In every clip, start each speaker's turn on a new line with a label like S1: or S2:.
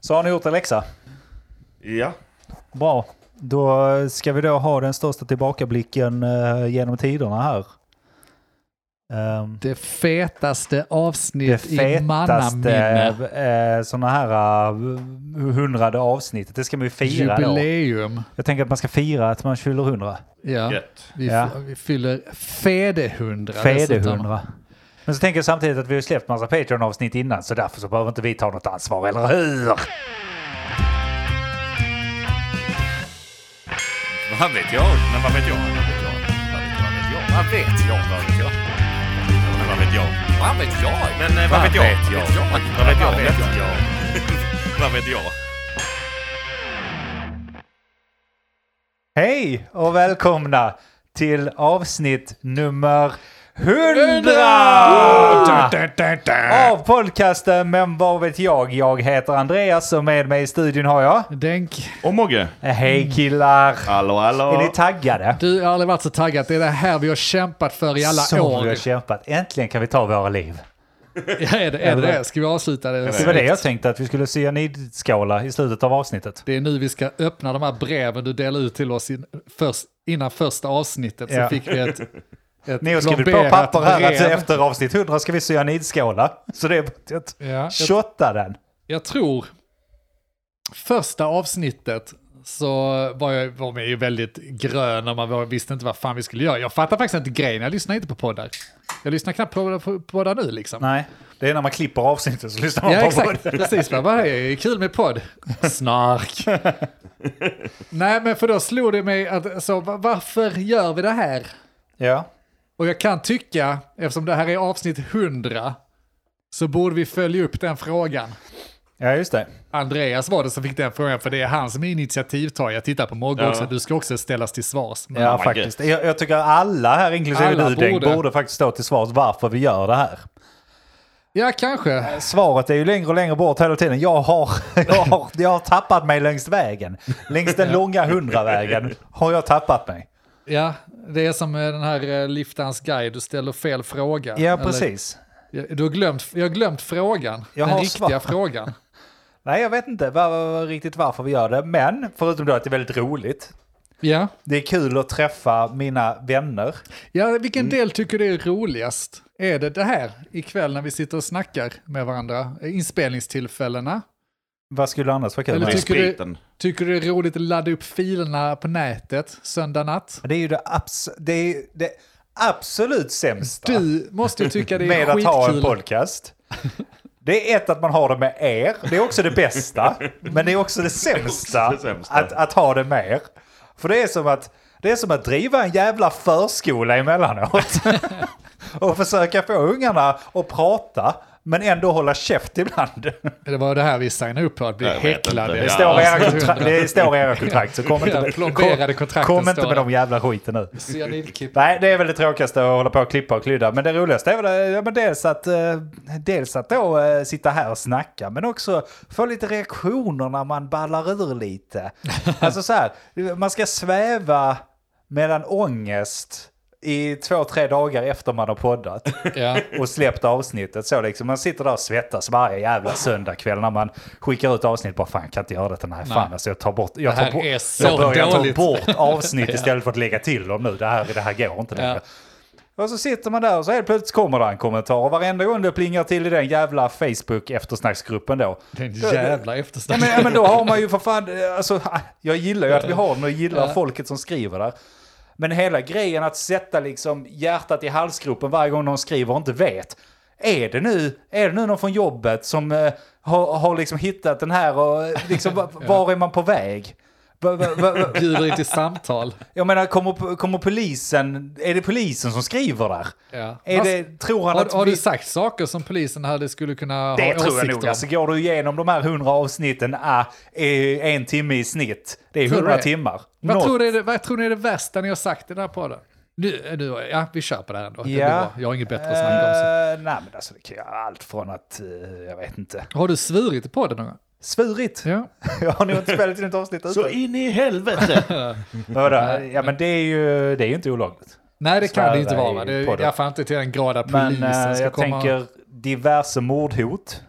S1: Så har ni gjort en läxa.
S2: Ja.
S1: Bra. Då ska vi då ha den största tillbakablicken eh, genom tiderna här. Ehm,
S3: Det fetaste
S1: det
S3: avsnitt i
S1: fetaste
S3: mannaminne.
S1: eh, sådana här eh, hundrade avsnittet. Det ska man ju fira då.
S3: Jubileum.
S1: Jag tänker att man ska fira att man fyller hundra.
S3: Ja.
S2: Gött.
S3: Vi,
S1: Ja.
S3: f- vi fyller fädehundra.
S1: Fede
S3: dessutom.
S1: hundra. Men så tänker jag samtidigt att vi har släppt massa Patreon-avsnitt innan så därför så behöver inte vi ta något ansvar, eller hur?
S2: Vad vet jag? Men vad vet jag? Vad vet jag? Vad vet jag? Vad vet jag? Men vad vet jag? Vad vet jag? Men eh, vad vet jag? Vad vet jag? Vad vet jag? Vad vet jag?
S1: Hej och välkomna till avsnitt nummer 100 av podcasten Men vad vet jag? Jag heter Andreas och med mig i studion har jag...
S3: Denk,
S2: Och Mogge?
S1: Hej killar!
S2: Hallå,
S1: Är ni
S2: hallå!
S1: taggade?
S3: Mm. du har aldrig varit så taggad. Det är det här vi har kämpat för i alla
S1: Som
S3: år.
S1: vi har kämpat. Äntligen kan vi ta våra liv.
S3: Ja, är det, är det det? Ska vi avsluta det?
S1: Det var det jag tänkte att vi skulle cyanidskåla i slutet av avsnittet.
S3: Det är nu vi ska öppna de här breven du delar ut till oss in, först, innan första avsnittet. Så
S1: Ja.
S3: fick vi ett, ett
S1: Ni har skrivit på
S3: plomberat
S1: papper här att
S3: brev.
S1: efter avsnitt 100 ska vi cyanidskåla. Så det är bara att
S3: Ja, jag,
S1: shotta den.
S3: jag tror första avsnittet så var jag var man ju väldigt grön och man var, visste inte vad fan vi skulle göra. Jag fattar faktiskt inte grejen, jag lyssnar inte på poddar. Jag lyssnar knappt på på poddar nu liksom.
S1: Nej, det är när man klipper avsnittet så lyssnar man
S3: Ja,
S1: på
S3: exakt.
S1: podden.
S3: Precis, vad var det? Kul med podd. Snark. Nej, men för då slog det mig att så, va- varför gör vi det här?
S1: Ja.
S3: Och jag kan tycka, eftersom det här är avsnitt 100, så borde vi följa upp den frågan.
S1: ja, just det.
S3: Andreas var det som fick den frågan, för det är han som är initiativtagare. Jag tittar på Mogge
S2: Ja.
S3: också, du ska också ställas till svars. Men
S1: Ja,
S2: my
S1: faktiskt. Jag, jag tycker alla här, inklusive
S3: Oh Alla
S1: du, Denk,
S3: borde.
S1: borde faktiskt stå till svars varför vi gör det här.
S3: ja, kanske.
S1: Svaret är ju längre och längre bort hela tiden. Jag har, jag har, jag har tappat mig längs vägen. Längs den långa hundravägen har jag tappat mig.
S3: Ja, det är som eh, den här eh, Liftans guide, du ställer fel fråga.
S1: Ja,
S3: Eller-
S1: precis.
S3: Jag- Du har glömt, jag har glömt frågan,
S1: Jag
S3: den
S1: har
S3: riktiga
S1: svar.
S3: frågan.
S1: Nej, jag vet inte var, var, var, riktigt varför vi gör det. Men, förutom då att det är väldigt roligt.
S3: Ja.
S1: Det är kul att träffa mina vänner.
S3: ja, vilken
S1: Mm.
S3: del tycker du är roligast? Är det det här ikväll när vi sitter och snackar med varandra? Eh, Inspelningstillfällena?
S1: Vad skulle annars vara kul?
S3: Eller typ-
S1: med?
S2: Det är
S3: tycker du-
S2: spriten.
S3: Tycker du det är roligt att ladda upp filerna på nätet söndag natt?
S1: Men Det är ju det, abs- det, är ju det absolut sämsta.
S3: Du måste ju tycka det är
S1: med att
S3: skitkul.
S1: ha en podcast. Det är ett att man har det med er, det är också det bästa. men det är också det sämsta,
S2: också det sämsta.
S1: Att, att ha det med er. För det är som att, det är som att driva en jävla förskola emellanåt. och försöka få ungarna att prata, men ändå hålla käft ibland.
S3: Det var det här vi signade upp på, att bli
S2: Jag vet
S3: häcklade.
S2: inte.
S1: Det står i era
S3: avsnitt
S1: kontrakt,
S3: 100.
S1: det står i era kontrakt så kom inte,
S3: Ja, plomberade
S1: kom,
S3: kontrakten
S1: kom inte
S3: står
S1: med
S3: det.
S1: de jävla skiten nu.
S3: Cyanidkipp.
S1: Nej, det är väl det tråkigaste att hålla på och klippa och klydda. Men det roligaste är väl ja, men dels, att, eh, dels att då eh, sitta här och snacka, men också få lite reaktioner när man ballar ur lite. Alltså så här, man ska sväva mellan ångest i två, tre dagar efter man har poddat
S3: Ja.
S1: och släppt avsnittet. Så liksom, man sitter där och svettas varje jävla söndagkväll när man skickar ut avsnitt. Bara fan, jag kan inte göra detta. Nej, fan. Alltså, jag tar bort, jag
S3: Det här
S1: tar bort,
S3: är så
S1: jag börjar
S3: dåligt.
S1: ta bort avsnitt istället för att lägga till dem nu. Det här, det här går inte längre. Och så sitter man där och så helt plötsligt kommer det en kommentar. Och varenda gång det plingar till i den jävla Facebook-eftersnacksgruppen då.
S3: Den jävla eftersnack.
S1: Ja, men, ja, men då har man ju för fan, alltså, jag gillar ju att vi har den och gillar
S3: Ja.
S1: folket som skriver där. Men hela grejen att sätta liksom hjärtat i halsgropen varje gång någon skriver och inte vet. Är det nu, är det nu någon från jobbet som eh, har, har liksom hittat den här och eh, liksom, va- var är man på väg? Va- va- va- va-
S3: Bjuder in till samtal.
S1: Jag menar, kommer, kommer polisen, är det polisen som skriver där?
S3: Ja.
S1: Är
S3: Fast-
S1: det, tror han
S3: Har,
S1: att...
S3: har
S1: vi-
S3: du sagt saker som polisen hade skulle kunna
S1: Det
S3: ha
S1: tror jag
S3: åsikter
S1: nog.
S3: om?
S1: Alltså, går du igenom de här 100 avsnitten, ah, eh, en timme i snitt, det är
S3: Tror du
S1: 100
S3: det?
S1: timmar.
S3: Vad
S1: Något-
S3: tror, du är det, vad tror ni är det värsta ni har sagt i den här podden? Nu, nu, ja, vi kör på det här ändå. Det blir
S1: Ja.
S3: bra. Jag har inget bättre att snacka om. Så.
S1: Eh, nej, men alltså det kan jag allt från att, eh, jag vet inte,
S3: Har du svurit i podden någon gång?
S1: svurit.
S3: Ja.
S1: jag har nog inte spelat in ett avsnitt
S2: Så
S1: utan.
S2: in i helvete!
S1: Men vadå? Ja, men det är ju, det är ju inte olagligt.
S3: Nej, det kan
S1: Svära
S3: det inte vara.
S1: i
S3: va? Det är i
S1: podden. eh,
S3: alla fall inte till den grad att polisen
S1: Men eh,
S3: ska
S1: jag
S3: komma.
S1: tänker diverse mordhot.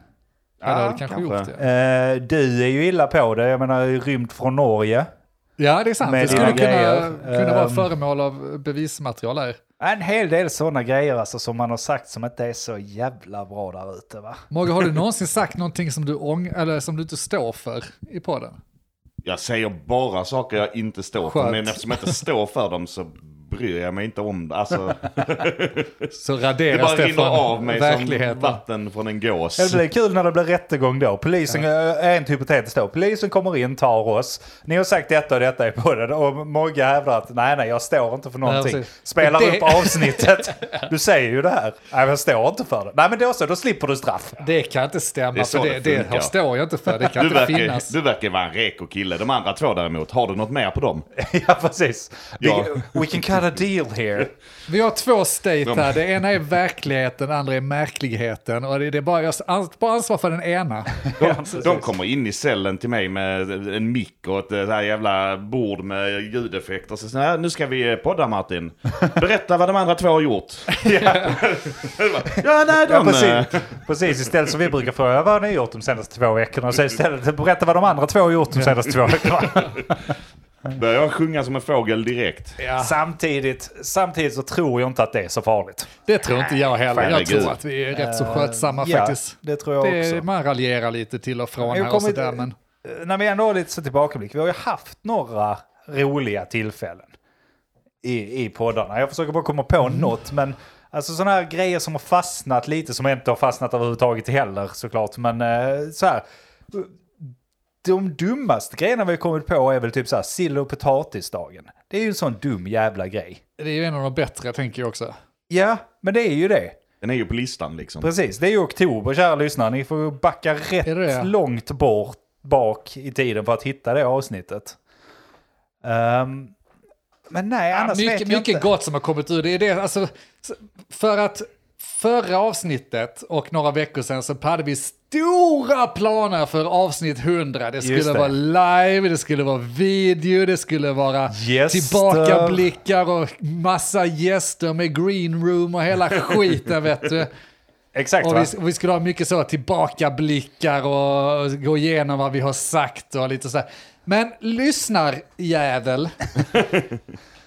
S3: Ja, det hade kanske,
S4: kanske.
S3: gjort det.
S1: Eh, du är ju illa på det, jag menar rymt från Norge.
S3: Ja, det är sant.
S1: Med
S3: Det skulle
S1: dina
S3: kunna,
S1: grejer.
S3: kunna vara
S1: Ehm.
S3: föremål av bevismaterial här.
S1: En hel del sådana grejer alltså, som man har sagt som inte är så jävla bra där ute va?
S3: Mogge, har du någonsin sagt någonting som du, ång- eller som du inte står för i podden?
S4: Jag säger bara saker jag inte står för,
S3: Skönt.
S4: men eftersom jag inte står för dem så bryr jag mig inte om det. Alltså,
S3: Så
S4: det
S3: raderar
S4: bara rinner
S3: Stefan
S4: av mig som
S3: verkligheten.
S4: vatten från en gås.
S1: Det blir kul när det blir rättegång då. Polisen, eh, rent hypotetiskt då, polisen kommer in, tar oss. Ni har sagt detta och detta i podden och Mogge hävdar att nej, nej, jag står inte för någonting.
S3: precis.
S1: Spelar
S3: Det-
S1: upp avsnittet. Du säger ju det här. Nej, men jag står inte för det. Nej, men då så, då slipper du straff.
S3: Det kan inte stämma,
S4: Det är så
S3: för det,
S4: det
S3: det
S4: funkar.
S3: här står jag inte för. Det kan
S4: Du
S3: inte
S4: verkar,
S3: finnas.
S4: du verkar vara en reko kille. De andra två däremot, har du något mer på dem?
S1: ja, precis.
S4: Ja.
S1: We, we can cut a deal here.
S3: Vi har två state
S4: De-
S3: här. Det ena är verkligheten, det andra är märkligheten. Och det det är bara, jag har bara ansvar för den ena.
S4: De, de kommer in i cellen till mig med en mick och ett det här jävla bord med ljudeffekter. Så, så här, nu ska vi eh, podda Martin. Berätta vad de andra två har gjort. ja, ja nej, de... eh,
S1: Ja, precis. precis, istället som vi brukar fråga vad har ni gjort de senaste två veckorna? Så istället berätta vad de andra två har gjort de senaste två veckorna.
S4: Börjar jag sjunga som en fågel direkt?
S3: Ja.
S1: Samtidigt, samtidigt så tror jag inte att det är så farligt.
S3: Det tror inte jag heller. Jag
S4: Herregud. Ehm,
S3: tror att vi är rätt så skötsamma
S1: Ja,
S3: faktiskt.
S1: det tror jag
S3: Det,
S1: också.
S3: man raljerar lite till och från
S1: Jag
S3: här och
S1: kommer
S3: sådär.
S1: inte-
S3: Men
S1: Eh, När vi ändå har lite så tillbakablick, vi har ju haft några roliga tillfällen i, i poddarna. Jag försöker bara komma på något, men alltså sådana här grejer som har fastnat lite, som inte har fastnat överhuvudtaget heller såklart, men eh, så här. De dummaste grejerna vi har kommit på är väl typ så här sill och potatisdagen. Det är ju en sån dum jävla grej.
S3: det är ju en av de bättre tänker jag också.
S1: Ja, men det är ju det.
S4: Den är ju på listan liksom.
S1: Precis, det är ju oktober kära lyssnare. Ni får backa rätt
S3: Är det det?
S1: långt bort bak i tiden för att hitta det avsnittet. Ehm, men nej,
S3: Ja,
S1: annars
S3: mycket
S1: vet jag
S3: mycket
S1: inte.
S3: gott som har kommit ur det. är det alltså, s- för att förra avsnittet och några veckor sedan så hade vi stora planer för avsnitt 100. Det skulle
S1: Just det.
S3: vara live, det skulle vara video, det skulle vara
S1: Gäster.
S3: tillbakablickar och massa gäster med green room och hela skiten vet du.
S1: Exakt
S3: Och
S1: va?
S3: vi, och vi skulle ha mycket så tillbakablickar och gå igenom vad vi har sagt och lite så här. Men lyssnarjävel,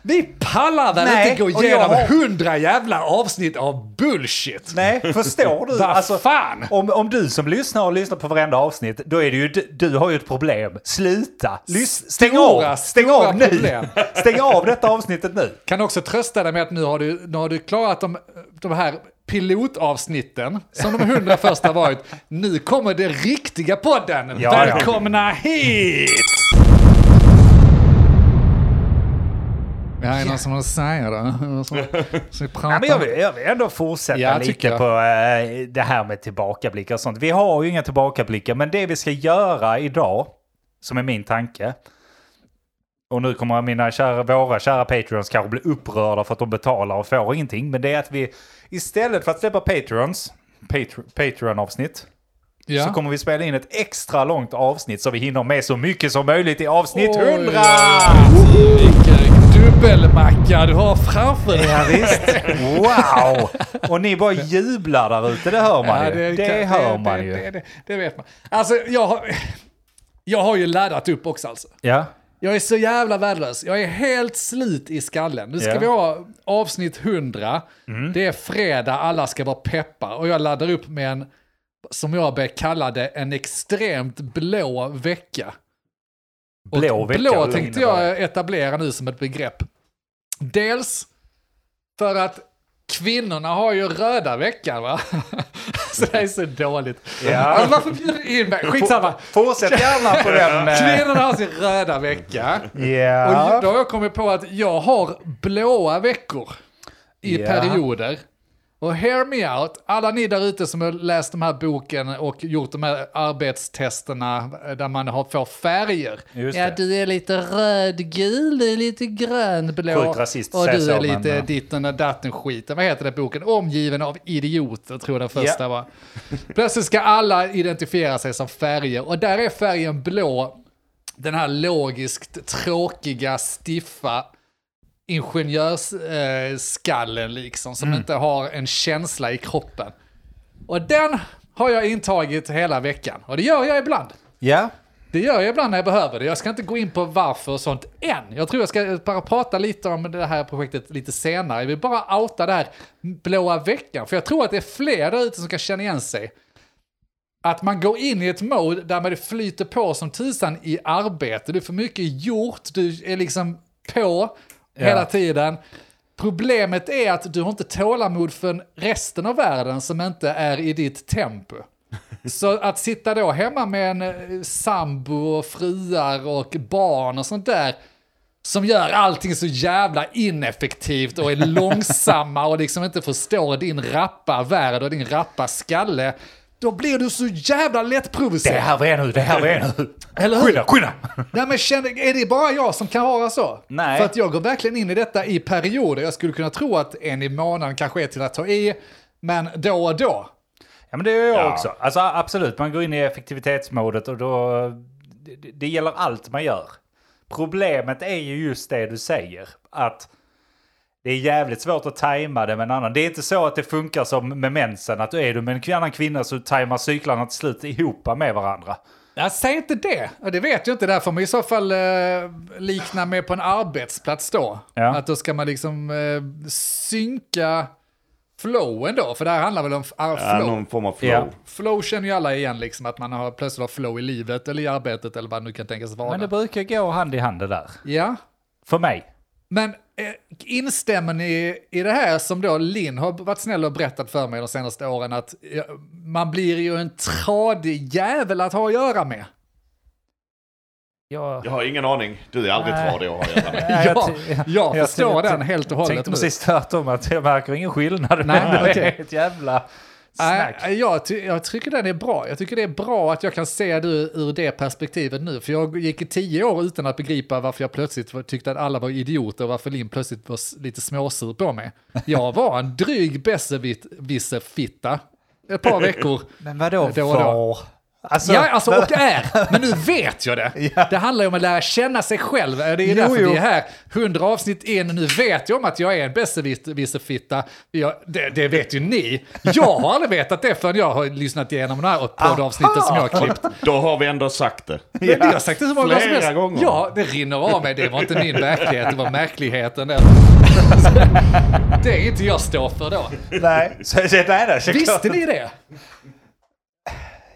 S3: vi pallar väl
S1: Nej,
S3: inte gå
S1: och jag
S3: igenom
S1: har-
S3: hundra jävla avsnitt av bullshit?
S1: Nej, förstår du? Alltså,
S3: Vad fan?
S1: Om, om du som lyssnar och lyssnar på varenda avsnitt, då är det ju, du, du har ju ett problem. Sluta! Lys- stäng
S3: Stora,
S1: av! Stäng
S3: stora
S1: av nu!
S3: problem.
S1: Stäng av detta avsnittet nu!
S3: Kan också trösta dig med att nu har du, nu har du klarat de, de här pilotavsnitten, som de hundra första varit. Nu kommer det riktiga podden!
S1: ja.
S3: Välkomna hit! Det här är någon som har säger det. Som, som pratar.
S1: Ja, men jag, vill, jag vill ändå fortsätta
S3: Ja, tycker
S1: lite
S3: jag.
S1: på eh, det här med tillbakablickar och sånt. Vi har ju inga tillbakablickar, men det vi ska göra idag, som är min tanke, och nu kommer mina kära, våra kära Patreons kanske bli upprörda för att de betalar och får ingenting, men det är att vi istället för att släppa Patreons, Patr- Patreon-avsnitt,
S3: Ja.
S1: så kommer vi spela in ett extra långt avsnitt så vi hinner med så mycket som möjligt i avsnitt 100!
S3: Vilken dubbelmacka du har framför dig.
S1: Ja, visst. Wow! Och ni bara jublar där ute, det hör man ju. Det,
S3: kan-
S1: hör
S3: det-
S1: man
S3: det,
S1: ju.
S3: Det, det, det vet man. Alltså, jag har, jag har ju laddat upp också alltså.
S1: Ja.
S3: Jag är så jävla värdelös. Jag är helt slut i skallen. Nu ska
S1: Ja. Mm.
S3: vi ha avsnitt 100. Det är fredag, alla ska vara peppar. Och jag laddar upp med en, som jag börjar kalla det, en extremt blå vecka. Och
S1: Blå vecka,
S3: blå
S1: vad
S3: tänkte
S1: innebär
S3: jag etablera nu som ett begrepp. Dels för att kvinnorna har ju röda veckan va? så det är så dåligt.
S1: Ja.
S3: Alltså, varför bjuder du in mig? Skitsamma.
S1: Fortsätt gärna på den. eh,
S3: Kvinnorna har sin röda vecka. Och
S1: Ja.
S3: då har jag kommit på att jag har blåa veckor i
S1: Ja.
S3: perioder. Och hear me out, alla ni där ute som har läst de här boken och gjort de här arbetstesterna där man har, får färger.
S1: Just
S3: ja,
S1: det.
S3: du är lite rödgul, du är lite grönblå.
S1: Sjukt rasist
S3: och
S1: säger
S3: du
S1: så,
S3: är
S1: men, eh,
S3: lite
S1: ja.
S3: ditten och datten skiten. Vad heter den boken? Omgiven av idioter, tror jag den första
S1: Ja.
S3: var. Plötsligt ska alla identifiera sig som färger. Och där är färgen blå den här logiskt tråkiga, stiffa
S1: Mm.
S3: ingenjörsskallen liksom, som inte har en känsla i kroppen. Och den har jag intagit hela veckan. Och det gör jag ibland.
S1: Ja,
S3: Det gör jag ibland när jag behöver det. Jag ska inte gå in på varför och sånt än. Jag tror jag ska bara prata lite om det här projektet lite senare. Jag vill bara outa det här blåa veckan. För jag tror att det är fler där ute som kan känna igen sig. Att man går in i ett mode där man flyter på som tusan i arbete. Du är för mycket gjort, du är liksom på hela tiden. Problemet är att du har inte tålamod för resten av världen som inte är i ditt tempo. Så att sitta då hemma med en eh, sambo och fruar och barn och sånt där som gör allting så jävla ineffektivt och är långsamma och liksom inte förstår din rappa värld och din rappa skalle. Då blir du så jävla lättprovocerad.
S1: det här var jag nu, det här var jag nu.
S3: Eller hur?
S1: Skynda, skynda!
S3: Nej men känner, är det bara jag som kan vara så?
S1: Nej.
S3: För att jag går verkligen in i detta i perioder. Jag skulle kunna tro att en i månaden kanske är till att ta i, men då och då.
S1: Ja men det gör jag också. Alltså absolut, man går in i effektivitetsmodet och då... Det, det gäller allt man gör. Problemet är ju just det du säger. Att det är jävligt svårt att tajma det med en annan. Det är inte så att det funkar som med mensen. Att är du med en annan kvinna så tajmar cyklarna till slut ihop med varandra.
S3: Jag säger inte det. Och Det vet jag inte. Där får man i så fall eh, likna med på en arbetsplats då.
S1: Ja.
S3: Att då ska man liksom eh, synka flowen då. För det här handlar väl om f- ah,
S4: Ja,
S3: flow.
S4: någon form av flow.
S1: Ja.
S3: Flow känner ju alla igen, liksom att man har, plötsligt har flow i livet eller i arbetet eller vad det nu kan tänkas vara.
S1: Men det brukar gå hand i hand det där.
S3: Ja,
S1: För mig.
S3: Men eh, instämmer ni i det här som då Linn har varit snäll och berättat för mig de senaste åren att eh, man blir ju en tradig jävel att ha att göra med.
S1: Jag,
S4: Jag har ingen aning. Du är aldrig tradig att ha att göra med.
S1: Nej, jag
S3: Ja,
S1: ty-
S3: jag,
S1: jag
S3: förstår
S1: ty-
S3: den helt och hållet.
S1: tänkte
S3: nu.
S1: precis tvärtom att jag märker ingen skillnad.
S3: Nej,
S1: men det
S3: okej.
S1: är ett jävla snack.
S3: Nej, jag, ty- jag tycker den är bra. Jag tycker det är bra att jag kan se det ur det perspektivet nu. För jag gick i tio år utan att begripa varför jag plötsligt var- tyckte att alla var idioter och varför Linn plötsligt var s- lite småsur på mig. Jag var en dryg besserwisser-fitta ett par veckor.
S1: Men vadå
S3: Då och då.
S1: för? Alltså,
S3: ja, alltså och är. Men nu vet jag det. Det handlar ju om att lära känna sig själv. Det är ju
S1: Jo,
S3: därför
S1: jo.
S3: vi är här. Hundra avsnitt in, nu vet jag om att jag är en besserwisserfitta. Jag- Det, det vet ju ni. Jag har aldrig vetat det förrän jag har lyssnat igenom de här poddavsnitten som jag har klippt.
S4: Då har vi ändå sagt det.
S3: Men det har jag sagt det så många gånger som
S4: Flera
S3: helst.
S4: gånger.
S3: Ja, det rinner av mig. Det var inte min verklighet, det var märkligheten där. Det är inte jag står för då.
S1: nej. Så, så, nej, nej, så,
S3: Visste ni det?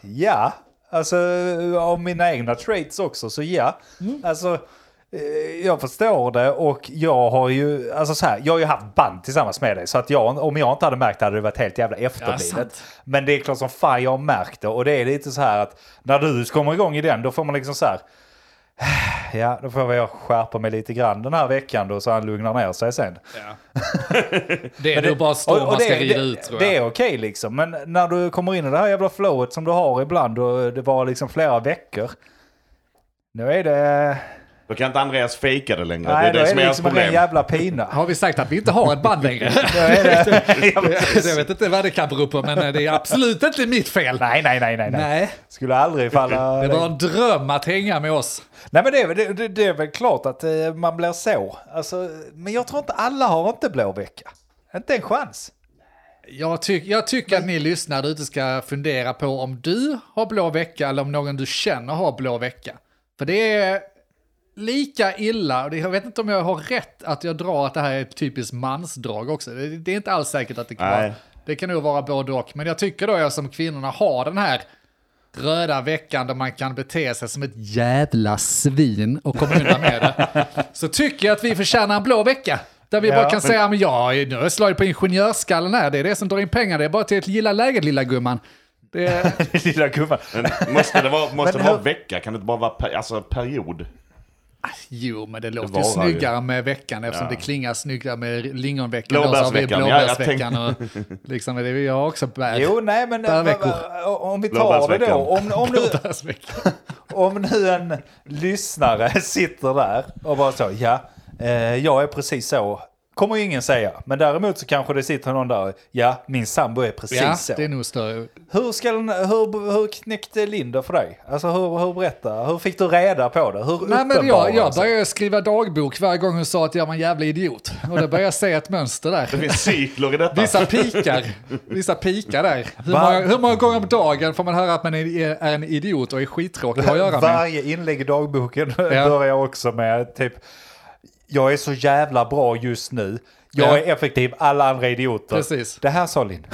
S1: Ja, alltså av mina egna traits också, så ja. Alltså, eh, jag förstår det och jag har ju, alltså så här, jag har ju haft band tillsammans med dig. Så att jag, om jag inte hade märkt det hade det varit helt jävla efterblivet.
S3: sant.
S1: Men det är klart som fan jag har märkt det och det är lite så här att när du kommer igång i den då får man liksom så här, ja då får jag skärpa mig lite grann den här veckan då så han lugnar ner sig sen.
S3: Det är
S1: Men
S3: nog bara storm
S1: och- och
S3: man
S1: det-
S3: ska rida
S1: det,
S3: ut tror
S1: Det
S3: jag.
S1: är okej liksom, men när du kommer in i det här jävla flowet som du har ibland och det var liksom flera veckor. Nu är det...
S4: Då kan inte Andreas fejka det längre.
S1: Nej, det
S4: det är det
S1: är
S4: som
S1: det
S4: är hans
S1: liksom en ren
S4: problem.
S1: jävla pina.
S3: Har vi sagt att vi inte har ett band längre?
S1: Nu är det... Ja,
S3: Så Alltså, Jag
S1: precis.
S3: vet inte vad det kan bero på, men eh, det är absolut inte mitt fel.
S1: nej, nej, nej, nej, nej.
S3: Nej.
S1: Skulle aldrig falla...
S3: Det var en dröm att hänga med oss.
S1: Nej, men det är, väl- det, det, det är väl klart att eh, man blir så. Alltså, men jag tror inte alla har inte blå vecka. Inte en chans.
S3: Jag, tyck, jag tycker att ni lyssnare där ute ska fundera på om du har blå vecka eller om någon du känner har blå vecka. För det är lika illa, och det- jag vet inte om jag har rätt att jag drar att det här är ett typiskt mansdrag också. Det, det är inte alls säkert att det kan vara.
S4: Nej.
S3: Det kan nog vara både och. Men jag tycker då jag som kvinnorna har den här röda veckan där man kan bete sig som ett jävla svin och komma undan med det. Så tycker jag att vi förtjänar en blå vecka. Där vi
S1: Ja,
S3: bara kan
S1: men-
S3: säga, men ja, nu har jag slagit på ingenjörsskallen här, det är det som drar in pengar, det är bara till ett gilla läget lilla gumman. Det är,
S1: Lilla gubben.
S4: Men måste det vara, måste
S1: Men
S4: det vara
S1: hur-
S4: vecka? Kan det inte bara vara per, alltså period?
S3: jo, men det låter
S4: varar
S3: ju
S4: ju.
S3: snyggare med veckan eftersom det klingar snyggare med lingonveckan. då, så har vi
S4: Blåbärsveckan, ja, jag
S3: blåbärsveckan och liksom, det är ju jag också bär.
S1: Jo, nej, men
S3: Där
S1: eh,
S3: veckor.
S1: va- va- om vi tar det då. Om, om, du,
S3: Blåbärsveckan.
S1: Om nu en lyssnare sitter där och bara så, ja, eh, jag är precis så kommer ju ingen säga. Men däremot så kanske det sitter någon där, ja, min sambo är precis
S3: Ja,
S1: så.
S3: det är nog större.
S1: Hur, ska, den- hur, hur knäckte Linda för dig? Alltså hur, hur berätta, hur fick du reda på det? Hur
S3: Nej, men jag, jag
S1: uppenbarades det?
S3: började skriva dagbok varje gång hon sa att jag var en jävla idiot. Och då började jag se ett mönster
S4: Det
S3: där.
S4: finns cykler i detta.
S3: Vissa pikar, vissa pikar där. Hur
S1: Va?
S3: många, hur många gånger om dagen får man höra att man är, är en idiot och är skittråkig att ha att göra med?
S1: Varje inlägg i dagboken börjar jag också med typ jag är så jävla bra just nu. Jag
S3: Ja.
S1: är effektiv, alla andra är idioter.
S3: Precis.
S1: Det här sa Linn.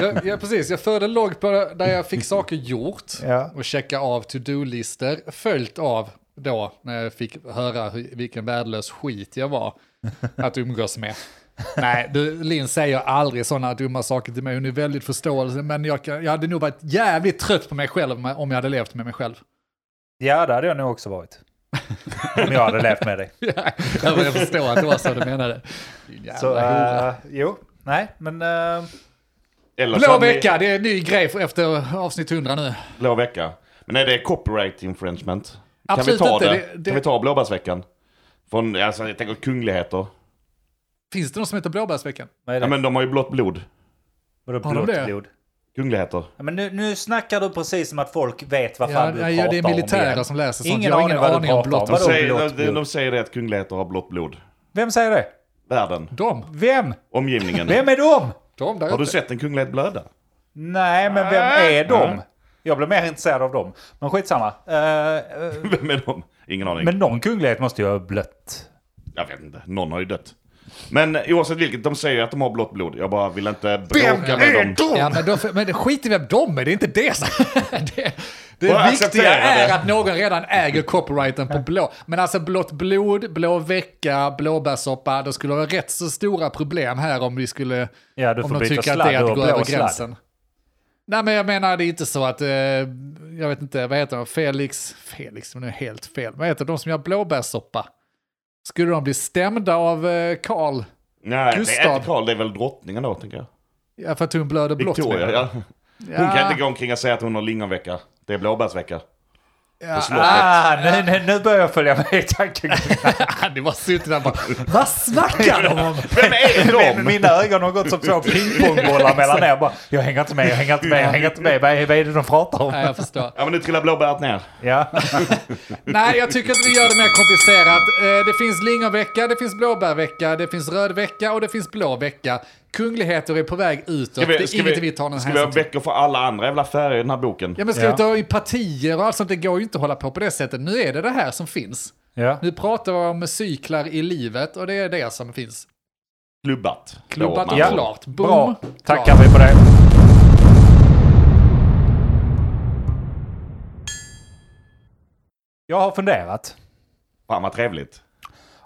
S3: Jag, jag, precis, jag förde en logg på där jag fick saker gjort
S1: Ja.
S3: och checka av to-do-listor, följt av då när jag fick höra hur, vilken värdelös skit jag var att umgås med. Nej, du, Linn säger aldrig sådana dumma saker till mig. Hon är väldigt förståelse, men jag, kan- jag hade nog varit jävligt trött på mig själv om jag- om jag hade levt med mig själv.
S1: Ja, det hade jag nog också varit. Om jag hade levt med dig.
S3: Ja, men jag förstår att det var så du menade. Din jävla
S1: Så,
S3: hora.
S1: eh, jo, nej, men... eh,
S4: Eller
S3: Blå
S4: som i-
S3: vecka, det är en ny grej för- efter avsnitt 100 nu.
S4: Blå vecka. Men är det copyright infringement?
S3: Absolut
S4: kan vi ta
S3: inte,
S4: det?
S3: det- det-
S4: Kan vi ta blåbärsveckan? Från, alltså, jag tänker kungligheter.
S3: Finns det någon som heter Blåbärsveckan?
S1: vad är det?
S4: Ja, men de har ju blått blod.
S1: Vadå
S3: har de
S1: blått
S3: det?
S1: blod?
S4: Kungligheter.
S1: Ja, men nu, nu snackar du precis som att folk vet vad
S3: Ja,
S1: fan du
S3: ja,
S1: pratar
S3: ja, det är militärer
S1: om. igen.
S3: som läser sånt.
S1: Ingen
S3: Jag har ingen
S1: aning vad du
S3: aning om
S1: pratar om.
S3: blått.
S4: De
S1: Vadå
S4: säger,
S1: blått
S4: de,
S1: blod?
S4: de säger det att kungligheter har blått blod.
S1: Vem säger det?
S4: Världen.
S3: De?
S1: Vem?
S4: Omgivningen.
S1: Vem är de?
S3: De där
S4: Har du
S3: ute.
S4: sett en kunglighet blöda?
S1: Nej, men vem är de?
S4: Mm.
S1: Jag blir mer intresserad av dem. Men skitsamma. Eh, eh,
S4: Vem är de? Ingen aning.
S1: men någon kunglighet måste ju ha blött.
S4: Jag vet inte. Någon har ju dött. Men oavsett vilket, de säger att de har blått blod. Jag bara vill inte bråka med dem.
S3: Ja, men, då, men skit i vem de är, det är inte det som... det det
S4: Bara
S3: viktiga
S4: acceptera
S3: är
S4: det.
S3: att någon redan äger copyrighten på blå. Men alltså blått blod, blå vecka, blåbärssoppa, det skulle vara rätt så stora problem här om vi skulle...
S1: Ja, du
S3: om
S1: får
S3: de
S1: byta
S3: tycker att det
S1: sladd
S3: är
S1: och
S3: att gå
S1: blå
S3: över
S1: sladd.
S3: gränsen. Nej, men jag menar det är inte så att... Eh, jag vet inte, vad heter de? Felix... Felix, men nu är helt fel. Vad heter de som gör blåbärssoppa? Skulle de bli stämda av eh, Karl?
S4: Nej, det är
S3: Gustav.
S4: inte Karl. Det är väl drottningen då, tänker jag.
S3: Ja, för att hon blöder blått. menar
S4: Victoria,
S3: jag.
S4: ja. Hon kan
S3: Ja.
S4: inte gå omkring och säga att hon har lingonvecka. Det är blåbärsvecka.
S3: Ja,
S1: Ah, nu, nu, nu börjar jag följa med i tankegången.
S3: Det var suttit där och bara, vad snackar de om?
S4: Vem är
S1: Men
S4: de?
S1: Mina ögon har gått som två pingpongbollar mellan er. Bara, Jag hänger inte med, jag hänger inte med, jag hänger inte med. Vad är vad är det de pratar om?
S3: Nej, jag förstår.
S4: Ja men nu trillar blåbäret ner.
S1: Ja.
S3: Nej, jag tycker att vi gör det mer komplicerat. Eh, Det finns lingonvecka, det finns blåbärvecka, det finns rödvecka och det finns blå vecka. Kungligheter är på väg utåt. det är inget vi, tar någon
S4: ska vi ha
S3: hänsyn till.
S4: veckor för alla andra jävla färger i den här boken?
S3: Ja, men ska
S1: Ja.
S3: vi ta i partier och allt sånt? Det går ju inte att hålla på på det sättet. Nu är det det här som finns.
S1: ja.
S3: Nu pratar vi om cyklar i livet och det är det som finns.
S4: Klubbat.
S3: Klubbat
S4: Då,
S3: och
S4: man-
S3: klart. Boom.
S1: Bra, tackar
S3: Klart.
S1: vi på det. Jag har funderat.
S4: Fan vad trevligt.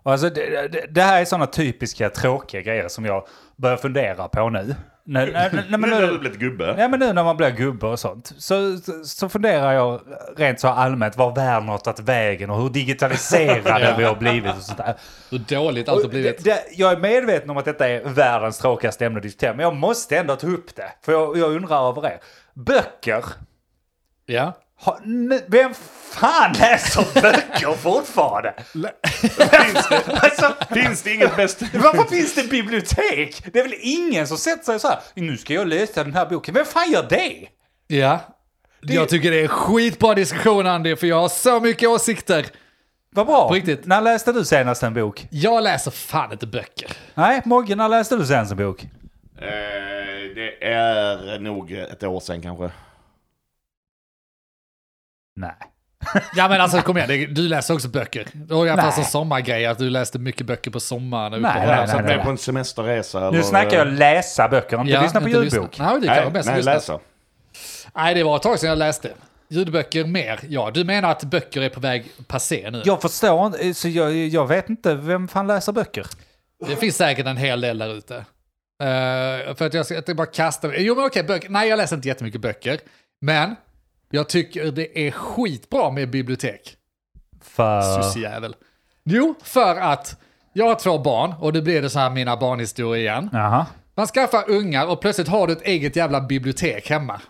S1: Och Alltså, det, det, det här är sådana typiska tråkiga grejer som jag börjar fundera på nu. Nej, nej, nej, men
S4: Nu har du
S1: nu
S4: blivit gubbe.
S1: Ja men nu när man blir gubbe och sånt så, så- så funderar jag rent så allmänt var världen har tagit vägen och hur digitaliserade vi har blivit och sånt där.
S3: Hur dåligt allt har
S1: Och
S3: blivit.
S1: Det, det, jag är medveten om att detta är världens tråkigaste ämne att diskutera, men jag måste ändå ta upp det. För jag, jag undrar över er. Böcker?
S3: Ja.
S1: Har- n- vem fan läser böcker fortfarande?
S4: Finns det,
S1: Alltså,
S4: finns det inget bäst?
S1: varför finns det bibliotek? Det är väl ingen som sätter sig så här, nu ska jag läsa den här boken. Vem fan gör det?
S3: Ja. Jag tycker det är en skitbra diskussion Andy, för jag har så mycket åsikter.
S1: Vad bra.
S3: På riktigt.
S1: När läste du senast en bok?
S3: Jag läser fan inte böcker.
S1: Nej, Mogge, när läste du senast en bok?
S4: Eh, Det är nog ett år sedan kanske.
S1: Nej.
S3: Ja men alltså kom igen, det- du läser också böcker. Det var ju i alla fall
S1: Nej.
S3: som sommargrej att du läste mycket böcker på sommaren. och
S1: Nej,
S3: ute på
S1: nej,
S3: Holland.
S1: nej,
S4: Satt
S1: nej.
S4: med på en semesterresa eller...
S1: Nu snackar jag läsa böcker, inte
S3: Ja,
S1: lyssna på
S3: inte
S1: ljudbok.
S3: lyssna. Nej, det kan vara
S4: Nej,
S3: bäst att
S4: nej
S3: lyssna.
S4: läsa.
S3: Nej, det var ett tag sedan jag läste. Ljudböcker mer, ja. Du menar att böcker är på väg passé nu?
S1: Jag förstår inte, eh, så jag, jag vet inte vem fan läser böcker.
S3: Det finns säkert en hel del där ute. Eh, för att jag ska inte bara kasta mig. Jo men okej, böcker. Nej jag läser inte jättemycket böcker. Men jag tycker det är skitbra med bibliotek.
S1: För...
S3: Sussejävel. Jo, för att jag har två barn och det blir det så här mina barnhistorier igen.
S1: Jaha.
S3: Man skaffar ungar och plötsligt har du ett eget jävla bibliotek hemma.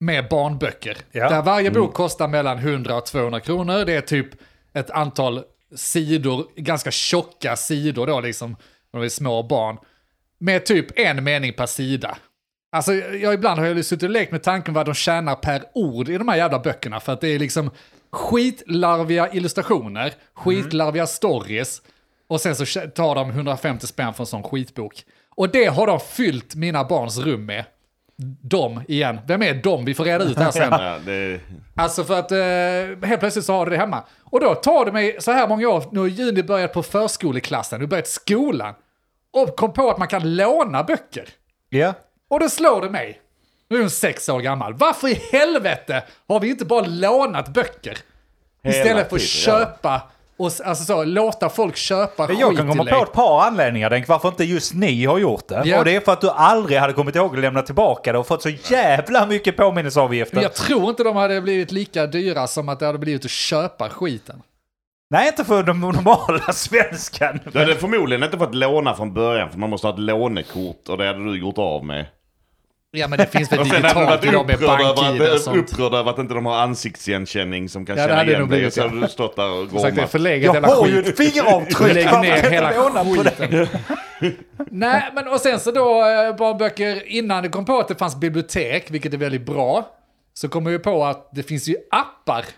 S3: Med barnböcker.
S1: Ja.
S3: Där varje bok kostar mellan 100 och 200 kronor. Det är typ ett antal sidor, ganska tjocka sidor då liksom. när de är små barn, med typ en mening per sida. Alltså, jag, ibland har jag ju suttit och lekt med tanken vad de tjänar per ord i de här jävla böckerna. För att det är liksom skitlarviga illustrationer, skitlarviga stories och sen så tar de 150 spänn för en sån skitbok. Och det har de fyllt mina barns rum med. De igen. Vem är de? Vi får reda ut det här sen.
S4: Ja, det,
S3: Alltså för att eh, helt plötsligt så har du det hemma. Och då tar det mig så här många år, nu har Juni börjat på förskoleklassen, nu har börjat skolan. Och kom på att man kan låna böcker.
S1: Ja.
S3: Och då slår det mig. Nu är hon sex år gammal. Varför i helvete har vi inte bara lånat böcker? Istället för att
S4: tiden, ja.
S3: köpa och s- alltså så, låta folk köpa skit
S1: Jag kan komma
S3: i
S1: på
S3: lek.
S1: ett par anledningar Denk, varför inte just ni har gjort det.
S3: Ja.
S1: Och det är för att du aldrig hade kommit ihåg att lämna tillbaka det och fått så jävla mycket påminnelseavgifter.
S3: Jag tror inte de hade blivit lika dyra som att det hade blivit att köpa skiten.
S1: Nej, inte för den normala svenskan.
S4: du hade förmodligen inte fått låna från början för man måste ha ett lånekort och det hade du gjort av med.
S3: Ja men det finns väl
S4: Och sen hade du varit
S3: digitalt idag med
S4: upprörd över,
S3: bank-id och
S4: att,
S3: sånt.
S4: upprörd över att inte de har ansiktsigenkänning som kan
S3: Ja, det
S4: känna
S3: hade
S4: igen
S3: nog
S4: dig.
S3: blivit,
S4: Och så
S3: ja.
S4: hade du stått där och
S3: Som sagt, det är
S4: gormat.
S3: förlegat
S1: Jag
S3: jävla
S1: har ju
S3: skit.
S1: ett fingeravtryck.
S3: Lägg
S1: Varför kan jag
S3: ner
S1: inte
S3: hela
S1: låna på det?
S3: skiten. Nej, men och sen så då eh, barnböcker, innan det kom på att det fanns bibliotek, vilket är väldigt bra, så kom jag ju på att det finns ju appar. Så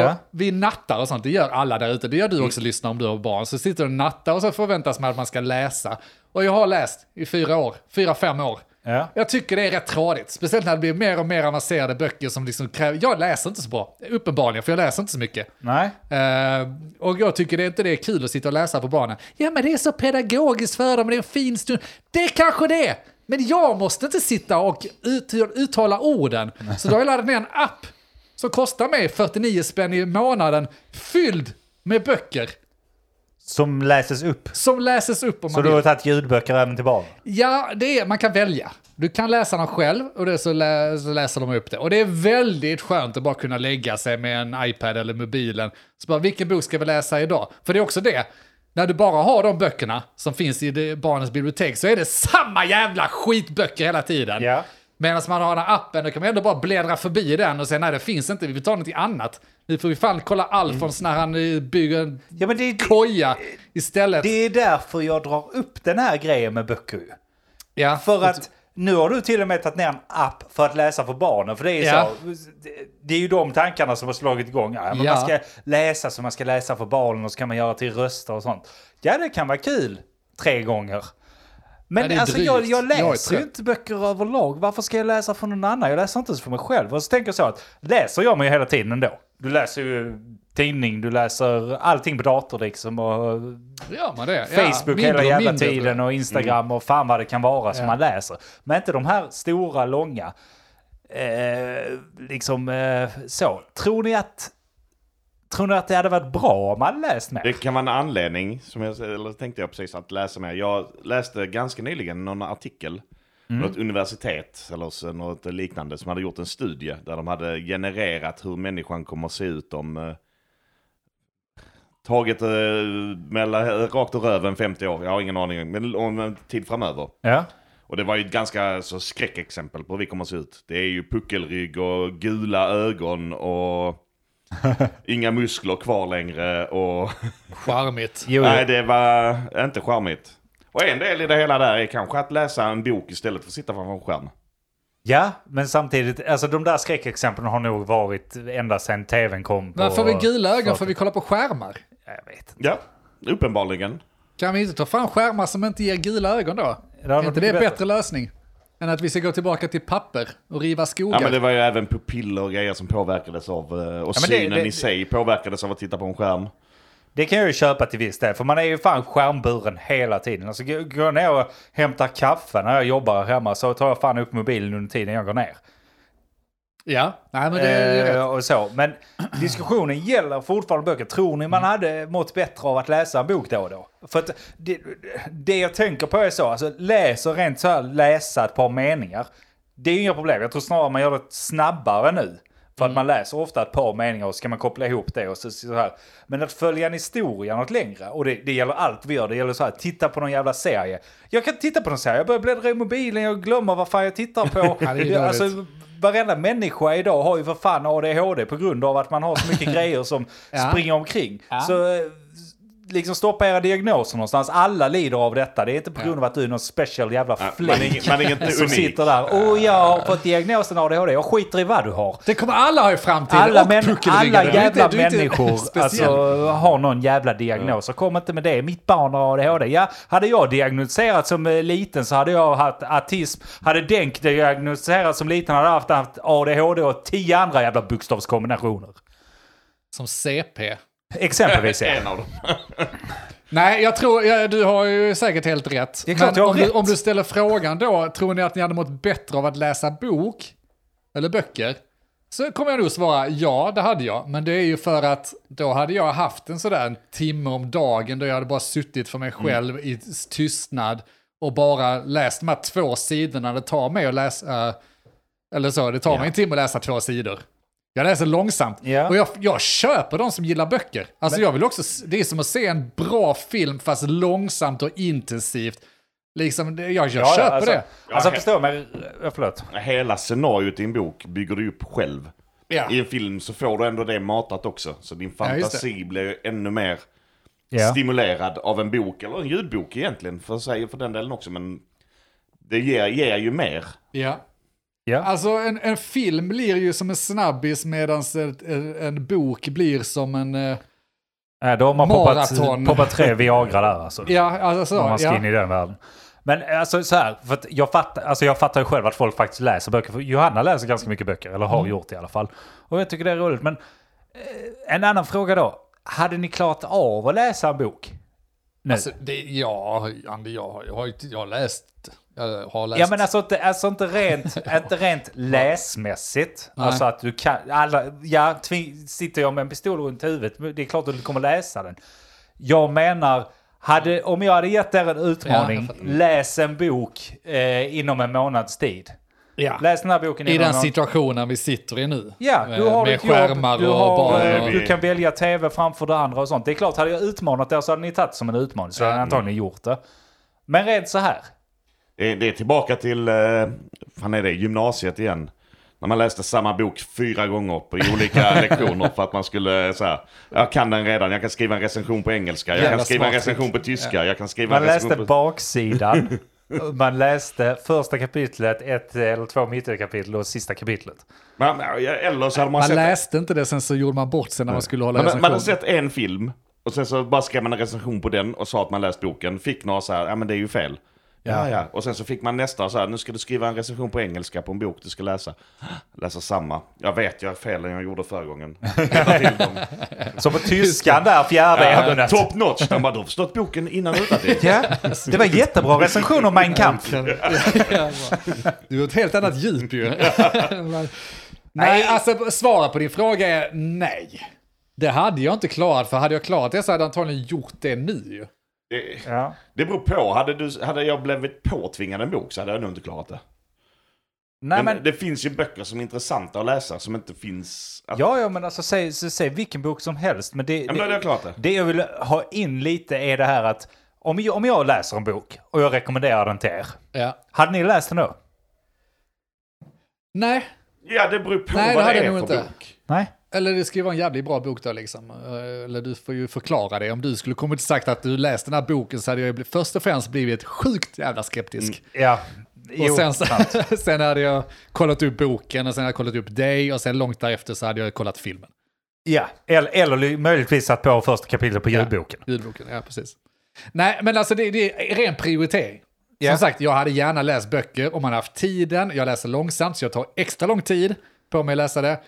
S1: Ja. Mm.
S3: vi nattar och sånt, det gör alla där ute. Det gör du också, lyssna om du har barn. Så sitter du och nattar och så förväntas man att man ska läsa. Och jag har läst i fyra år, fyra, fem år.
S1: Ja.
S3: Jag tycker det är rätt tradigt, speciellt när det blir mer och mer avancerade böcker som liksom kräver... Jag läser inte så bra, uppenbarligen, för jag läser inte så mycket.
S1: Nej.
S3: Eh, och jag tycker det inte det är kul att sitta och läsa för barnen. Ja men det är så pedagogiskt för dem, det är en fin stund. Det kanske det är! Men jag måste inte sitta och ut, uttala orden. Så då har jag laddat ner en app som kostar mig 49 spänn i månaden, fylld med böcker
S1: Som läses upp.
S3: som läses upp om
S1: Så
S3: man
S1: du
S3: vill.
S1: har tagit ljudböcker även till barn?
S3: Ja, det är, man kan välja. Du kan läsa dem själv och det så, lä, så läser de upp det. Och det är väldigt skönt att bara kunna lägga sig med en iPad eller mobilen. Så bara, vilken bok ska vi läsa idag? För det är också det, när du bara har de böckerna som finns i det- barnens bibliotek så är det samma jävla skitböcker hela tiden.
S1: Ja.
S3: Medan man har den här appen, då kan man ändå bara bläddra förbi den och säga nej det finns inte, vi får ta något annat. Nu får vi fan kolla Alfons när han eh, bygger en
S1: Mm. Ja, men det, det,
S3: koja istället.
S1: det är därför jag drar upp den här grejen med böcker. ju.
S3: ja.
S1: För att nu har du till och med tagit ner en app för att läsa för barnen. För det är, ju
S3: Ja.
S1: så, det- det är ju de tankarna som har slagit igång. Ja, men
S3: Ja.
S1: Man ska läsa så man ska läsa för barnen och så kan man göra till röster och sånt. Ja, det kan vara kul tre gånger.
S3: Ja,
S1: Men
S3: det är
S1: alltså jag,
S3: drygt.
S1: jag
S3: Jag är
S1: läser ju
S3: trött.
S1: inte böcker överlag. Varför ska jag läsa för någon annan? Jag läser inte ens för mig själv. Och så tänker jag så att läser jag mig hela tiden ändå. Du läser ju tidning, du läser allting på dator liksom. Och
S3: Gör man det? Ja,
S1: Facebook
S3: mindre
S1: hela
S3: och
S1: jävla
S3: mindre, tror jag.
S1: tiden och Instagram och fan vad det kan vara som man läser. Men inte de här stora, långa. Eh, liksom eh, så. Tror ni att... Tror ni att det hade varit bra om man läst mer?
S4: Det kan vara en anledning, som jag eller tänkte jag precis, att läsa mer. Jag läste ganska nyligen någon artikel,
S3: Mm.
S4: något universitet eller så- något liknande, som hade gjort en studie där de hade genererat hur människan kommer att se ut om eh, taget eh, mellan, rakt ur röven 50 år, jag har ingen aning, men om en tid framöver.
S1: Ja.
S4: Och det var ju ett ganska så skräckexempel på hur vi kommer att se ut. Det är ju puckelrygg och gula ögon och inga muskler kvar längre och...
S3: Charmigt.
S1: Jo,
S4: Nej, det var inte charmigt. Och en del i det hela där är kanske att läsa en bok istället för att sitta framför en skärm.
S1: ja, men samtidigt, alltså de där skräckexemplen har nog varit ända sedan tvn kom. På,
S3: Varför har vi gula ögon? Får
S1: för-
S3: vi kolla på skärmar?
S1: Jag vet inte.
S4: Ja, uppenbarligen.
S3: Kan vi inte ta fram skärmar som inte ger gula ögon då?
S1: hade
S3: är
S1: varit
S3: inte det en
S1: bättre.
S3: bättre lösning? Än att vi ska gå tillbaka till papper och riva skogar?
S4: Ja, men det var ju även pupiller och grejer som påverkades av... eh, Och
S1: men det-
S4: synen
S1: det-
S4: i sig påverkades av att titta på en skärm.
S1: Det kan jag ju köpa till viss del, för man är ju fan skärmburen hela tiden. Alltså, går- går jag ner och hämtar kaffe när jag jobbar hemma så tar jag fan upp mobilen under tiden jag går ner.
S3: Ja. Nej, men det är
S1: Eh,
S3: rätt.
S1: och så. Men diskussionen gäller fortfarande böcker. Tror ni man
S3: Mm.
S1: hade mått bättre av att läsa en bok då och då? För att det, det jag tänker på är så, alltså läser rent så här, läsa ett par meningar. Det är ju inga problem. Jag tror snarare man gör det snabbare nu. För att
S3: Mm.
S1: man läser ofta ett par meningar och så ska man koppla ihop det och så, så här. Men att följa en historia något längre, och det, det gäller allt vi gör, det gäller så här, titta på någon jävla serie. Jag kan inte titta på någon serie, jag börjar bläddra i mobilen, jag glömmer vad fan jag tittar på.
S3: Ja, det är ju dåligt.
S1: alltså, Varenda människa idag har ju för fan ADHD på grund av att man har så mycket grejer som
S3: Ja.
S1: springer omkring.
S3: Ja.
S1: Så eh, liksom stoppa era diagnoser någonstans. Alla lider av detta. Det är inte på grund av att du är någon special jävla
S4: Man är,
S1: fläck
S4: ing- man är inte
S1: som
S4: unik.
S1: sitter där. Och jag har fått diagnosen ADHD. Jag skiter i vad du har.
S3: Det kommer alla ha i framtiden.
S1: Alla,
S3: och
S1: män,
S3: puckelryggar.
S1: alla
S3: Du är inte-
S1: jävla
S3: du är inte
S1: människor
S3: speciell.
S1: alltså, har någon jävla diagnos. Så kom inte med det. Mitt barn har ADHD. Ja, hade jag diagnostiserats som eh, liten så hade jag haft autism. Hade Denk diagnostiserats som liten hade jag haft, haft ADHD och tio andra jävla bokstavskombinationer.
S3: Som CP.
S1: Exempelvis. ja.
S4: En av dem.
S3: Nej, jag tror, ja, du har ju säkert helt rätt.
S1: Det är klart
S3: Men
S1: jag har
S3: om,
S1: rätt.
S3: Du, om du ställer frågan då, tror ni att ni hade mått bättre av att läsa bok? Eller böcker? Så kommer jag nog svara ja, det hade jag. Men det är ju för att då hade jag haft en sådär en timme om dagen då jag hade bara suttit för mig
S1: Mm.
S3: själv i tystnad och bara läst de här två sidorna det tar mig att läsa. eh, Eller så, det tar mig en timme att läsa två sidor. Jag läser långsamt.
S1: Ja.
S3: Och jag, jag köper de som gillar böcker. Alltså jag vill också, s- det är som att se en bra film fast långsamt och intensivt. Liksom, det- jag, jag
S1: Ja,
S3: köper
S1: alltså,
S3: det.
S1: Alltså
S4: Ja,
S1: förstå mig... ja, Förlåt.
S4: Hela scenariot i en bok bygger du upp själv.
S3: Ja.
S4: I en film så får du ändå det matat också. Så din
S3: Ja, just det.
S4: fantasi blir ännu mer
S1: Ja.
S4: stimulerad av en bok, eller en ljudbok egentligen, för, sig, för den delen också. Men det ger, ger ju mer.
S3: Ja.
S1: Ja.
S3: Alltså en, en film blir ju som en snabbis medan en, en, en bok blir som en... eh,
S1: Ja, då har man poppat,
S3: Maraton.
S1: poppat tre Viagra där alltså.
S3: Ja, alltså så.
S1: Om man ska in
S3: ja.
S1: i den världen. Men alltså så här, för att jag, fattar, alltså, jag fattar ju själv att folk faktiskt läser böcker. För Johanna läser ganska mycket böcker, eller
S3: Mm.
S1: har gjort i alla fall. Och jag tycker det är roligt. Men eh, en annan fråga då. Hade ni klarat av att läsa en bok? Nu?
S3: Alltså, det, ja, Andy, jag, har- jag, har ju- jag har läst... Jag har läst.
S1: ja men alltså inte, alltså, inte, rent, inte rent läsmässigt.
S3: Nej.
S1: Alltså att du kan, alla, ja, tving, sitter jag med en pistol runt huvudet, men det är klart att du kommer läsa den. Jag menar, hade, om jag hade gett er en utmaning,
S3: fattar.
S1: läs en bok eh, inom en månads tid.
S3: ja.
S1: Läs den här boken
S3: I
S1: inom
S3: den
S1: en månad.
S3: situationen vi sitter i nu.
S1: Ja,
S3: med,
S1: du har
S3: med
S1: ditt jobb,
S3: skärmar
S1: du,
S3: och
S1: har,
S3: barn.
S1: eh,
S3: Och,
S1: du kan välja tv framför det andra och sånt. Det är klart, hade jag utmanat er så hade ni tagit som en utmaning. Så hade ni
S3: Ja.
S1: antagligen gjort det. Men rent så här.
S4: Det är, det är tillbaka till, eh, fan är det, gymnasiet igen. När man läste samma bok fyra gånger på i olika lektioner för att man skulle eh, så här, jag kan den redan, jag kan skriva en recension på engelska, jag
S3: Jävla
S4: kan skriva en
S3: smart
S4: recension på tyska, jag kan skriva
S1: Man
S4: en
S1: läste
S4: recension på...
S1: baksidan. Man läste första kapitlet, ett eller två mittenkapitel och sista kapitlet.
S4: Man, eller så hade man,
S3: Man
S4: sett,
S3: läste inte det, sen så gjorde man bort sig när man skulle hålla
S4: man, man hade
S3: recension.
S4: sett en film och sen så bara skrev man en recension på den och sa att man läst boken, fick några så här, ja men det är ju fel. Ja, ja. Och sen så fick man nästa så här, nu ska du skriva en recension på engelska på en bok du ska läsa. Läsa samma. Jag vet, jag har fel än jag gjorde förra gången. Rätta till dem.
S1: Så på tyskan där, fjärde ämnet.
S4: Top notch! De bara, du har förstått boken innan utan det.
S1: Ja, det var jättebra recension om Mein Kampf.
S3: Du har ett helt annat djup ju. nej, nej, alltså svara på din fråga är nej. Det hade jag inte klarat, för hade jag klarat det så hade jag antagligen gjort det nu. ju.
S4: det.
S1: Ja.
S4: Det beror på. Hade, du, hade jag blivit påtvingad en bok så hade jag nog inte klarat det.
S1: Nej,
S4: men,
S1: men,
S4: det finns ju böcker som är intressanta att läsa som inte finns... Att,
S1: ja, ja, men alltså säg, så säg vilken bok som helst. Men det,
S4: men då hade jag klarat det.
S1: Det jag vill ha in lite är det här att om jag, om jag läser en bok och jag rekommenderar den till er.
S3: Ja.
S1: Hade ni läst den då?
S3: Nej,
S4: Ja, det beror på
S3: Nej, det
S4: vad
S3: hade
S4: det,
S3: jag
S4: är för
S3: nog inte.
S4: bok.
S1: Nej.
S3: eller det ska ju vara en jävligt bra bok då liksom. Eh, Eller du får ju förklara det. Om du skulle kommit och sagt att du läste den här boken så hade jag ju bli- först och främst blivit sjukt jävla skeptisk.
S1: Ja.
S3: Och
S1: Jo,
S3: sen, så,
S1: sant.
S3: sen hade jag kollat upp boken och sen hade jag kollat upp dig och sen långt därefter så hade jag kollat filmen.
S1: ja. Eller, eller li- möjligtvis satt på första kapitlet på ljudboken.
S3: Ja, ljudboken, ja precis. Nej, men alltså det, det är ren prioritering.
S1: Ja.
S3: Som sagt, jag hade gärna läst böcker om man haft tiden. Jag läser långsamt så jag tar extra lång tid på mig att läsa det.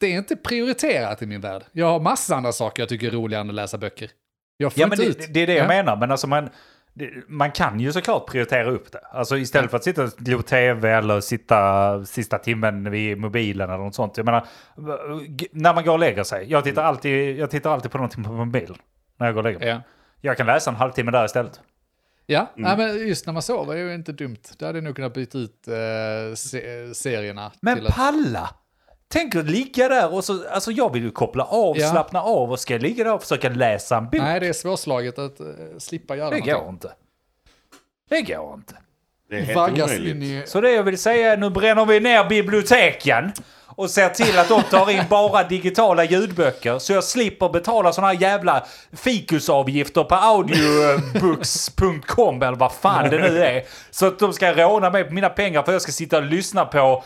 S3: Det är inte prioriterat i min värld. Jag har massa andra saker jag tycker är roligare än att läsa böcker. Jag får
S1: Ja,
S3: inte
S1: men det,
S3: ut.
S1: det är det jag
S3: Ja.
S1: menar. Men alltså man, det, man kan ju såklart prioritera upp det. Alltså istället för att sitta och glo tv eller sitta sista timmen vid mobilen eller något sånt. Jag menar, g- när man går och lägger sig. Jag tittar alltid, jag tittar alltid på någonting på mobilen när jag går och lägger mig.
S3: Mm. Ja,
S1: Jag kan läsa en halvtimme där istället.
S3: ja.
S1: Mm.
S3: Nej, men just när man sover är ju inte dumt. Där hade jag nog kunnat byta ut eh, se- serierna.
S1: Men
S3: till att-
S1: palla! Tänk att ligga där och så, alltså jag vill ju koppla av,
S3: Ja.
S1: slappna av och ska jag ligga där och försöka läsa en bok.
S3: Nej, det är svårslaget att eh, slippa göra
S1: det
S3: någonting.
S1: går inte. Det går inte.
S4: Det är helt
S3: Vaggas
S4: omöjligt.
S3: in i...
S1: Så det jag vill säga är nu bränner vi ner biblioteken. och ser till att de tar in bara digitala ljudböcker så jag slipper betala såna här jävla fikusavgifter på audiobooks.com eller vad fan det nu är. Så att de ska råna mig på mina pengar för att jag ska sitta och lyssna på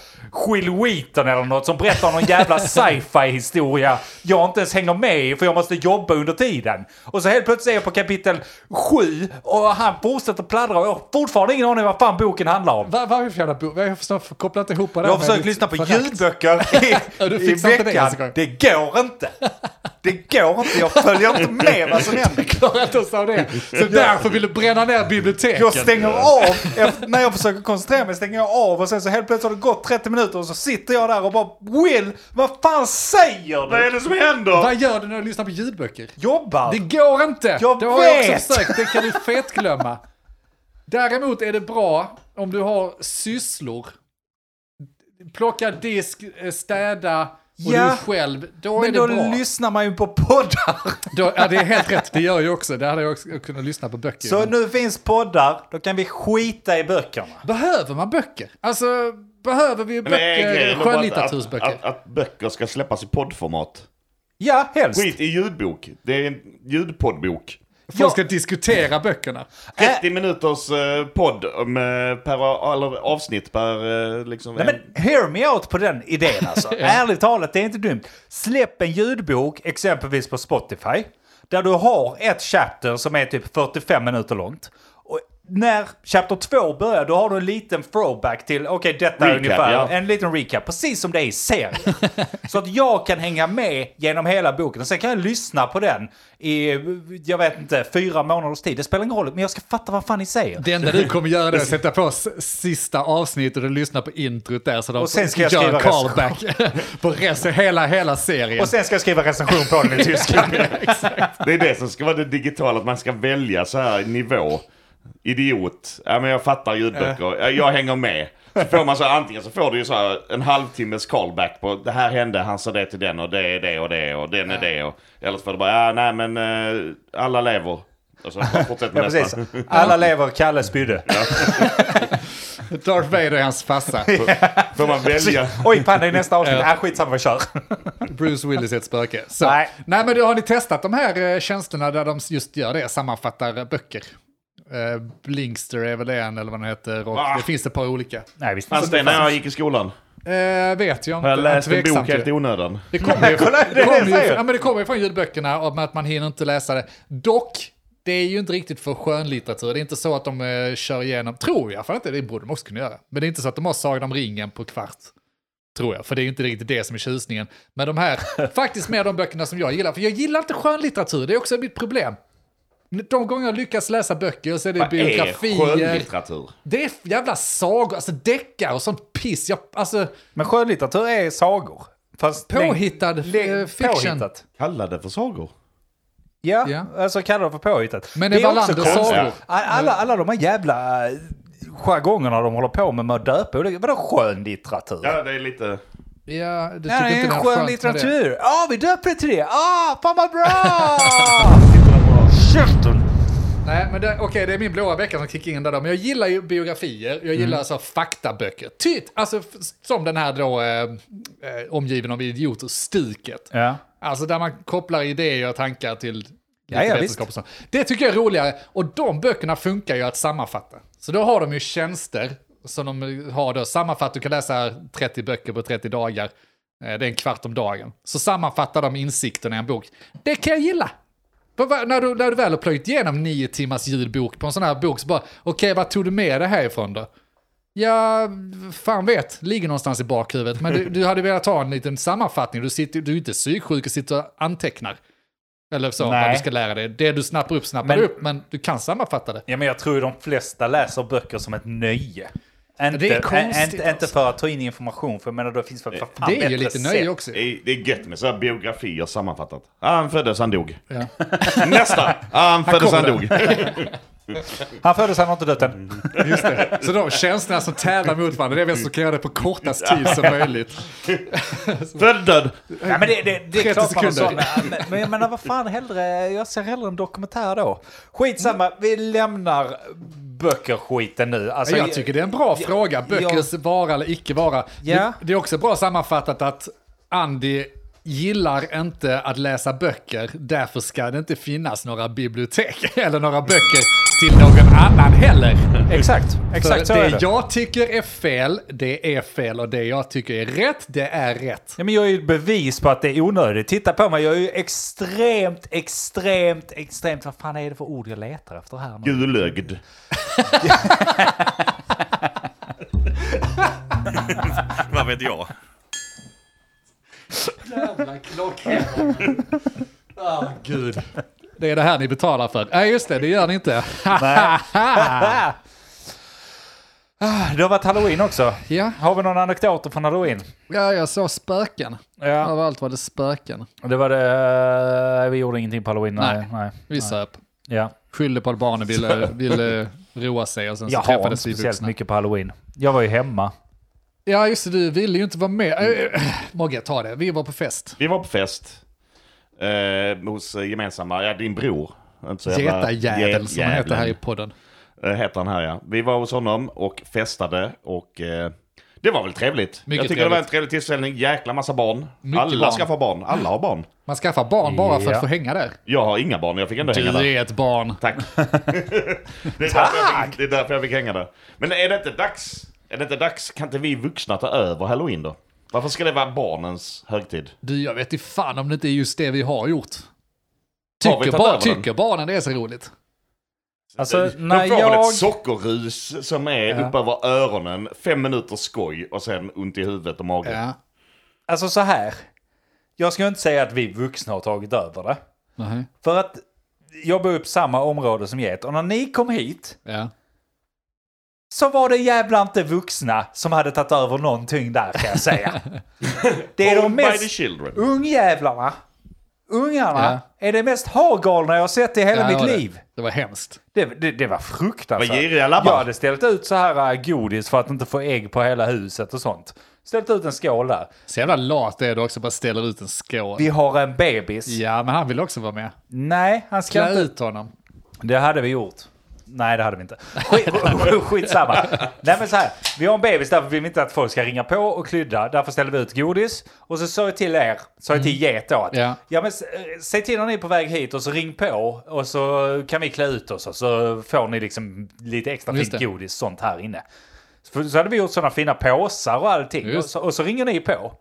S1: Will Wheaton eller något som berättar någon jävla sci-fi historia jag inte ens hänger med i för jag måste jobba under tiden. Och så helt plötsligt är jag på kapitel 7 och han fortsätter pladdra och jag har fortfarande ingen aning vad fan boken handlar om.
S3: Vad vad är det för jävla bok? Jag har förstått- kopplat ihop det här
S1: Jag har
S3: med
S1: försökt
S3: ditt
S1: lyssna på
S3: förakt.
S1: ljudböcker i,
S3: Ja, du
S1: i
S3: fixar inte det ens en
S1: veckan.
S3: gång.
S1: Det går inte. Det går inte. Jag följer inte med vad som händer.
S3: klarar inte oss av det. Så därför vill du bränna ner biblioteket.
S1: Jag stänger av. Efter, när jag försöker koncentrera mig stänger jag av och sen så helt plötsligt har det gått 30 minuter och så sitter jag där och bara Will, vad fan säger
S4: Vad
S1: du?
S4: är det som händer?
S3: Vad gör du när du lyssnar på ljudböcker?
S1: Jobbar.
S3: Det går inte!
S1: Jag
S3: det har jag
S1: vet.
S3: också försökt, det kan du fetglömma. Däremot är det bra om du har sysslor. Plocka disk, eh, städa och
S1: Ja.
S3: du är själv. Då är
S1: Men
S3: det
S1: då
S3: bra.
S1: lyssnar man ju på poddar.
S3: Då, ja, det är helt rätt, det gör jag också. Det hade jag också kunnat lyssna på böcker.
S1: Så nu finns poddar, då kan vi skita i böckerna.
S3: Behöver man böcker? Alltså, behöver vi
S4: Men är
S3: böcker?
S4: grejen bara
S3: Skönlitteraturböcker?
S4: Att, att, att böcker ska släppas i poddformat.
S1: Ja, helst.
S4: Skit i ljudbok. Det är en ljudpoddbok.
S1: Ja.
S3: Folk ska diskutera böckerna.
S4: 30 minuters eh, podd om, eh, per, eller avsnitt per eh, liksom,
S1: Nej,
S4: en-
S1: men hear me out på den idén alltså. Ärligt talat, det är inte dumt. Släpp en ljudbok, exempelvis på Spotify, där du har ett chapter som är typ 45 minuter långt. Och när chapter 2 börjar, då har du en liten throwback till, okej detta är
S4: Recap,
S1: ungefär,
S4: ja.
S1: en liten recap, precis som det är i serien. Så att jag kan hänga med genom hela boken. Och sen kan jag lyssna på den i, jag vet inte, fyra månaders tid. Det spelar ingen roll, men jag ska fatta vad fan ni säger.
S3: Det enda du kommer göra är att sätta på s- sista avsnittet och lyssna på introt där så de
S1: Och sen ska jag
S3: gör en
S1: skriva
S3: callback på resten, hela, hela serien.
S1: Och sen ska jag skriva recension på den i tyskan.
S4: Det är det som ska vara det digitala, att man ska välja så här nivå. Idiot. Ja, men jag fattar ljudböcker. Ja, jag hänger med. Så får man så här, antingen så får du ju så här en halvtimmes callback på det här hände, han sa det till den och det är det och det och den är det. Och, eller så får du bara, ja, nej men eh, alla lever. Och så bara fortsätter
S1: Ja,
S4: med
S1: precis.
S4: nästa.
S1: Alla lever, Kalle spydde.
S3: Darth Vader är hans farsa.
S4: Får man välja.
S1: Oj, fan det är nästa avsnitt. Äh, skitsamma, vi kör.
S3: Bruce Willis är ett spöke. Så,
S1: Nej.
S3: nej. nej, men då har ni testat de här eh, tjänsterna där de just gör det, sammanfattar eh, böcker? Eh, Blinkster är väl en, eller vad den heter. Och
S4: Ah.
S3: Det finns ett par olika.
S1: Nej, visst.
S4: Fanns Alltså, det när jag gick i skolan?
S3: Eh, vet jag
S4: Har
S3: inte.
S4: jag läst en
S3: Tveksamt
S4: bok helt
S3: ju.
S4: i onödan?
S3: Det kommer ju,
S1: Mm. kolla, det är det
S3: det
S1: jag
S3: kommer ju,
S1: säger.
S3: ja, men det kommer ju från ljudböckerna om att man hinner inte läsa det. Dock, det är ju inte riktigt för skönlitteratur. Det är inte så att de eh, kör igenom, tror jag, för att det, det borde de också kunna göra. Men det är inte så att de har Sagan om ringen på kvart. Tror jag, för det är ju inte riktigt det som är tjusningen. Men de här, faktiskt mer de böckerna som jag gillar. För jag gillar inte skönlitteratur, det är också mitt problem. De gånger jag lyckas läsa böcker så är det
S4: Vad är
S3: biografier.
S4: skönlitteratur?
S3: Det är jävla sagor, alltså deckare och sånt piss. Jag, alltså,
S1: Men skönlitteratur är sagor. Fast
S3: Påhittad,
S1: läng- läng-
S3: eh, fiction.
S1: Påhittat.
S4: Kalla det för sagor.
S1: Ja,
S3: Ja.
S1: alltså kallar det för påhittat.
S3: Men är
S1: också
S3: Wallander
S1: konstigt.
S3: sagor?
S1: Alla, alla de här jävla eh, jargongerna de håller på med med att döpa olika- Vadå skönlitteratur? Ja.
S4: Ja, det är lite...
S3: Ja, du
S1: Det
S3: tycker
S1: är en
S3: inte det är
S1: skön
S3: skönt med det?
S1: litteratur. Ja, vi döper det till det. Ah, fan vad bra! Käften!
S3: Nej, men det, okej, det är min blåa vecka som kickar in där då. Men jag gillar ju biografier, jag
S1: Mm.
S3: gillar alltså faktaböcker. Tyt, alltså f- som den här då, eh, eh, omgiven av idioter, Stuket.
S1: Ja.
S3: Alltså där man kopplar idéer och tankar till lite
S1: Ja, ja,
S3: vetenskap och sånt. Det tycker jag är roligare, och de böckerna funkar ju att sammanfatta. Så då har de ju tjänster som de har då, sammanfatt, du kan läsa 30 böcker på 30 dagar, Eh, det är en kvart om dagen. Så sammanfattar de insikterna i en bok. Det kan jag gilla! För vad- När du, när du väl har plöjt igenom nio timmars ljudbok på en sån här bok så bara, okej, vad tog du med det härifrån då? Ja, fan vet, ligger någonstans i bakhuvudet. Men du, du hade velat ha en liten sammanfattning. Du, sitter, du är inte psyksjuk och sitter och antecknar. Eller så,
S1: Nej.
S3: vad du ska lära dig. Det du snappar upp snappar
S1: Men-
S3: du upp, men du kan sammanfatta det.
S1: Ja, men jag tror ju de flesta läser böcker som ett nöje. Inte,
S3: Det är konstigt,
S1: inte, inte
S3: alltså.
S1: för att ta in information, för jag menar det finns för, för fan
S3: Det är ju
S1: bättre
S3: lite
S1: sätt.
S3: nöje också.
S4: Det är, det är gött med så här biografier sammanfattat. Ah, han föddes, han dog.
S3: Ja.
S4: Nästa! Ah, han föddes, han
S3: kommer
S4: dog.
S1: Han föddes, han har inte dött
S3: Mm.
S1: än.
S3: Just det. Så då, känslorna som tävlar mot varandra, det är vem som kan göra det på kortast tid som möjligt.
S4: Född död.
S1: Ja, men det, det, det
S3: 30
S1: är klart man har sån.
S3: sekunder.
S1: Men- Men jag menar vad fan hellre, jag ser hellre en dokumentär då. Skitsamma, vi lämnar böcker-skiten nu. Alltså,
S3: jag tycker det är en bra fråga, böckers vara eller icke vara.
S1: Ja.
S3: Det, det är också bra sammanfattat att Andy gillar inte att läsa böcker, därför ska det inte finnas några bibliotek eller några böcker till någon annan heller.
S1: Exakt,
S3: För
S1: exakt så
S3: det
S1: är det.
S3: jag tycker är fel, det är fel och det jag tycker är rätt, det är rätt.
S1: Ja, men jag är ju ett bevis på att det är onödigt. Titta på mig, jag är ju extremt, extremt, extremt... Vad fan är det för ord jag letar efter här nu?
S4: Gulögd.
S2: Vad vet jag?
S3: Gud. Det är det här ni betalar för. Nej, just det, det gör ni inte.
S1: Ah. Ah, Det har varit halloween också.
S3: ja,
S1: Har vi någon anekdoter från halloween?
S3: ja, jag såg spöken.
S1: Ja.
S3: Överallt var det spöken.
S1: Det var det... eh, Vi gjorde ingenting på halloween. Nej.
S3: Nej.
S1: nej.
S3: Vi söp.
S1: Ja.
S4: Alltså,
S3: skyllde på att barnen ville, ville eh, roa sig och sen så
S1: Jag har inte
S3: träffades vi
S1: speciellt
S3: vuxna.
S1: mycket på halloween. Jag var ju hemma.
S3: Ja, just det, du ville ju inte vara med. Äh, äh, Mogge, ta det. Vi var på fest.
S4: Vi var på fest. Eh, hos eh, gemensamma, ja din bror. Inte så jävla-
S3: Getajävel som han heter
S4: Getjäveln.
S3: här i podden.
S4: Eh, heter han här ja. Vi var hos honom och festade och eh, det var väl trevligt.
S3: Mycket
S4: jag tycker det var en trevlig tillställning. Jäkla massa barn.
S3: Mycket
S4: Alla
S3: barn.
S4: ska få barn. Alla har barn.
S3: Man skaffar barn bara för att
S1: Ja.
S3: få hänga där.
S4: Jag har inga barn, jag fick ändå hänga där.
S3: Du är ett barn.
S4: Tack. det, är därför jag fick, det är därför jag fick hänga där. Men är det inte dags? Är det inte dags? Kan inte vi vuxna ta över halloween då? Varför ska det vara barnens högtid?
S3: Du, jag vet inte fan om det inte är just det vi har gjort.
S4: Har vi
S3: Tycker,
S4: tagit
S3: bar,
S4: över den?
S3: tycker barnen det är så roligt?
S1: Alltså,
S4: De
S1: när
S4: får väl
S1: jag...
S4: ett sockerrus som är uppe över öronen, fem minuter skoj och sen ont i huvudet och magen.
S3: Ja.
S1: Alltså så här. Jag ska inte säga att vi vuxna har tagit över det.
S3: Nej.
S1: För att jag bor i samma område som Get. Och när ni kom hit
S3: Ja.
S1: så var det jävla inte vuxna som hade tagit över någonting där kan jag säga. Det är de
S4: Owned by the
S1: mest
S4: children.
S1: ungjävlarna. Ungarna är det mest hagalna jag har sett i hela
S3: Ja,
S1: mitt
S3: det var
S1: liv.
S3: Det. det var hemskt.
S1: Det, det, det var fruktansvärt.
S4: Vad giriga labbar.
S1: Jag hade ställt ut så här äh, godis för att inte få ägg på hela huset och sånt. Ställt ut en skål där.
S3: Så jävla lat det är du också, bara ställer ut en skål.
S1: Vi har en bebis.
S3: Ja, men han vill också vara med.
S1: Nej, han ska
S3: Klä
S1: inte...
S3: ut honom.
S1: Det hade vi gjort. Nej, det hade vi inte. Skit, skitsamma. Nej, men så här. Vi har en bebis, därför vill vi inte att folk ska ringa på och klydda. Därför ställer vi ut godis. Och så sa jag till er, sa jag till Get då, att
S3: Mm. Ja.
S1: ja, men, s- eh, säg till när ni är på väg hit och så ring på och så kan vi klä ut oss och så får ni liksom lite extra
S3: Just
S1: fint
S3: det.
S1: godis sånt här inne. För, så hade vi gjort sådana fina påsar och allting. Och
S3: Just.
S1: så, och så ringer ni på.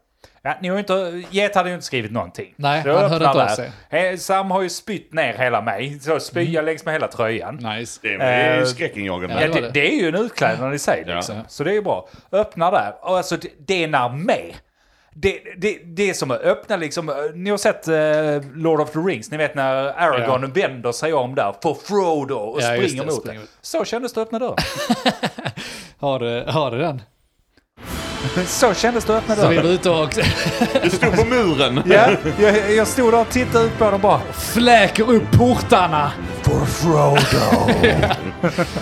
S1: Ja, ni har ju inte, Get hade ju inte skrivit någonting.
S3: Nej,
S1: Så jag
S3: han hörde
S1: öppnar
S3: inte av
S1: där.
S3: sig.
S1: Eh, Sam har ju spytt ner hela mig. Så spya längs med hela tröjan.
S3: Nice.
S4: Det är- det är ju
S1: Eh,
S4: skräckinjagande.
S1: Ja,
S3: Mm. det var
S1: det,
S3: det.
S1: det är ju en utklädnad i sig
S4: Ja.
S1: liksom. Så det är ju bra. Öppna där. Och alltså det- det är när med. Det, det, det är som att öppna liksom, ni har sett eh, Lord of the Rings, ni vet när Aragorn vänder sig om där, får Frodo och
S3: Ja, just
S1: springer
S3: det,
S1: mot
S3: springer
S1: den.
S3: ut.
S1: Så kändes det att öppna dörren.
S3: Har du, har du den?
S1: Så kändes det att öppna
S3: Så vi var
S1: dörren.
S3: ute och
S4: Du stod på muren.
S1: Ja, jag, jag stod där och tittade ut på dem bara.
S3: fläker upp portarna.
S1: For Frodo!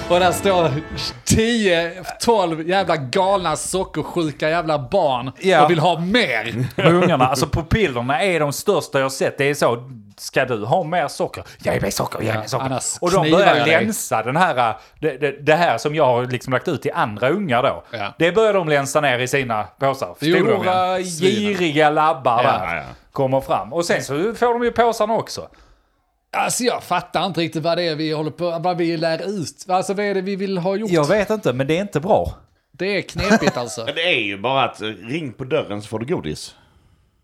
S3: Och där står 10-12 jävla galna sockersjuka jävla barn
S1: Ja.
S3: och vill ha mer.
S1: Med ungarna, alltså pupillerna är de största jag sett. Det är så, ska du ha mer socker? Ge mig socker, ge
S3: Ja,
S1: mig socker.
S3: annars
S1: Och de
S3: knivar
S1: börjar
S3: jag dig.
S1: länsa den här, äh, det, det, det här som jag har liksom lagt ut till andra ungar då.
S3: Ja.
S1: Det börjar de länsa ner i sina påsar.
S3: Det gjorde de,
S1: Stora,
S3: ja. Svinen.
S1: giriga labbar
S3: Ja,
S4: ja,
S1: där
S4: ja.
S1: kommer fram. Och sen så får de ju påsarna också.
S3: Alltså jag fattar inte riktigt vad det är vi håller på, vad vi lär ut. Alltså vad är det vi vill ha gjort?
S1: Jag vet inte, men det är inte bra.
S3: Det är knepigt alltså.
S4: Men Det är ju bara att eh, ring på dörren så får du godis.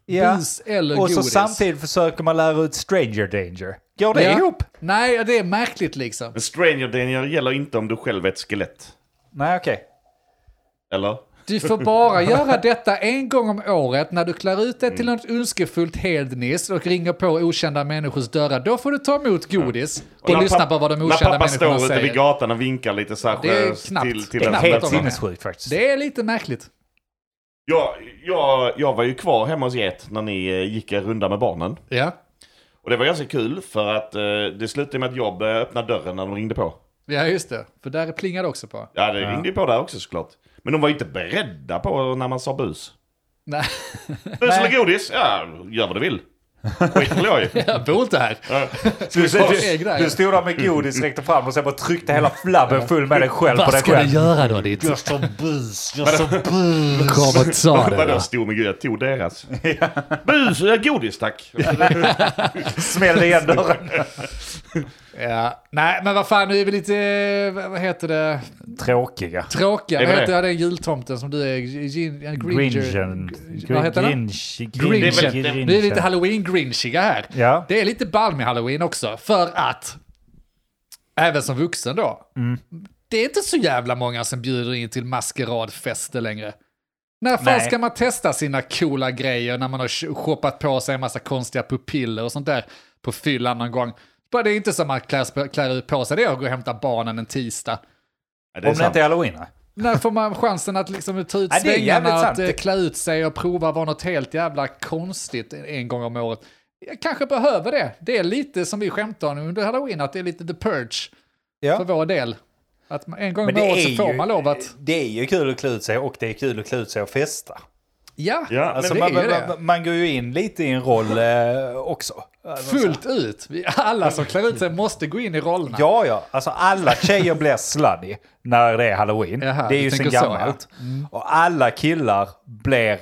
S3: Bus eller
S1: Och så
S3: godis.
S1: samtidigt försöker man lära ut stranger danger. Går det
S3: Ja.
S1: ihop?
S3: Nej, det är märkligt liksom.
S4: Men stranger danger gäller inte om du själv är ett skelett.
S1: Nej, okej.
S4: Eller?
S3: Du får bara göra detta en gång om året när du klär ut dig
S4: Mm.
S3: till något ondskefullt hednis och ringer på okända människors dörrar. Då får du ta emot godis och,
S4: när
S3: lyssna
S4: papp-
S3: på vad de
S4: När
S3: okända
S4: pappa
S3: människorna
S4: står ute vid
S3: säger.
S4: gatan och vinkar lite så här
S3: Det är
S4: generöst
S3: knappt.
S4: till, till
S3: Det är
S4: en
S3: knappt
S1: Helt
S3: de är med.
S1: sinnessjukt faktiskt.
S3: Det är lite märkligt.
S4: jag, jag, jag var ju kvar hemma hos Get när ni eh, gick er runda med barnen.
S3: Ja.
S4: Och det var ganska kul för att eh, det slutade med att jag började öppna dörren när de ringde på.
S3: Ja, just det. För där plingar det också på.
S4: Ja, det ringde ju på där också såklart. Men de var ju inte beredda på när man sa bus.
S3: Nej,
S4: Bus eller godis? Ja, gör vad du vill. Skit eller jag
S3: jag bor inte här.
S1: Du, du,
S3: ta steg där,
S1: du,
S3: ja.
S1: du stod där med godis, räckte fram och sen bara tryckte hela flabben full med dig själv på dig själv.
S3: göra då ditt? Jag som bus, jag som bus. Kom och ta
S4: Vadå stor med gud? Jag tog deras. Bus, ja, godis tack.
S1: Smällde igen dörren.
S3: Ja. Nej, men vad fan, nu är vi lite, eh, vad heter det,
S1: Tråkiga.
S3: tråkiga.
S4: Det är
S3: Vad
S4: väl
S3: heter den jultomten som du är? Gin, Gringer.
S1: Gringen.
S3: Vad heter den?
S1: Grinch.
S3: Grinchen.
S1: Grinchen.
S3: Nu är vi lite halloween-grinchiga här.
S1: Ja.
S3: Det är lite ball med halloween också, för att, även som vuxen då,
S1: Mm.
S3: det är inte så jävla många som bjuder in till maskeradfester längre. När fan
S1: Nej.
S3: ska man testa sina coola grejer när man har shoppat på sig en massa konstiga pupiller och sånt där på fyllan någon gång? Bara det är inte som att klär, klär ut på sig det och gå och hämta barnen en tisdag.
S4: Ja, det är
S1: Om det
S4: sant.
S1: inte är halloween. nej.
S3: När får man chansen att liksom ta ut
S1: Ja, det är
S3: svängarna,
S1: jävligt
S3: att
S1: sant.
S3: eh, klä ut sig och prova att vara något helt jävla konstigt en- en gång om året? Jag kanske behöver det. Det är lite som vi skämtade om under halloween, att det är lite the purge
S1: Ja.
S3: för vår del. Att man- en gång
S1: Men
S3: om
S1: det
S3: året
S1: är,
S3: så får man lov
S1: ju,
S3: att...
S1: det är ju kul att klä ut sig och det är kul att klä ut sig och festa.
S3: Ja,
S4: Ja,
S1: Alltså
S3: det
S1: man,
S3: är ju
S1: man,
S3: det.
S1: man går ju in lite i en roll eh, också. Alltså,
S3: fullt ut. Vi- Alla som klär ut sig måste gå in i rollerna.
S1: Ja, ja. Alltså alla tjejer blir slutty när det är halloween.
S3: Jaha,
S1: det är
S3: du
S1: ju sen
S3: tänker så,
S1: gammalt.
S4: Mm.
S1: Och alla killar blir...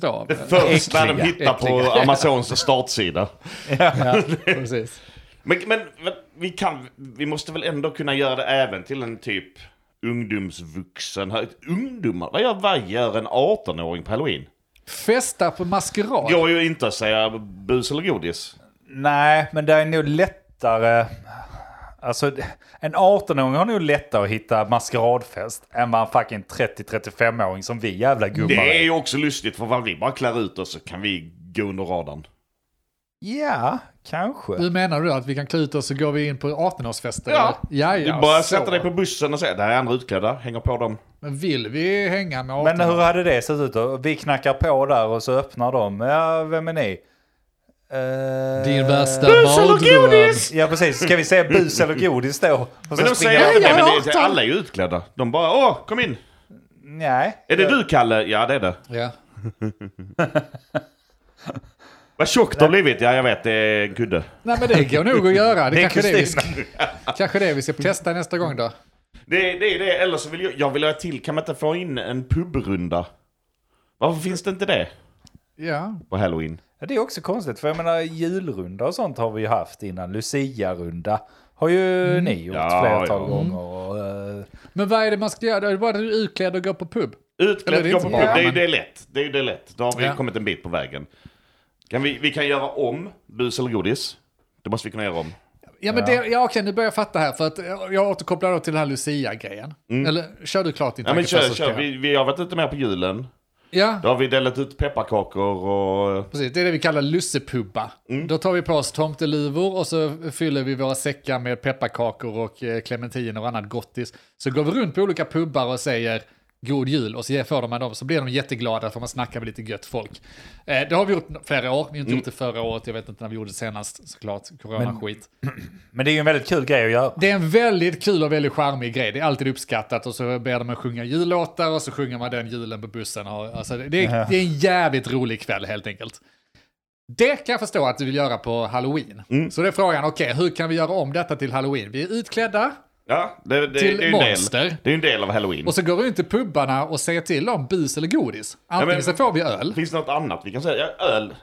S3: då.
S4: Det första de
S1: Äckliga.
S4: hittar på
S3: Äckliga.
S4: Amazons startsida.
S3: Ja, precis.
S4: Men, men men vi, kan, vi måste väl ändå kunna göra det även till en typ ungdomsvuxen. här. Ungdomar, vad gör, vad gör en 18-åring på halloween?
S3: Festa på maskerad.
S4: Går ju inte att säga bus eller godis.
S1: Nej, men det är nog lättare... Alltså, en 18-åring har nog lättare att hitta maskeradfest än vad en fucking 30-35-åring som vi jävla gubbar
S4: Det är
S1: är.
S4: ju också lustigt för vad vi bara klär ut oss så kan vi gå under radarn.
S1: Ja, kanske.
S3: Hur menar du då? Att vi kan klä ut oss och går vi in på 18-årsfester?
S4: Ja.
S3: eller? ja,
S4: Du
S3: ja
S4: bara
S3: så.
S4: sätter dig på bussen och säger där är andra utklädda, hänger på dem.
S3: Men vill vi hänga med 18
S1: Men hur hade det sett ut då? Vi knackar på där och så öppnar de. Ja, vem är ni? Eh,
S3: Din värsta
S4: Bus eller
S3: mardröm.
S4: godis?
S1: Ja, precis. Ska vi säga bus eller godis då? Och
S4: Men de säger
S3: jag-
S4: inte det,
S3: jag
S4: men
S3: är
S4: det,
S3: 18.
S4: alla är ju utklädda. De bara åh, kom in.
S1: Nej.
S4: Är det du Kalle? Ja det är det.
S3: Ja.
S4: Vad tjockt det har blivit. Ja jag vet, det är en kudde.
S3: Nej men det går nog att göra. Det,
S1: Det är
S3: kanske, är det vi ska,
S1: Kristina.
S3: kanske det vi ska testa nästa gång då.
S4: Det är det, är det. eller så vill jag, jag vill ha till, kan man inte få in en pubrunda? Varför finns det inte det
S3: Ja.
S4: på halloween?
S1: Ja, Det är också konstigt, för jag menar julrunda och sånt har vi ju haft innan. Lucia-runda har ju
S3: Mm.
S1: ni gjort
S4: Ja,
S1: flertal
S4: ja.
S1: gånger. Och, eh,
S3: Men vad är det man ska göra? Är det bara att du är utklädd och går på pub? Eller det
S4: Utklädd
S3: är
S4: gå på
S3: inte
S4: pub,
S3: bra,
S4: det är ju
S3: men-
S4: det är lätt. Det är ju det lätt. Då har vi
S3: Ja.
S4: kommit en bit på vägen. Kan vi, vi kan göra om bus eller godis. Det måste vi kunna göra om.
S3: Ja men det, ja okej nu börjar jag fatta här för att jag återkopplar då till den här Lucia-grejen. Eller kör du klart din
S4: Mm. Ja men
S3: tanke först
S4: kör,
S3: så ska
S4: kör.
S3: jag-
S4: Vi, vi har varit ute mer på julen.
S3: Ja,
S4: Då har vi delat ut pepparkakor och...
S3: precis. Det är det vi kallar lussepubba. Då tar vi på oss tomteluvor och så fyller vi våra säckar med pepparkakor och eh, clementiner och annat gottis. Så går vi runt på olika pubbar och säger god jul och så ger- får man dem så blir de jätteglada för man snackar med lite gött folk. Eh, det har vi gjort flera år, vi har inte gjort det förra året, jag vet inte när vi gjorde det senast såklart, corona-skit.
S1: Men det är ju en väldigt kul grej att göra.
S3: Det är en väldigt kul och väldigt charmig grej. Det är alltid uppskattat och så ber de att sjunga jullåtar och så sjunger man den julen på bussen. Och- Alltså, det, det, är, det är en jävligt rolig kväll helt enkelt. Det kan jag förstå att du vill göra på halloween. Så det är frågan, okej, hur kan vi göra om detta till halloween? Vi är utklädda
S4: Ja, det, det,
S3: Till
S4: det är ju en del.
S3: monster.
S4: Det är ju en del av halloween.
S3: och så går vi inte till pubbarna och säger till om bus eller godis. Antingen
S4: men-
S3: så får vi öl,
S4: Finns det något annat vi kan säga? Ja, öl.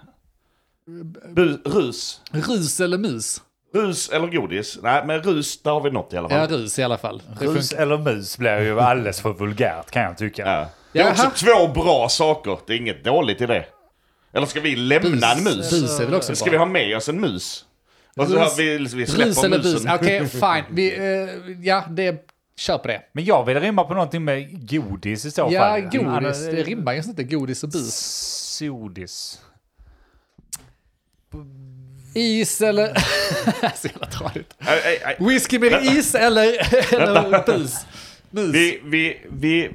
S4: Bu, rus.
S3: rus eller mus.
S4: Rus eller godis? Nej, men rus, där har vi något i alla fall.
S3: Ja, rus i alla fall. Det
S1: Rus
S3: funkar.
S1: eller mus blir ju alldeles för vulgärt kan jag tycka.
S4: Ja. Det är
S3: Jaha.
S4: också två bra saker. Det är inget dåligt i det. Eller ska vi lämna en mus?
S3: Bus är väl också
S4: Ska
S3: bra.
S4: vi ha med oss en mus? Och så
S3: Rus-
S4: har vi, vi släpper
S3: Rus eller bus,
S4: musen.
S3: okej, fine. Vi, eh, ja, det, kör på det.
S1: Men jag vill rimma på någonting med godis i så
S3: Ja,
S1: fall.
S3: godis.
S1: Annars-
S3: Det rimmar ju inte godis och bus.
S1: Sodis.
S3: Is eller... Så jävla tradigt.
S4: Nej, nej, nej.
S3: Whisky med is eller, eller bus. Mus.
S4: Vi, vi, vi...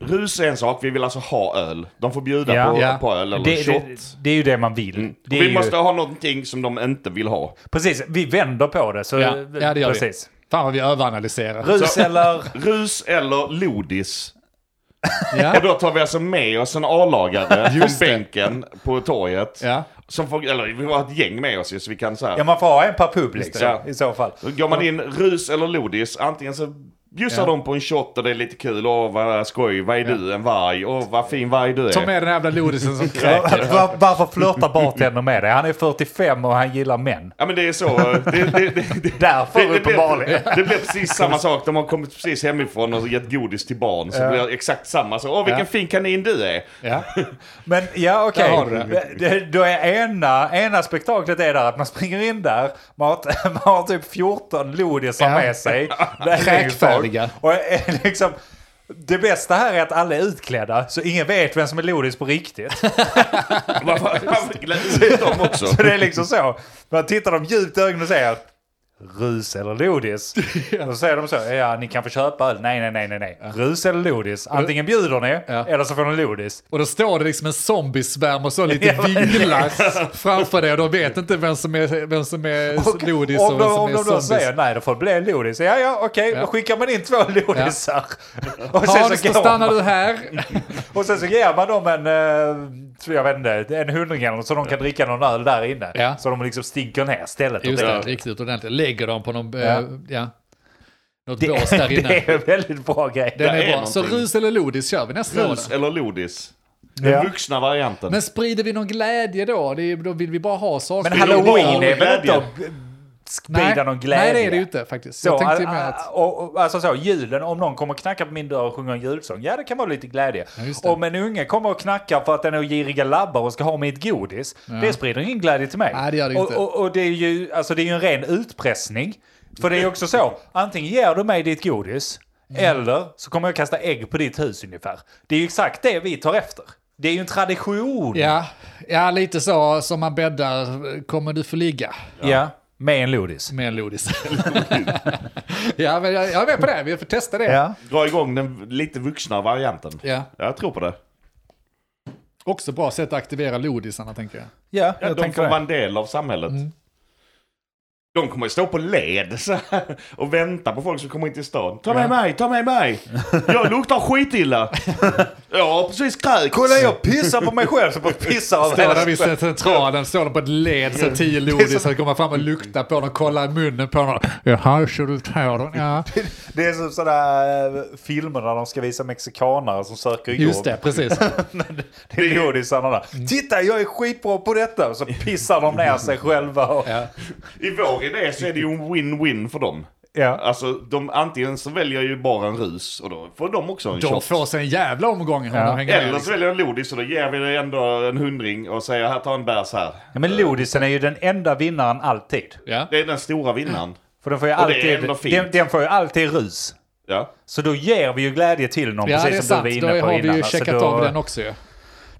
S4: Rus är en sak, vi vill alltså ha öl. De får bjuda
S1: Ja.
S4: på,
S3: Ja.
S4: på öl eller
S1: Det,
S4: shot.
S1: det, det är ju det man vill.
S3: Mm.
S1: Det är
S4: vi
S1: ju,
S4: måste ha någonting som de inte vill ha.
S1: Precis, vi vänder på det. Så,
S3: Ja, ja, det gör vi.
S1: precis.
S3: Fan vad vi överanalyserar.
S1: Rus eller...
S4: Rus eller lodis?
S3: Ja.
S4: Och då tar vi alltså med oss en A-lagare från
S3: Just det.
S4: bänken på torget.
S3: Ja.
S4: Som får, eller vi har ett gäng med oss ju så vi kan så här.
S1: Ja, man får ha en per pub liksom,
S4: Ja.
S1: i så fall.
S4: Då Går man in rus eller lodis, antingen så bjussar
S3: Ja.
S4: de på en shot och det är lite kul. Åh vad skoj, vad är du? En varg? Åh vad fin varg du är.
S3: Ta med den här jävla lodisen som
S1: Ja,
S3: kräker.
S1: var- Varför flörtar bartendern med det? Han är 45 och han gillar män.
S4: Ja men det är så. eh, Det, det, det, det,
S1: Därför
S4: det, det,
S1: uppenbarligen.
S4: blir, det blir precis samma sak. De har kommit precis hemifrån och gett godis till barn. Så det blir exakt samma. Så, Åh vilken
S3: Ja.
S4: fin kanin du är.
S3: Ja.
S1: Men ja,
S3: Där
S1: okej.
S3: har du
S1: Det- Då är ena, ena spektaklet är där att man springer in där, man har, man har typ 14 lodisar
S3: Ja.
S1: med sig. Det är
S3: Kräkfärdiga.
S1: folk. Och är liksom, det bästa här är att alla är utklädda, så ingen vet vem som är lodis på riktigt.
S4: Varför varför glänser inte de också?
S1: Så det är liksom så. Man tittar dem djupt i ögonen och säger rus eller lodis. Och så säger de så, ja ni kan få köpa öl. Nej, nej, nej, nej, nej. Rus eller lodis. Antingen bjuder ni
S3: Ja.
S1: eller så får ni lodis.
S3: Och då står det liksom en zombiesvärm och så lite
S1: Ja, men-
S3: vinglar framför dig och de vet inte vem som är, vem som är lodis och,
S1: om
S3: vem
S1: de,
S3: som
S1: om
S3: är
S1: de då
S3: zombis.
S1: säger nej, det får bli en lodis. Ja, ja, okej,
S3: Ja.
S1: då skickar man in två lodisar. Och, sen
S3: Hans,
S1: så
S3: då
S1: går
S3: stannar
S1: man,
S3: du här.
S1: och sen så ger man dem en, eh, jag vet inte, en hundring eller något så de kan dricka någon öl där inne.
S3: Ja.
S1: Så de liksom stinker ner stället.
S3: Just det,
S4: Ja.
S3: riktigt ordentligt. Lägger dem på någon,
S1: Ja.
S3: eh, ja. något
S1: det,
S3: bås där inne.
S1: det är en väldigt bra grej.
S3: Den
S4: Det
S3: är
S4: är
S3: bra. Så
S4: någonting.
S3: rus eller lodis kör vi nästa år.
S4: Rus eller lodis? Den
S1: Ja.
S4: vuxna varianten.
S3: Men sprider vi någon glädje då? Det är, då vill vi bara ha saker.
S1: Men
S4: Skulle det
S1: halloween
S4: vara
S1: är väl inte
S4: glädje?
S1: att sprida någon glädje?
S3: Nej, det är det ju inte faktiskt.
S1: Så, ah,
S3: jag tänkte ju
S1: a-
S3: mer
S1: a-
S3: att...
S1: och, och, alltså så, julen, om någon kommer och knackar på min dörr och sjunger en julsång, ja det kan vara lite glädje.
S3: Ja, just det.
S1: om en unge kommer och knackar för att den är giriga labbar och ska ha mitt godis, det sprider ingen glädje till mig.
S3: Nej, det gör det
S1: och,
S3: inte.
S1: Och, och det är ju alltså, det är ju en ren utpressning. För det är ju också så, antingen ger du mig ditt godis,
S3: Mm.
S1: eller så kommer jag kasta ägg på ditt hus ungefär. Det är ju exakt det vi tar efter. Det är ju en tradition.
S3: Ja, ja, lite så som man bäddar kommer du få ligga
S1: Ja, med en lodis.
S3: med en lodis. ja, men jag, jag är med på det. Vi får testa det.
S1: Ja.
S4: Dra igång den lite vuxna varianten.
S3: Ja.
S4: Jag tror på det.
S3: Också bra sätt att aktivera lodisarna tänker jag.
S1: Ja,
S4: Ja,
S1: jag
S4: de
S1: tänker
S4: får
S1: det. Mm.
S4: vara en del av samhället. De kommer stå på led så här, och vänta på folk som kommer in till stan. Ta med mig, ta med mig! Jag luktar skitilla! Jag har precis kräkts!
S1: Kolla jag pissar på mig själv som pissar av
S3: Står
S1: hela
S3: där vid centralen, står de på ett led, så tio lodisar kommer fram och luktar på dem, kollar i munnen på dem. Jaha, så du tar den? Ja.
S1: Det är som sådana eh, filmer där de ska visa mexikanare som söker jobb.
S3: Just det, Mm. precis.
S1: Det är godisarna där. Titta, jag är skitbra på detta! Och så pissar de ner sig själva. Och, ja.
S3: Ja.
S4: I vår idé så är det ju en win-win för dem.
S1: Ja.
S4: Alltså, de, antingen så väljer ju bara en rus och då får de också en
S3: De
S4: shot.
S3: får sig en jävla omgång. om
S1: Ja.
S3: de hänger med,
S4: Eller så
S3: liksom.
S4: väljer de lodis och då ger vi dig ändå en hundring och säger här, ta en bärs här.
S1: Men lodisen är ju den enda vinnaren alltid.
S3: Ja.
S4: Det är den stora vinnaren.
S1: För den får ju
S4: Och det är
S1: alltid,
S4: ändå fint.
S1: den, den får ju alltid rus.
S4: Ja.
S1: Så då ger vi ju glädje till någon,
S3: Ja, det är
S1: precis som
S3: sant.
S1: du var
S3: Då
S1: inne på
S3: har vi
S1: innan.
S3: ju
S1: Alltså,
S3: checkat
S1: då,
S3: av den också ju.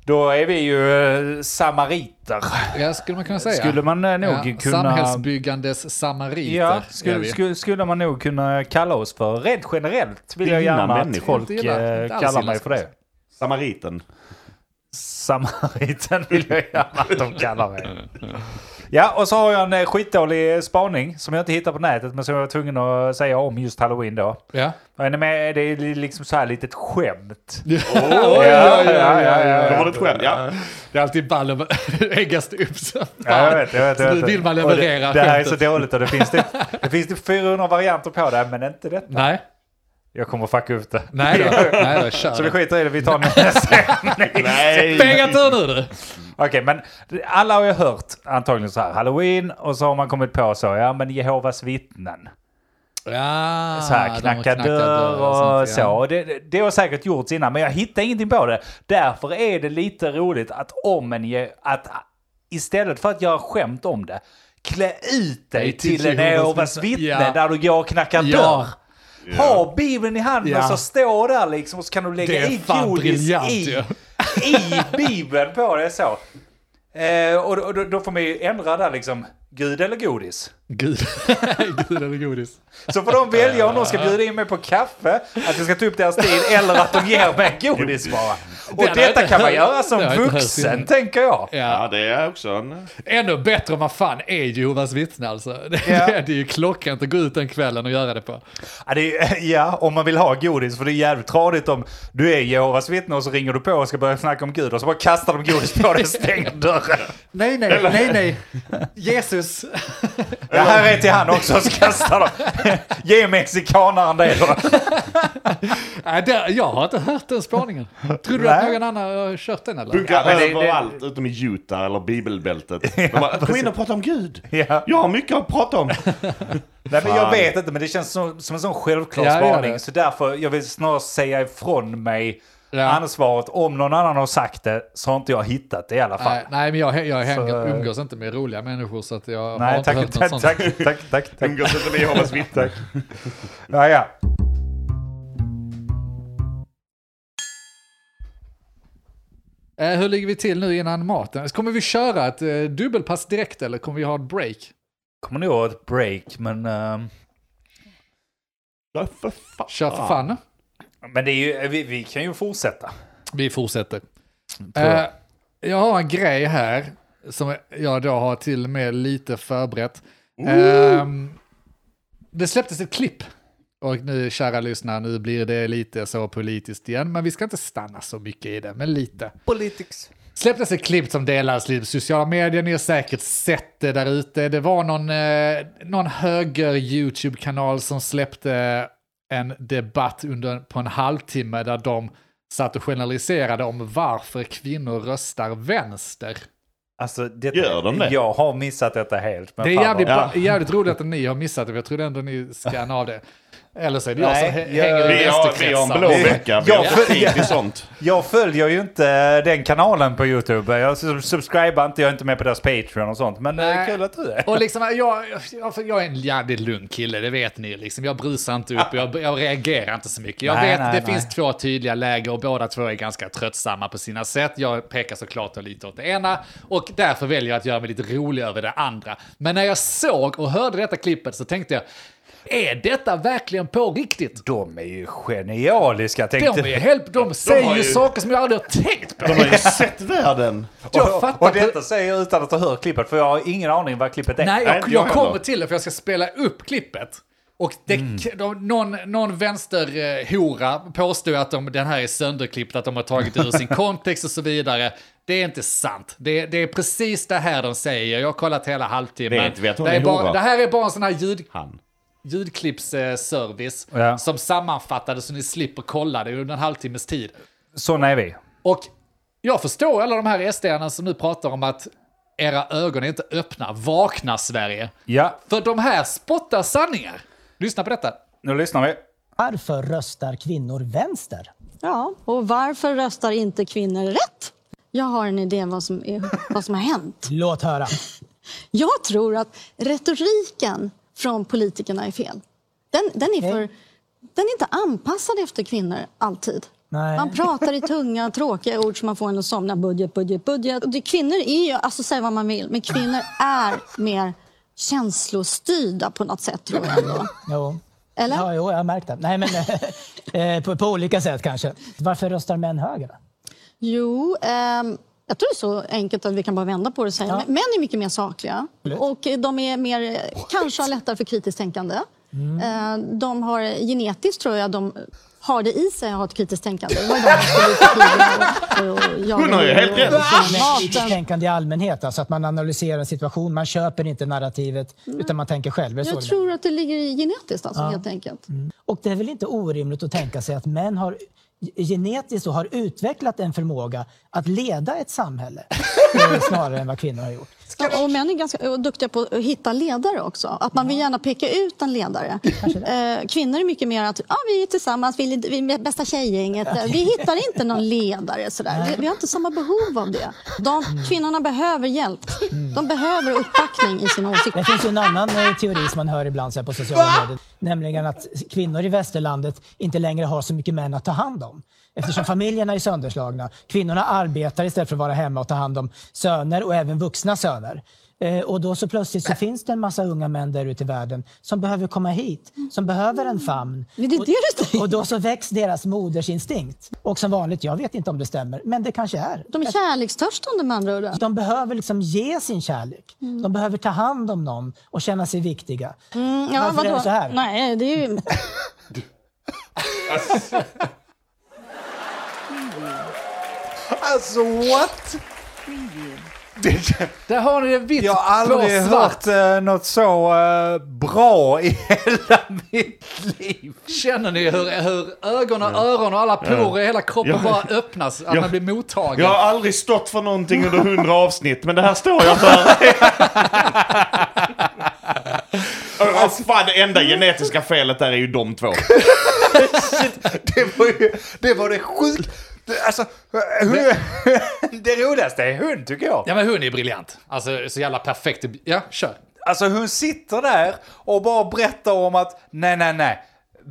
S1: då är vi ju eh, samariter,
S3: Ja, skulle man kunna säga.
S1: skulle man eh, nog
S3: ja,
S1: kunna...
S3: Samhällsbyggandes samariter.
S1: Ja,
S3: är
S1: skulle,
S3: vi.
S1: skulle, skulle man nog kunna kalla oss för. Rent generellt vill jag
S4: Fina
S1: gärna att
S4: människor.
S1: folk
S3: Inte illa,
S1: eh,
S3: inte alls
S1: kallar
S3: illa,
S1: mig för det.
S4: Samariten.
S1: Samariten vill jag gärna att de kallar mig. Ja, och så har jag en eh, skitdålig spaning som jag inte hittar på nätet men som jag var tvungen att säga om just halloween då.
S3: Ja.
S1: Är ni med? Det är liksom så här litet skämt.
S4: Oh,
S1: ja, ja, ja, ja.
S4: Då var det ett skämt, ja.
S3: Det är alltid ball att äggas upp så
S1: Ja, jag vet, jag vet.
S3: Så
S1: Jag vet.
S3: nu vill man
S1: Och Det,
S3: leverera
S1: det här är så
S3: skämtet.
S1: dåligt och det finns typ, det finns typ 400 varianter på det, men inte det.
S3: Nej,
S1: Jag kommer fucka upp det.
S3: nej då. Nej då, kör.
S1: Så vi skiter i det, vi tar nästa.
S4: Nej!
S3: Pengar tur nu du!
S1: Okej, men alla har ju hört antagligen så här halloween och så har man kommit på så, ja men Jehovas vittnen.
S3: Ja,
S1: Så här
S3: Ah, de
S1: knacka
S3: knackar
S1: dörr och
S3: sånt,
S1: så.
S3: ja.
S1: Och Det, det- det har säkert gjorts innan, men jag hittar ingenting på det. Därför är det lite roligt att om en, Je- att istället för att göra skämt om det, klä ut dig
S3: Nej,
S1: till,
S3: till
S1: en
S3: Jehovas
S1: Jehovas vittne
S3: vittnen. Ja.
S1: där du går och knackar
S3: Ja.
S1: dörr. Ha bibeln i handen
S3: Ja.
S1: och så stå där liksom och så kan du lägga
S3: Det är
S1: i
S3: fan
S1: godis
S3: briljant
S1: i,
S3: ju.
S1: i bibeln på det så. Eh, och då- då, då får man ju ändra där liksom, Gud eller godis?
S3: Gud. Gud eller godis.
S1: Så får de välja om de ska bjuda in mig på kaffe, att jag ska ta upp deras tid eller att de ger mig godis bara. Och
S3: har
S1: detta
S3: jag
S1: kan man
S3: inte-
S1: göra som
S3: det har jag inte hört
S1: vuxen,
S3: innan.
S1: tänker jag.
S4: Ja,
S3: Ja.
S4: det är också en...
S3: Ännu bättre än vad fan är Jehovas vittne alltså. Det,
S1: Ja.
S3: det, det är ju klockrent att gå ut den kvällen och göra det på.
S1: Ja, det är, ja, om man vill ha godis, för det är jävligt tradigt om du är Jehovas vittne och så ringer du på och ska börja snacka om Gud och så bara kastar de godis på dig och stänger dörren.
S3: Nej, nej, nej, nej. Jesus.
S1: Det här är till han också, så kastar de. Ge mexikanaren det då.
S3: Nej, där, jag har inte hört den spaningen. Tror du
S1: Nej.
S3: att någon annan har kört den eller?
S4: Bunkrar
S1: Ja, men det- det-
S4: överallt utom i Utah eller bibelbältet. De bara, Kom in och prata om Gud.
S1: Ja.
S4: Jag har mycket att prata om.
S1: Nej, men jag
S4: Fan.
S1: vet inte, men det känns som, som en sån självklar
S3: Ja, det gör
S1: spaning.
S3: det.
S1: Så därför, jag vill snarare säga ifrån mig
S3: Ja.
S1: ansvaret. Om någon annan har sagt det så har inte jag hittat det i alla fall.
S3: Nej, nej, men jag, jag hänger,
S1: Så, eh,
S3: umgås inte med roliga människor så att jag har
S1: Nej,
S3: inte
S1: tack,
S3: hört något
S1: tack,
S3: sånt.
S1: tack, tack, tack, tack.
S4: Umgås inte med Jehovas vittnen.
S1: Ja, ja.
S3: Eh, hur ligger vi till nu innan maten? Kommer vi köra ett eh, dubbelpass direkt eller kommer vi ha ett break?
S1: Kommer nog ha ett break, men... ehm,
S4: Ja, för fan.
S3: Kör
S1: Ah.
S3: för fan.
S1: Men det är ju, vi, vi kan ju fortsätta.
S3: Vi fortsätter.
S1: jag.
S3: Eh, jag har en grej här som jag då har till och med lite förberett. Ehm, det släpptes ett klipp. Och nu, kära lyssnare, nu blir det lite så politiskt igen. Men vi ska inte stanna så mycket i det, men lite.
S1: Politics.
S3: släpptes ett klipp som delades i sociala medier. Ni har säkert sett det där ute. Det var någon, eh, någon höger YouTube-kanal som släppte en debatt under, på en halvtimme där de satt och generaliserade om varför kvinnor röstar vänster.
S1: Alltså, detta,
S4: Gör de det?
S1: Jag har missat detta helt. Men
S3: Det är
S1: fan
S3: jävligt,
S1: vad-
S3: bra, jävligt roligt att ni har missat det, för jag trodde ändå ni skannade av det. Eller så är det jag som
S1: Nej,
S3: hä-
S1: jag-
S3: hänger i
S4: Vi har, vi har en blå
S3: vänsterkretsar.
S4: vecka. Vi har
S1: Ja.
S4: för tid till sånt.
S1: Jag följer ju inte eh, den kanalen på YouTube. Jag sub- subscribar inte, jag är inte med på deras Patreon och sånt. Men Nej.
S3: Nej.
S1: kul att du är.
S3: Eh, Och liksom, jag, jag, för jag är en jävligt lugn kille, det vet ni. Liksom, jag brusar inte upp, jag, jag reagerar inte så mycket. Jag
S1: Nej,
S3: vet,
S1: nej,
S3: det
S1: nej.
S3: finns två tydliga läger och båda två är ganska tröttsamma på sina sätt. Jag pekar såklart lite åt det ena och därför väljer jag att göra mig lite rolig över det andra. Men när jag såg och hörde detta klippet så tänkte jag, är detta verkligen på riktigt?
S1: De är ju genialiska
S3: De,
S1: tänkte
S3: är helt, de säger
S4: har
S3: ju
S4: ju-
S3: saker som jag aldrig har tänkt på.
S4: De har ju sett världen.
S3: Jag
S1: och,
S3: fattar
S1: och
S3: på-
S1: detta säger jag utan att ha hört klippet, för jag har ingen aning vad klippet är.
S3: Nej,
S4: Nej,
S3: jag,
S4: inte
S3: jag
S4: jag
S3: kommer
S4: heller.
S3: till det för jag ska spela upp klippet. Och det, de, någon, någon vänsterhora påstod att de, den här är sönderklippt, att de har tagit ur sin kontext och så vidare. Det är inte sant. Det, det är precis det här de säger. Jag har kollat hela halvtimmen.
S4: Vet vi att hon
S3: det,
S4: är
S3: bara,
S4: hora?
S3: det här är bara en sån här ljud,
S4: Han.
S3: ljudklippsservice
S1: Ja.
S3: som sammanfattades så ni slipper kolla det under en halvtimmes tid.
S1: Såna är vi.
S3: Och jag förstår alla de här SD-arna som nu pratar om att era ögon är inte öppna. Vakna Sverige!
S1: Ja,
S3: För de här spottar sanningar. Lyssna på detta.
S1: nu lyssnar vi.
S5: Varför röstar kvinnor vänster?
S6: Ja, och varför röstar inte kvinnor rätt? Jag har en idé vad som, är, vad som har hänt.
S5: Låt höra.
S6: Jag tror att retoriken från politikerna är fel. Den, den, är, för, den är inte anpassad efter kvinnor alltid.
S5: Nej.
S6: Man pratar i tunga, tråkiga ord som man får en att somna. Budget, budget, budget. Och det, kvinnor är ju, alltså säg vad man vill, men kvinnor är mer känslostyrda på något sätt tror jag ändå.
S5: Jo.
S6: Eller?
S5: Ja, jo, jag har märkt det. Nej, men, eh, på, på olika sätt kanske. Varför röstar män höger? då?
S6: Jo, ehm, jag tror det är så enkelt att vi kan bara vända på det och säga.
S5: Ja.
S6: Men Män är mycket mer sakliga och eh, de är mer, eh, kanske har lättare för kritiskt tänkande. Eh, De har eh, genetiskt tror jag, de har det i sig att ha ett kritiskt tänkande. Det var ju de som skulle ut i krigen och- och jaga
S4: Hon har ju
S6: djur
S4: helt
S6: och-
S4: rätt.
S6: och
S5: Men
S6: jaga
S5: kritiskt
S6: vapen.
S5: tänkande i allmänhet, alltså att man analyserar en situation. Man köper inte narrativet, utan man tänker själv. Är det så
S6: Mm. Jag
S5: det
S6: tror att det ligger i genetiskt alltså, helt enkelt.
S5: Och det är väl inte orimligt att tänka sig att män har genetiskt och har utvecklat en förmåga att leda ett samhälle eh, snarare än vad kvinnor har gjort.
S6: Ja, och män är ganska och duktiga på att hitta ledare också. Att man vill gärna peka ut en ledare. Eh, Kvinnor är mycket mer att ah, vi är tillsammans, vi är, vi är bästa tjejgänget. Eh, Vi hittar inte någon ledare. Sådär. Vi, vi har inte samma behov av det. De,
S5: Mm.
S6: kvinnorna behöver hjälp. De behöver uppbackning i sina åsikter.
S5: Det finns ju en annan eh, teori som man hör ibland så här på sociala medier, nämligen att kvinnor i västerlandet inte längre har så mycket män att ta hand om. Eftersom familjerna är sönderslagna. Kvinnorna arbetar istället för att vara hemma och ta hand om söner och även vuxna söner. Eh, och då så plötsligt så finns det en massa unga män där ute i världen som behöver komma hit, som behöver en famn.
S6: Men det är det du säger.
S5: Och då så väcks deras modersinstinkt. Och som vanligt, jag vet inte om det stämmer, men det kanske är.
S6: De är kärlekstörstande med andra ord. då.
S5: De behöver liksom ge sin kärlek. De behöver ta hand om någon och känna sig viktiga.
S6: Mm, ja,
S5: Varför är
S6: vadå?
S5: det så här?
S6: Nej, det är ju...
S1: Alltså what?
S3: Där har ni det vitt
S1: Jag har aldrig
S3: på
S1: hört
S3: svart.
S1: eh, något så eh, bra i hela mitt liv.
S3: Känner ni hur, hur ögon och öron och alla porer i hela kroppen
S4: Ja.
S3: bara öppnas? Att
S4: Ja.
S3: man blir mottagen?
S4: Jag har aldrig stått för någonting under hundra avsnitt, men det här står jag för. Åh Alltså, fan, det enda genetiska felet där är ju de två.
S1: Det var ju, det var det sjukt. det- Alltså, hur, det roligaste är hon tycker jag.
S3: Ja men hon är briljant. Alltså så jävla perfekt. Ja, kör.
S1: Alltså hon sitter där och bara berättar om att nej, nej, nej,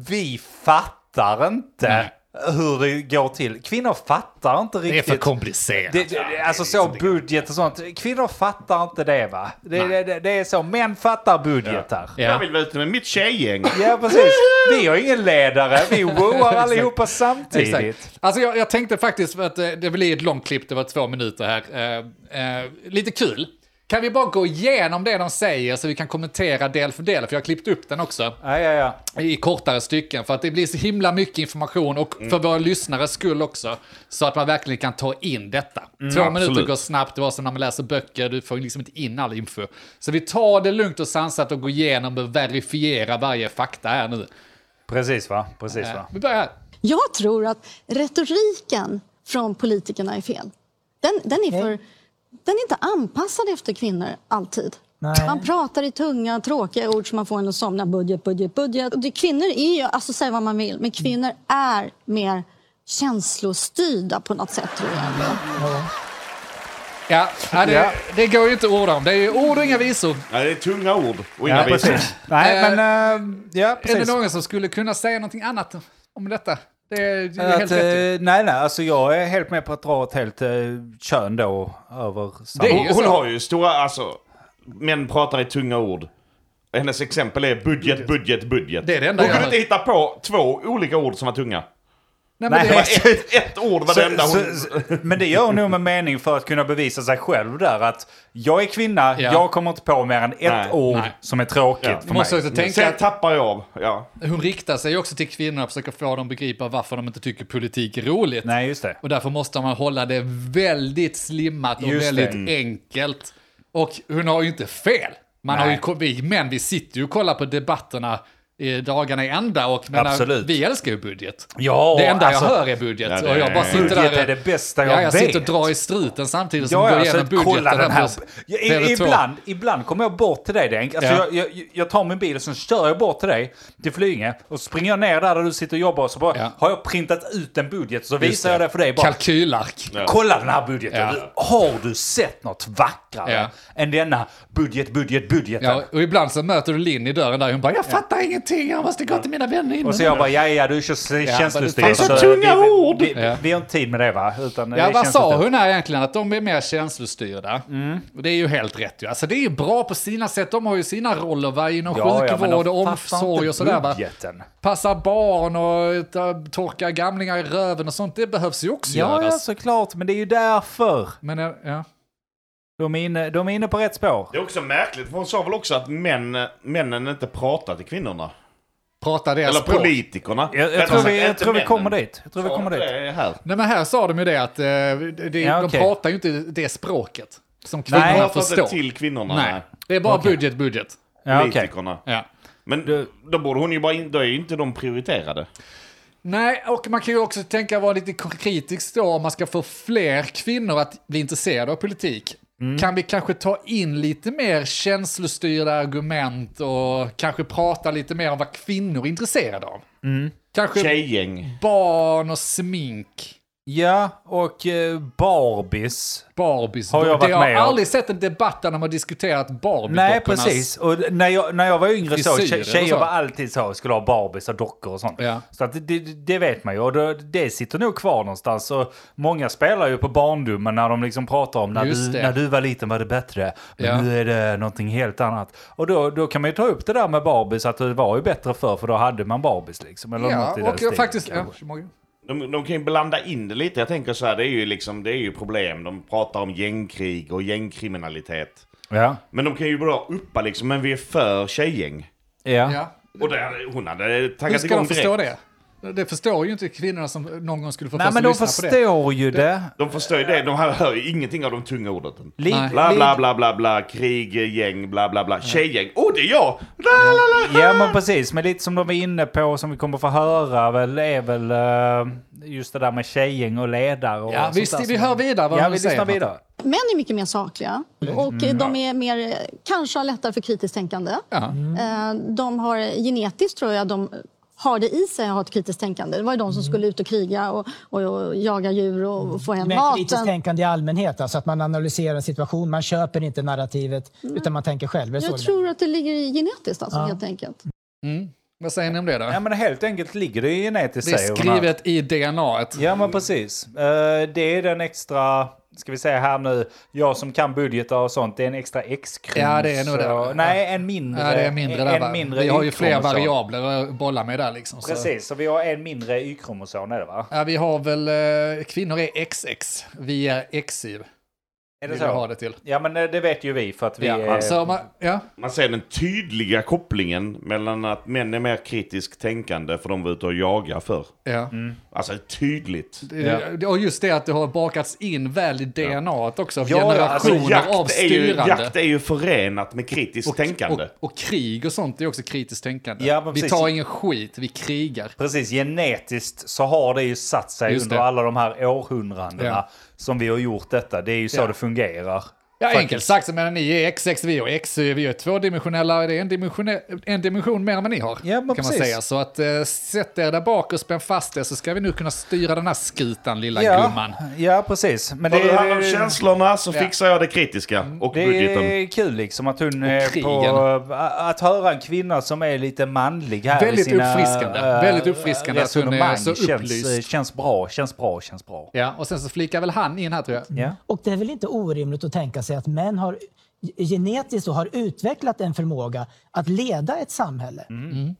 S1: vi fattar inte
S3: Nej.
S1: hur det går till. Kvinnor fattar inte
S3: Det är
S1: riktigt.
S3: för komplicerat.
S1: Det, det, alltså så budget och sånt. Kvinnor fattar inte det va? Det, det, det, det är så. Män fattar budgetar. Ja.
S4: Jag
S3: Ja.
S4: vill vara ute med mitt tjejgäng.
S1: precis. Vi har ingen ledare. Vi wowar allihopa samtidigt.
S3: Exakt. Alltså jag, jag tänkte faktiskt, för att eh, det blir ett långt klipp, det var två minuter här. Eh, eh, lite kul. Kan vi bara gå igenom det de säger så vi kan kommentera del för del? För jag har klippt upp den också
S1: Ja, ja, ja.
S3: i kortare stycken. För att det blir så himla mycket information och för våra lyssnares skull också. Så att man verkligen kan ta in detta. Två minuter
S4: absolut.
S3: går snabbt, det var som när man läser böcker, du får liksom inte in all info. Så vi tar det lugnt och sansat och går igenom och verifierar varje fakta här nu.
S1: Precis va? Precis va?
S3: Vi börjar här.
S6: Jag tror att retoriken från politikerna är fel. Den, den, är, för, den är inte anpassad efter kvinnor alltid.
S5: Nej.
S6: Man pratar i tunga, tråkiga ord som man får en att somna. Budget, budget, budget. Och det, kvinnor är ju, alltså säg vad man vill, men kvinnor är mer känslostyrda på något sätt tror jag.
S3: Ja, ja, det,
S1: Ja.
S3: det går ju inte att orda om. Det är ju ord och inga visor.
S4: Ja, det är tunga ord och
S1: Ja,
S4: inga visor.
S1: precis. Nej, men... eh, ja,
S3: Är det
S1: precis.
S3: någon som skulle kunna säga någonting annat om detta? Det är, det är
S1: Att,
S3: helt
S1: eh,
S3: rätt.
S1: nej, nej, alltså jag är helt med på att dra ett helt eh, kön då över samma.
S3: Det är
S4: Hon,
S3: ju
S4: hon
S3: så.
S4: har ju stora, alltså, män pratar i tunga ord. Hennes exempel är budget, budget, budget.
S3: Det är det enda
S4: hon
S3: jag
S4: kunde
S3: hör.
S4: inte hitta på två olika ord som var tunga.
S3: Nej, men
S1: Nej,
S3: det,
S4: Ett, ett ord var det enda
S1: så,
S4: hon...
S1: så, men det gör hon nog med mening för att kunna bevisa sig själv där att jag är kvinna,
S3: Ja.
S1: jag kommer inte på mer än ett
S4: Nej,
S1: ord
S3: nej.
S1: som är tråkigt
S4: Ja.
S1: för
S3: man måste
S1: mig.
S3: också tänka
S4: Sen
S3: att
S4: tappar jag av. Ja.
S3: hon riktar sig också till kvinnor och försöker få dem att begripa varför de inte tycker politik är roligt.
S1: Nej, just det.
S3: Och därför måste man hålla det väldigt slimmat och
S1: Just det.
S3: väldigt enkelt. Och hon har ju inte fel. Man har
S1: Nej.
S3: ju, ko- vi män, vi sitter ju och kollar på debatterna i dagarna i ända och
S1: Absolut.
S3: vi älskar ju budget.
S1: Ja,
S3: det enda
S1: alltså,
S3: jag hör är budget.
S4: Ja, det
S3: och jag bara
S4: är-
S3: sitter
S1: Budget
S3: där,
S1: är det bästa jag
S3: ja, jag
S1: vet.
S3: sitter och drar i struten samtidigt som
S1: Ja,
S3: går
S1: ja, alltså,
S3: igenom budgeten.
S1: kolla den här.
S3: på
S1: Ja, i-
S3: TV2.
S1: ibland, ibland kommer jag bort till dig, Denk. Alltså,
S3: Ja.
S1: jag, jag, jag tar min bil och så kör jag bort till dig, till Flyinge. Och så springer jag ner där, där du sitter och jobbar och så bara,
S3: Ja.
S1: har jag printat ut en budget. Så
S3: Just
S1: visar jag det för dig. Bara,
S3: Kalkylark.
S1: Kolla den här budgeten.
S3: Ja.
S1: Du- Har du sett något vackrare
S3: Ja.
S1: än denna budget, budget, budgeten?
S3: Ja, och ibland så möter du Linn i dörren där hon bara “Jag fattar ingenting, jag måste gå till mina vänner innan”.
S1: Och så jag bara, ja, ja, du är så
S3: men
S1: känslostyrd.
S3: det är så
S1: så
S4: tunga
S1: Alltså, vi,
S4: ord.
S1: Vi, vi,
S3: Ja.
S1: vi har inte tid med det va? Utan det
S3: Ja,
S1: är
S3: vad sa
S1: känslostyrt.
S3: hon här egentligen? Att de är mer känslostyrda.
S1: Mm.
S3: Och det är ju helt rätt ju. Alltså det är ju bra på sina sätt. De har ju sina roller va? inom
S1: Ja, ja, men
S3: sjukvård
S1: de
S3: och
S1: fattar
S3: omsorg
S1: inte
S3: och sådär va.
S1: budgeten.
S3: Passa barn och ta- torka gamlingar i röven och sånt. Det behövs ju också
S1: Ja, ja,
S3: göras.
S1: såklart. Men det är ju därför.
S3: Men eh, ja.
S1: De är inne, de är inne på rätt spår.
S4: Det är också märkligt, för hon sa väl också att män, männen inte pratar till kvinnorna?
S3: prata deras
S4: Eller
S3: språk.
S4: politikerna.
S1: Jag, jag,
S4: Rättare
S1: tror,
S4: sagt,
S1: vi, jag
S4: inte
S1: tror vi
S4: männen.
S1: kommer dit. Jag tror vi
S4: Sa
S1: kommer
S4: de
S1: dit.
S4: det här?
S3: Nej men här sa de ju det att eh, det, det-
S1: Ja,
S3: de
S1: okej.
S3: pratar ju inte det språket som kvinnorna
S1: Nej,
S4: De
S1: jag
S4: pratar inte
S3: förstår.
S4: till kvinnorna.
S3: Nej, det är bara budget, budget.
S1: Ja, okej.
S4: Politikerna.
S3: Ja.
S4: Men då borde hon ju bara in, då är ju inte de prioriterade.
S3: Nej, och man kan ju också tänka vara lite kritisk då om man ska få fler kvinnor att bli intresserade av politik.
S1: Mm.
S3: Kan vi kanske ta in lite mer känslostyrda argument och kanske prata lite mer om
S1: Mm.
S3: vad kvinnor är intresserade av? Kanske
S4: Tjejgäng.
S3: barn och smink.
S1: Ja, och eh, Barbies.
S3: Barbies.
S1: Har jag varit
S3: det, jag har
S1: med om.
S3: aldrig sett en debatt där de har diskuterat Barbie-dockornas...
S1: Nej, precis. Och när jag, när jag var yngre så,
S3: frisyrer
S1: tje-
S3: och
S1: tjejer
S3: så.
S1: var alltid så, skulle ha Barbies och dockor och sånt.
S3: Ja.
S1: Så att det, det, det vet man ju, och det, det sitter nog kvar någonstans. Och många spelar ju på barndomen när de liksom pratar om när du,
S3: Just det.
S1: när du var liten var det bättre, men
S3: Ja.
S1: nu är det någonting helt annat. Och då, då kan man ju ta upp det där med Barbies, att det var ju bättre förr, för då hade man Barbies liksom. Eller
S3: Ja,
S1: något i den
S3: och jag
S1: stilen,
S3: faktiskt... Ja,
S1: kanske.
S3: Morgan.
S4: De, de kan ju blanda in det lite. Jag tänker så här, det är ju liksom, det är ju problem. De pratar om gängkrig och gängkriminalitet.
S1: ja.
S4: Men de kan ju bara uppa liksom, men vi är för tjejgäng.
S1: Ja.
S3: ja.
S4: Och där, hon hade
S3: Hur
S4: taggat
S3: ska de
S4: igång direkt.
S3: förstå det? Det förstår ju inte kvinnorna som någon gång skulle få
S1: Nej,
S3: för sig
S1: men
S3: att
S1: de
S3: lyssna på det.
S1: förstår ju det.
S4: De förstår ju det. De här hör ju ingenting av de tunga orden.
S1: Lite-
S3: Nej.
S4: Bla,
S1: lite-
S4: bla, bla, bla, bla, krig, gäng, bla, bla, bla, tjejgäng. Åh, oh, det är jag! La, la, la.
S1: Ja men precis, men lite som de var inne på som vi kommer få höra väl, är väl eh, just det där med tjejgäng och ledare och
S3: Ja,
S1: sånt
S3: visst,
S1: där
S3: vi
S1: som-
S3: hör vidare vad
S1: Ja,
S3: de
S1: vi
S3: säger.
S1: lyssnar vidare.
S6: Män är mycket mer sakliga och eh, de är mer, eh, kanske har lättare för kritiskt tänkande.
S3: Ja.
S6: Eh, De har genetiskt tror jag de har det i sig att ha ett kritiskt tänkande. Det var ju de som skulle ut och kriga och, och, och jaga djur och få hem
S5: Men kritiskt
S6: maten.
S5: tänkande i allmänhet, alltså att man analyserar en situation, man köper inte narrativet utan man tänker själv. Är det så
S6: Mm. Jag
S5: det
S6: tror att det ligger i genetiskt alltså, helt enkelt.
S3: Vad säger ni om det då?
S1: Ja men helt enkelt ligger det i genetiskt
S3: det är
S1: säger hon här.
S3: skrivet i DNA. -et.
S1: Ja men precis. Eh, det är den extra, ska vi säga här nu, jag som kan budgetar och sånt, det är en extra X-krus.
S3: Ja, det är nog det.
S1: och- Nej, en mindre.
S3: Ja, det är mindre där.
S1: en
S3: va?
S1: mindre
S3: vi har ju fler
S1: Y-kromosom.
S3: variabler att bolla med där liksom. Så.
S1: Precis, så vi har en mindre Y-kromosom är det va?
S3: Ja, vi har väl... eh, Kvinnor är XX. Vi är XY.
S1: Är det
S3: Vill du ha det till?
S1: Ja men eh, det vet ju vi för att vi
S3: Ja,
S1: är...
S3: alltså, man, ja.
S4: Man ser den tydliga kopplingen mellan att män är mer kritiskt tänkande för de var ute och jagade förr.
S3: ja.
S1: Mm,
S4: Alltså tydligt.
S3: Det- Och just det att det har bakats in väl i DNA -et också. Av
S4: alltså,
S3: generationer av
S4: jakt, är ju,
S3: styrande.
S4: jakt är ju förenat med kritiskt tänkande.
S3: Och, och krig och sånt är också kritiskt tänkande.
S1: Ja, men
S3: vi
S1: precis.
S3: tar ingen skit, vi krigar.
S1: Precis, genetiskt så har det ju satt sig
S3: Just
S1: under
S3: det.
S1: alla de här århundradena
S3: Ja.
S1: som vi har gjort detta. Det är ju så
S3: Ja.
S1: det fungerar.
S3: Ja,
S1: Faktiskt.
S3: enkelt sagt så menar ni är XX, vi och XY, vi är tvådimensionella, det är en dimension, en dimension mer än vad ni har.
S1: Ja, men
S3: kan man
S1: precis.
S3: säga. Så att eh, sätt er där bak och spänn fast er så ska vi nu kunna styra den här skutan, lilla gumman.
S1: ja, precis. Men det,
S4: För det handlar om
S1: är,
S4: känslorna så
S3: Ja.
S4: fixar jag det kritiska och
S1: det
S4: budgeten.
S1: är kul liksom att hon är
S3: krigen.
S1: på... Att höra en kvinna som är lite manlig här i
S3: Väldigt
S1: sina...
S3: uppfriskande.
S1: eh,
S3: Väldigt uppfriskande att hon är
S1: resonemang
S3: så
S1: känns,
S3: upplyst.
S1: eh, känns bra, känns bra, känns bra.
S3: Ja, och sen så flikar väl han in här tror jag.
S1: Ja.
S5: Och det är väl inte orimligt att tänka sig att män har genetiskt och har utvecklat en förmåga att leda ett samhälle.
S3: Ja,
S1: Mm.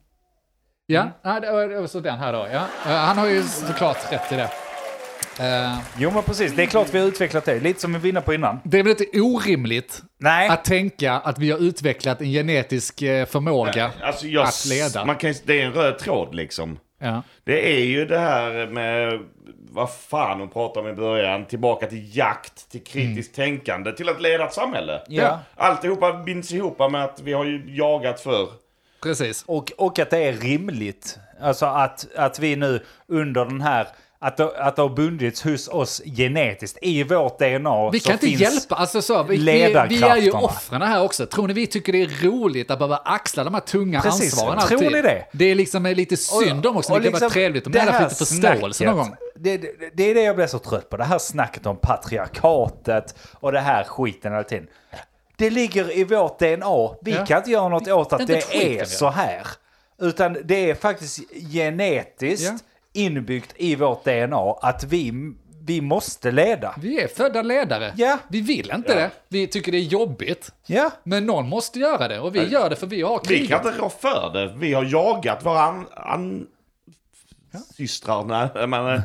S3: ja det var- det var så den här då. Ja. Eh, Han har ju såklart rätt i det. Eh,
S1: Jo, men precis. Det är klart vi har utvecklat det. Lite som vi var inne på innan.
S3: Det är väl inte orimligt
S1: Nej.
S3: att tänka att vi har utvecklat en genetisk eh, förmåga
S4: Alltså jag,
S3: att leda.
S4: Man kan, ju- det är en röd tråd liksom.
S3: Ja.
S4: Det är ju det här med, vad fan hon pratade om i början, tillbaka till jakt, till kritiskt tänkande, till att leda ett samhälle.
S1: Ja.
S4: Alltihopa binds ihop med att vi har ju jagat förr.
S3: Precis.
S1: Och, och att det är rimligt. Alltså att, att vi nu under den här... Att det, att det har bundits hos oss genetiskt i vårt DNA.
S3: Vi
S1: så
S3: kan inte
S1: finns-
S3: hjälpa, alltså så, vi, vi, vi är ju
S1: ledarkrafterna.
S3: offren här också. Tror ni vi tycker det är roligt att behöva axla de här tunga
S1: Precis,
S3: ansvaren
S1: tror
S3: alltid?
S1: ni det? liksom
S3: Det är liksom eh, lite synd om också, det kan vara trevligt om ni hade
S1: här
S3: haft lite förståelse någon gång.
S1: Det, det, det är det jag blir så trött på. Det här snacket om patriarkatet och det här skiten hela tiden. Det ligger i vårt DNA. Vi
S3: Ja.
S1: kan inte göra något åt att
S3: Inte ett
S1: det
S3: skit kan vi
S1: är
S3: göra.
S1: så här. Utan det är faktiskt genetiskt
S3: Ja.
S1: inbyggt i vårt DNA att vi, vi måste leda.
S3: Vi är födda ledare.
S1: Ja.
S3: Vi vill inte det. Vi tycker det är jobbigt.
S1: Ja.
S3: Men någon måste göra det och vi gör det för vi har
S4: Vi
S3: kriget.
S4: kan inte rå för det. Vi har jagat våra an, an, systrar, nej, men, eh,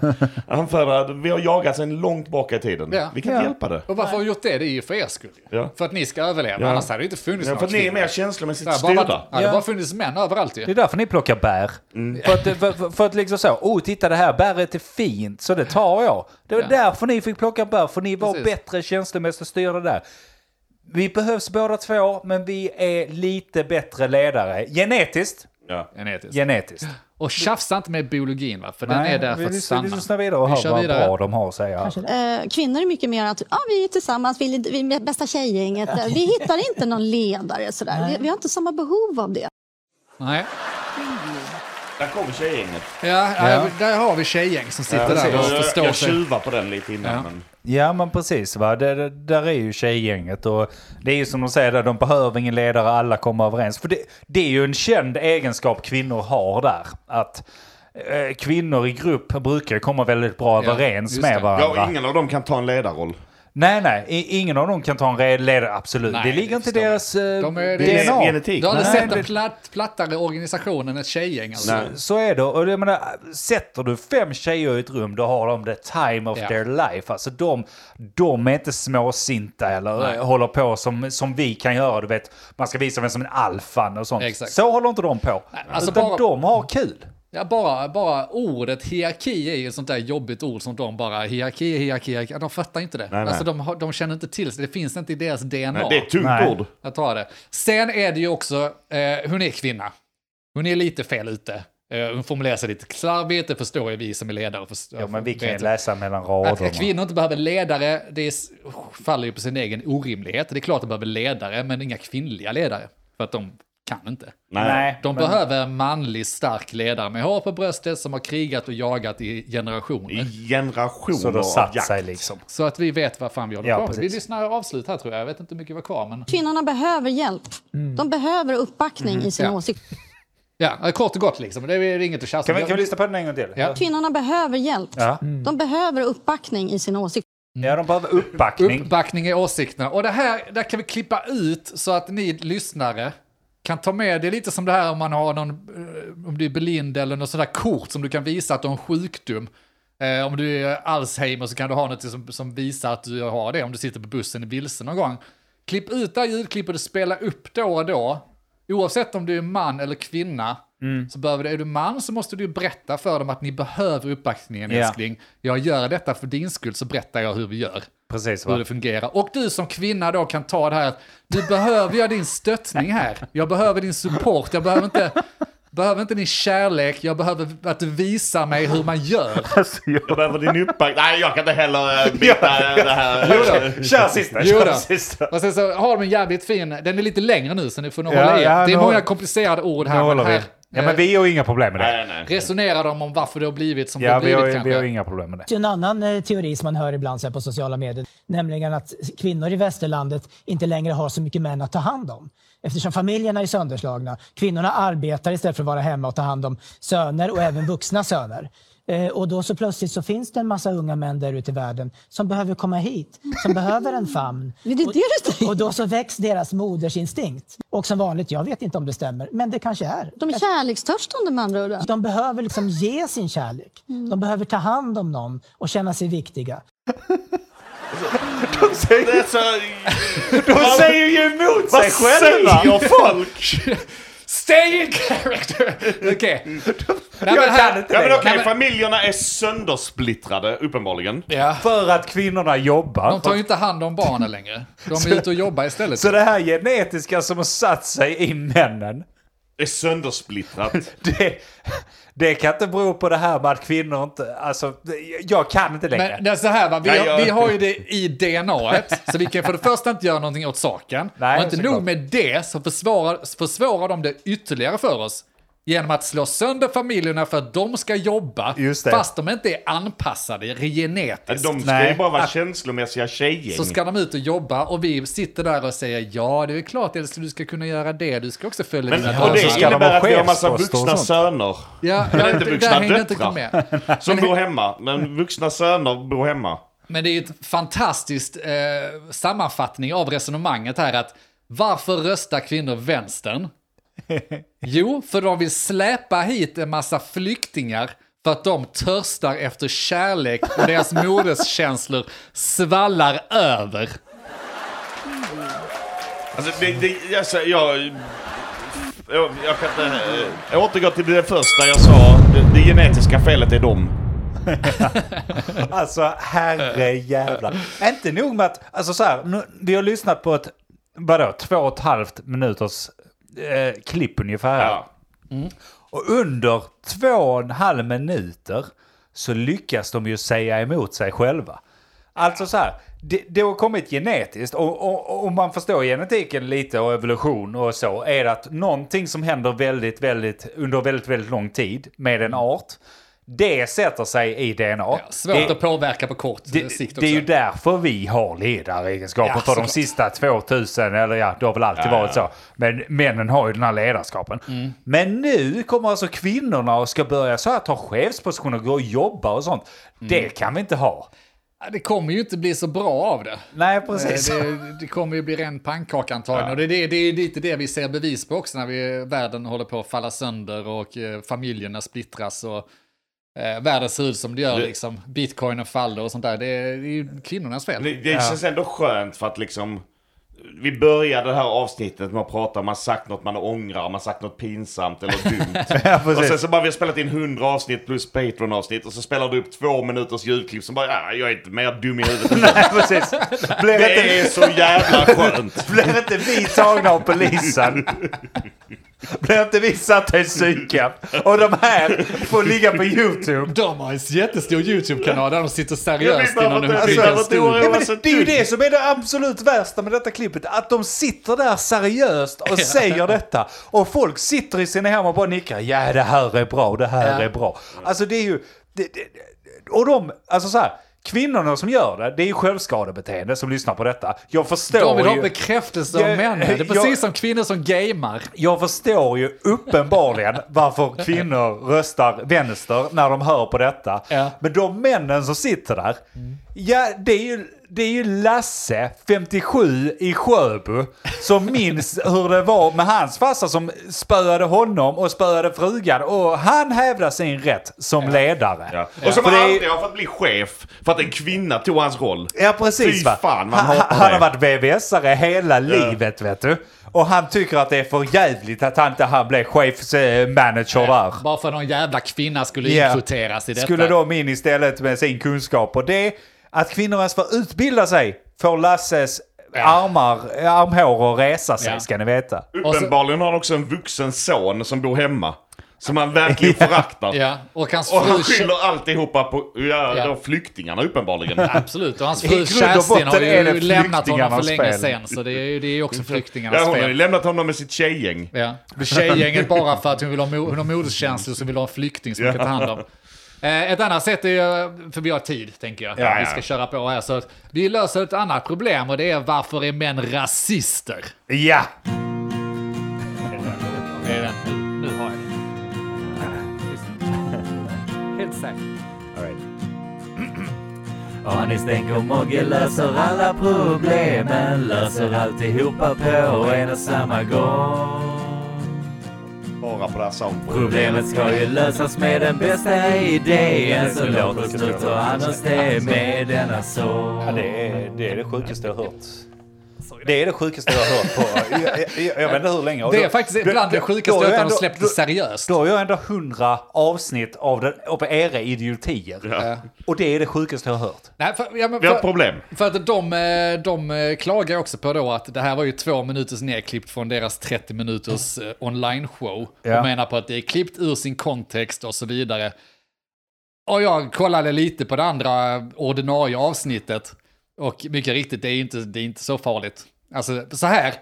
S4: anförare. Vi har jagat sedan långt bak i tiden.
S3: Ja.
S4: Vi kan
S1: Ja.
S4: inte hjälpa det.
S3: Och varför har vi gjort det? Det är ju för er skull. ju.
S4: Ja.
S3: För att ni ska överleva,
S4: Ja.
S3: annars hade det inte funnits
S4: Ja,
S3: någon
S4: för att ni är
S3: krig.
S4: mer
S3: Det
S4: känslomässigt
S3: har bara, varit-
S4: styrda.
S3: ja, det har
S1: Ja.
S3: bara funnits män överallt
S1: Det
S3: ju.
S1: är därför ni plockar bär.
S3: Mm.
S1: För, att, för, för- för att liksom så, oh titta det här bäret är fint så det tar jag. Det var
S3: Ja.
S1: därför ni fick plocka bär, för ni var
S3: Precis.
S1: bättre känslomässigt styrda där. Vi behövs båda två, men vi är lite bättre ledare. Genetiskt.
S4: Ja.
S3: Genetiskt.
S1: Genetiskt.
S3: Och tjafsa inte med biologin va, för den
S1: Nej,
S3: är
S1: vi,
S3: där för att
S1: vi,
S3: stanna.
S1: Vi lyssnar vidare och
S3: Vi
S1: hör
S3: kör
S1: vad
S3: vidare.
S1: bra de har att säga.
S5: Kanske det.
S6: Eh, Kvinnor är mycket mer att ja, vi är tillsammans, vi är, vi är bästa tjejgänget. Vi hittar inte någon ledare. Sådär. Vi, vi har inte samma behov av det.
S3: Nej.
S4: Där kommer tjejgänget.
S3: Ja,
S1: Ja.
S3: Där har vi tjejgäng som sitter
S4: Jag,
S3: där och
S4: jag,
S3: förstår
S4: jag
S3: sig.
S4: tjuvar på den lite innan.
S3: Ja.
S4: Men...
S1: Ja men precis va, det, det, där är ju tjejgänget och det är ju som de säger där, de behöver ingen ledare, alla kommer överens. För det, det är ju en känd egenskap kvinnor har där, att eh, kvinnor i grupp brukar ju komma väldigt bra
S3: Ja,
S1: överens
S3: just
S1: med
S3: det.
S1: varandra.
S4: Ja, och ingen av dem kan ta en ledarroll.
S1: Nej nej, i- ingen av dem kan ta en red ledare, absolut.
S3: Nej,
S1: det
S3: det
S1: ligger inte i
S3: förstår jag.
S1: deras eh,
S3: De är-
S1: DNA.
S3: det är
S4: genetik.
S3: Du har aldrig
S1: Nej,
S3: sett en
S1: det-
S3: platt, plattare organisation än ett tjejgäng alltså.
S4: Nej.
S1: Så är det. Och jag menar, sätter du fem tjejer i ett rum, då har de the time of
S3: Ja.
S1: their life. Alltså de, de är inte småsinta eller
S3: Nej.
S1: håller på som, som vi kan göra. Du vet, man ska visa vem som är en alfan och sånt.
S3: Exakt.
S1: Så håller inte de på.
S3: alltså
S1: Utan
S3: bara-
S1: de har kul.
S3: Ja, bara, bara ordet hierarki är ju ett sånt där jobbigt ord som de bara hierarki, hierarki, hierarki. Ja, De fattar inte det.
S4: nej.
S3: Alltså de, har- de känner inte till sig. Det finns inte i deras DNA.
S4: Nej, det är ett tungt
S1: Nej.
S4: ord.
S3: Jag tar det. Sen är det ju också, eh, hon är kvinna. Hon är lite fel ute. Eh, hon formulerar sig lite slarvigt, det förstår ju vi som är ledare. Förstår,
S1: Ja, men vi kan ju
S3: vet-
S1: läsa mellan
S3: att
S1: raderna.
S3: kvinnor inte behöver ledare, det är, s- faller ju på sin egen orimlighet. Det är klart att de behöver ledare, men inga kvinnliga ledare. För att de kan inte.
S1: Nej,
S3: De
S1: men-
S3: behöver en manlig stark ledare med hår på bröstet som har krigat och jagat i
S4: I
S3: generationer.
S4: generationer
S1: Så de
S4: av
S1: satt
S4: jakt.
S1: sig liksom.
S3: Så att vi vet vad fan vi håller
S1: Ja,
S3: på med. Vi
S1: precis.
S3: lyssnar avslut här tror jag, jag vet inte hur mycket var kvar men...
S6: Kvinnorna behöver hjälp. De behöver uppbackning i sina
S3: Ja.
S6: åsikter.
S3: Ja, kort och gott liksom, det är inget att tjafsa
S1: Kan
S3: om.
S1: vi, kan vi lyssna på den en gång till?
S3: Ja.
S6: Kvinnorna behöver hjälp.
S1: Ja.
S6: De behöver uppbackning i sina åsikter.
S1: ja, de behöver uppbackning.
S3: Uppbackning i åsikterna. Och det här, där kan vi klippa ut så att ni lyssnare kan ta med, det är lite som det här om man har någon, eh, om du är blind eller något sånt där kort som du kan visa att du har en sjukdom. Eh, om du är Alzheimer så kan du ha något som, som visar att du har det, om du sitter på bussen i vilsen någon gång. Klipp ut det här ljudklippet och spela upp då och då. Oavsett om du är man eller kvinna,
S1: Mm.
S3: så behöver du, är du man så måste du berätta för dem att ni behöver uppbackningen
S1: Ja.
S3: älskling. Jag gör detta för din skull så berättar jag hur vi gör
S1: Precis
S3: hur
S1: va?
S3: det fungerar. Och du som kvinna då kan ta det här att du behöver jag din stöttning här. Jag behöver din support. Jag behöver inte, behöver inte din kärlek. Jag behöver att du visar mig hur man gör.
S4: Jag behöver din uppback. Nej, jag kan inte heller eh, byta eh, det här.
S1: Kör sista,
S3: Jo
S1: kör
S3: då.
S1: sista.
S3: Och sen så har de en jävligt fin, den är lite längre nu så ni får nog
S1: Ja,
S3: hålla i
S1: ja,
S3: er. Det är
S1: nu-
S3: många komplicerade ord
S1: Nu
S3: här.
S1: håller
S3: Men
S1: vi.
S3: här eh,
S1: Ja, men vi har ju inga problem med det.
S4: Nej, nej.
S3: resonerar de om varför det har blivit som det
S1: Ja,
S3: har
S1: vi
S3: blivit
S1: har, vi har
S3: kanske.
S1: inga problem med det.
S5: Det är en annan eh, teori som man hör ibland så här, på sociala medier, nämligen att kvinnor i västerlandet inte längre har så mycket män att ta hand om. Eftersom familjerna är sönderslagna. Kvinnorna arbetar istället för att vara hemma och ta hand om söner och även vuxna söner. Eh, och då så plötsligt så finns det en massa unga män där ute i världen som behöver komma hit, som behöver en famn.
S6: Men det är det du säger.
S5: och, och då så väcks deras modersinstinkt. Och som vanligt, jag vet inte om det stämmer, men det kanske är.
S6: De är kärlekstörstande med andra ord.
S5: De behöver liksom ge sin kärlek. De behöver ta hand om någon och känna sig viktiga.
S4: Det är så...
S1: De säger ju emot sig själva!
S4: Säger folk!
S3: Stay in character! Okej. Nej, men
S1: Jag
S3: här-
S1: kan inte
S4: Ja, men okej,
S1: det.
S3: Nej, men-
S4: familjerna är söndersplittrade, uppenbarligen.
S3: Ja.
S1: För att kvinnorna jobbar.
S3: De tar ju inte hand om barnen längre. De är ute och jobbar istället.
S1: Så det här genetiska som har satt sig i männen,
S4: Är söndersplittrat.
S1: det, det kan inte bero på det här med att kvinnor inte... Alltså, jag kan inte längre.
S3: Men det är så här, va? Vi,
S4: Nej, jag-
S3: vi har ju det i DNA, så vi kan för det första inte göra någonting åt saken.
S1: Nej,
S3: och inte
S1: såklart.
S3: nog med det så försvårar, försvårar de det ytterligare för oss. Genom att slå sönder familjerna för att de ska jobba,
S1: Just det.
S3: fast de inte är anpassade genetiskt.
S4: De ska
S1: Nej.
S4: ju bara vara känslomässiga tjejgäng.
S3: Så ska de ut och jobba och vi sitter där och säger ja, det är klart älskling, du ska kunna göra det, du ska också följa
S4: Men,
S3: dina
S4: och det
S1: så ska de
S4: innebär
S1: ha
S4: att vi har massa
S1: chefsposter och
S4: vuxna
S1: sånt.
S4: söner.
S3: Ja,
S4: Men
S3: ja,
S4: inte
S3: det-
S4: vuxna
S3: där hängde inte
S4: döttrar.
S3: med.
S4: Som bor hemma. Men vuxna söner bor hemma.
S3: Men det är ju ett fantastiskt eh, sammanfattning av resonemanget här att varför röstar kvinnor vänstern? Jo, för de vill släpa hit en massa flyktingar för att de törstar efter kärlek och deras moderskänslor svallar över.
S4: Alltså, det, det, alltså, jag, jag... Jag kan inte... eh, Jag återgår till det första jag sa. Det, det genetiska felet är dem.
S1: Alltså herrejävlar. Inte nog med att, alltså så här, nu, vi har lyssnat på ett, vadå, två och ett halvt minuters eh, klipp ungefär. här.
S4: Ja.
S1: Och under två och en halv minuter så lyckas de ju säga emot sig själva. Alltså så här, det, det har kommit genetiskt och, och, och man förstår genetiken lite och evolution och så är det att någonting som händer väldigt, väldigt, under väldigt, väldigt lång tid med en art, det sätter sig i DNA.
S3: Ja, svårt
S1: det,
S3: att påverka på kort eh, sikt
S1: det,
S3: också.
S1: det är ju därför vi har ledaregenskaper
S3: Ja,
S1: för de
S3: såklart.
S1: sista 2000, eller ja, det har väl alltid varit så. Men männen har ju den här ledarskapen. Men nu kommer alltså kvinnorna och ska börja så här ta chefspositioner, gå och jobba och sånt. Det kan vi inte ha.
S3: Ja, Det kommer ju inte bli så bra av det.
S1: Nej,
S3: Eh,
S1: precis.
S3: Det, det kommer ju bli ren pannkaka antagligen. Och det, är det, det är ju lite det vi ser bevis på också när vi, världen håller på att falla sönder och eh, familjerna splittras och eh, världen ser ut som det gör.
S4: Det-
S3: Liksom. Bitcoinen faller och sånt där. Det är, det är ju kvinnornas fel.
S4: Det, det känns ändå skönt för att liksom... Vi började det här avsnittet med att prata om man sagt något man ångrar, man sagt något pinsamt eller dumt.
S1: Ja, precis.
S4: och sen så bara vi har spelat in 100 avsnitt plus Patreon-avsnitt och så spelar du upp två minuters ljudklipp som bara ja, jag är inte mer dum i huvudet än du."
S1: Nej, precis. Blev inte,
S4: Det är så jävla skönt.
S1: blev inte vi tagna av polisen? Blev inte vi satta i psykhem? Och de här får ligga på YouTube.
S3: De har en jättestor YouTube-kanal där de sitter
S4: Jag
S3: seriöst
S4: vet bara
S3: innan de
S4: vad det-
S3: bygger en
S4: alltså,
S3: studio.
S1: Ja, men det, det är ju det som är det absolut värsta med detta klippet. Att de sitter där seriöst och säger detta. Och folk sitter i sina hem och bara nickar. Ja, det här är bra, det här
S3: Ja.
S1: är bra. Alltså det är ju... Det, det, det- och de, alltså så här. Kvinnorna som gör det, det är ju självskadebeteende som lyssnar på detta. Jag förstår
S3: De vill ha
S1: ju...
S3: bekräftelse av
S1: Jag-
S3: männen. Det är
S1: jag-
S3: precis som kvinnor som gamer.
S1: Jag förstår ju uppenbarligen varför kvinnor röstar vänster när de hör på detta.
S3: Ja.
S1: Men de männen som sitter där, ja det är ju, det är ju Lasse, 57, i Sjöbo, som minns hur det var med hans farsa som spöade honom och spöade frugan. Och han hävdar sin rätt som ledare.
S4: Ja. Och som
S1: För det är-
S4: aldrig har fått bli chef för att en kvinna tog hans roll.
S1: Ja precis
S4: Fy
S1: va.
S4: fan, man
S1: han,
S4: hatar
S1: han har
S4: det.
S1: varit VVS-are hela livet vet du. Och han tycker att det är för jävligt att han inte han blev chefsmanager där.
S3: Bara för att någon jävla kvinna skulle
S1: Ja.
S3: inkvoteras i detta.
S1: Skulle de in istället med sin kunskap. Och det, att kvinnor ens får utbilda sig, får Lasses armar, armhåror resa sig
S3: Ja.
S1: ska ni veta.
S4: Uppenbarligen har han också en vuxen son som bor hemma. Som han verkligen föraktar.
S3: Ja, och hans
S4: Och han
S3: fru...
S4: skyller alltihopa på ja,
S3: Ja.
S4: då flyktingarna uppenbarligen.
S3: Absolut, och hans
S1: I
S3: fru
S1: grund och
S3: Kerstin har
S1: botten är det
S3: ju lämnat honom för
S1: flyktingarnas
S3: länge
S1: fel.
S3: sen. Så det är ju det är ju också
S4: Ja,
S3: flyktingarnas
S4: hon har ju
S3: fel.
S4: lämnat honom med sitt tjejgäng.
S3: Ja. Tjejgänget bara för att hon vill ha, mo- hon har moderskänslor så vill ha en flykting som hon kan ta hand om. Eh, Ett annat sätt är ju, för vi har tid tänker jag,
S4: Ja,
S3: vi
S4: ja.
S3: ska köra på här. Så att vi löser ett annat problem och det är varför är män rasister?
S1: Ja!
S3: Det är den. Nu har jag den.
S7: Anis tänk och Mogge löser alla problemen Löser alltihopa på en och samma gång
S4: Bara på det här soundboardet.
S7: Problemet ska ju lösas med den bästa idén Så låt oss tuta och annars det med denna sång
S1: Ja, det, är, det är det sjukaste jag har hört. Det är det sjukaste jag har hört på... Jag, jag, jag, jag vet inte hur länge. Och
S3: Det
S1: då-
S3: är faktiskt
S1: då-
S3: bland det
S1: då-
S3: sjukaste
S1: då har
S3: låtarna
S1: jag
S3: de
S1: ändå-
S3: släppte
S1: då-
S3: seriöst.
S1: Då har jag ändå hundra avsnitt av, den, av era idiotier. Och det är det sjukaste jag har hört.
S3: Nej, för, ja, men
S4: Vi har
S3: för-
S4: ett problem.
S3: För att de, eh, de eh, klagar också på då att det här var ju två minuters nedklippt från deras 30 minuters eh, online-show.
S1: Ja.
S3: De menar på att det är klippt ur sin kontext och så vidare. Och jag kollade lite på det andra ordinarie avsnittet. Och mycket riktigt, det är inte, det är inte så farligt. Alltså så här,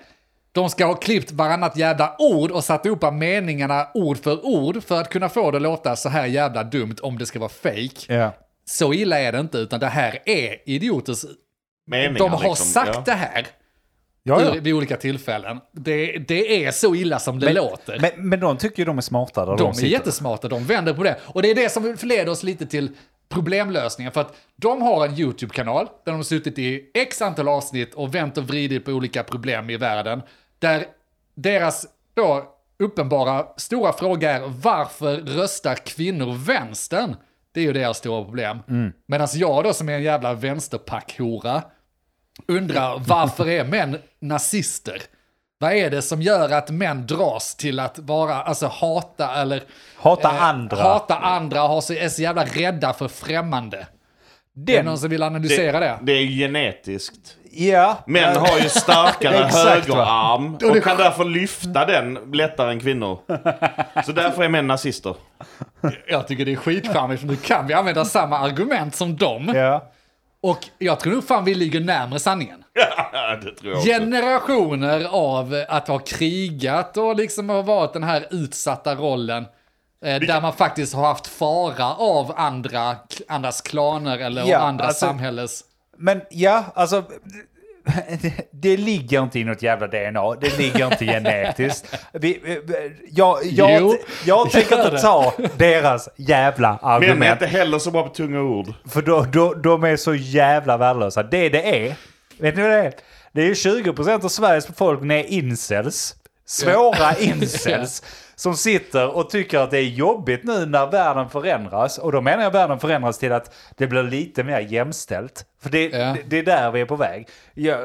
S3: de ska ha klippt varannat jävla ord och satt ihop meningarna ord för ord för att kunna få det att låta så här jävla dumt om det ska vara fake.
S1: Ja.
S3: Så illa är det inte, utan det här är idioters
S4: Meningar,
S3: de har
S4: liksom.
S3: sagt
S4: Ja.
S3: det här
S1: Ja,
S3: ur- vid olika tillfällen. Det, det är så illa som det låter.
S1: Men, men de tycker ju de är smarta där de,
S3: de är
S1: sitter.
S3: jättesmarta, de vänder på det. Och det är det som förleder oss lite till problemlösningen. För att de har en YouTube-kanal där de har suttit i x antal avsnitt och vänt och vridit på olika problem i världen. Där deras då uppenbara stora fråga är varför röstar kvinnor vänstern? Det är ju deras stora problem. Medan jag då som är en jävla vänsterpackhora undrar varför är män nazister? Vad är det som gör att män dras till att vara, alltså hata eller... eh,
S1: Hata andra.
S3: Hata andra, har så, är så jävla rädda för främmande. är det någon som vill analysera det?
S4: Det är genetiskt.
S1: Ja.
S4: Män har ju starkare
S1: Exakt, va?
S4: högerarm och kan därför lyfta den lättare än kvinnor. Så därför är män nazister.
S3: Jag tycker det är skitcharmigt, för nu kan vi använda samma argument som dem.
S1: Ja.
S3: Och jag tror nog fan vi ligger närmare sanningen.
S4: det tror jag också.
S3: Generationer av att ha krigat och liksom har varit den här utsatta rollen. eh, Där man faktiskt har haft fara av andra, andras klaner eller av
S1: Ja,
S3: andra
S1: alltså-
S3: samhälles...
S1: Men ja, alltså... det- Det ligger inte i något jävla DNA, det ligger inte genetiskt. Vi, vi- jag, jag,
S3: Jo,
S1: jag tänker
S3: gör
S1: inte
S3: det.
S1: ta deras jävla
S4: Män är
S1: argument.
S4: inte heller så bra på tunga ord.
S1: För då, då, de är så jävla värdelösa. Det det är, vet ni vad det är? Det är ju 20% av Sveriges befolkning är incels. Svåra incels. Som sitter och tycker att det är jobbigt nu när världen förändras. Och då menar jag världen förändras till att det blir lite mer jämställt. För det,
S3: Ja.
S1: det, det är där vi är på väg. Ja,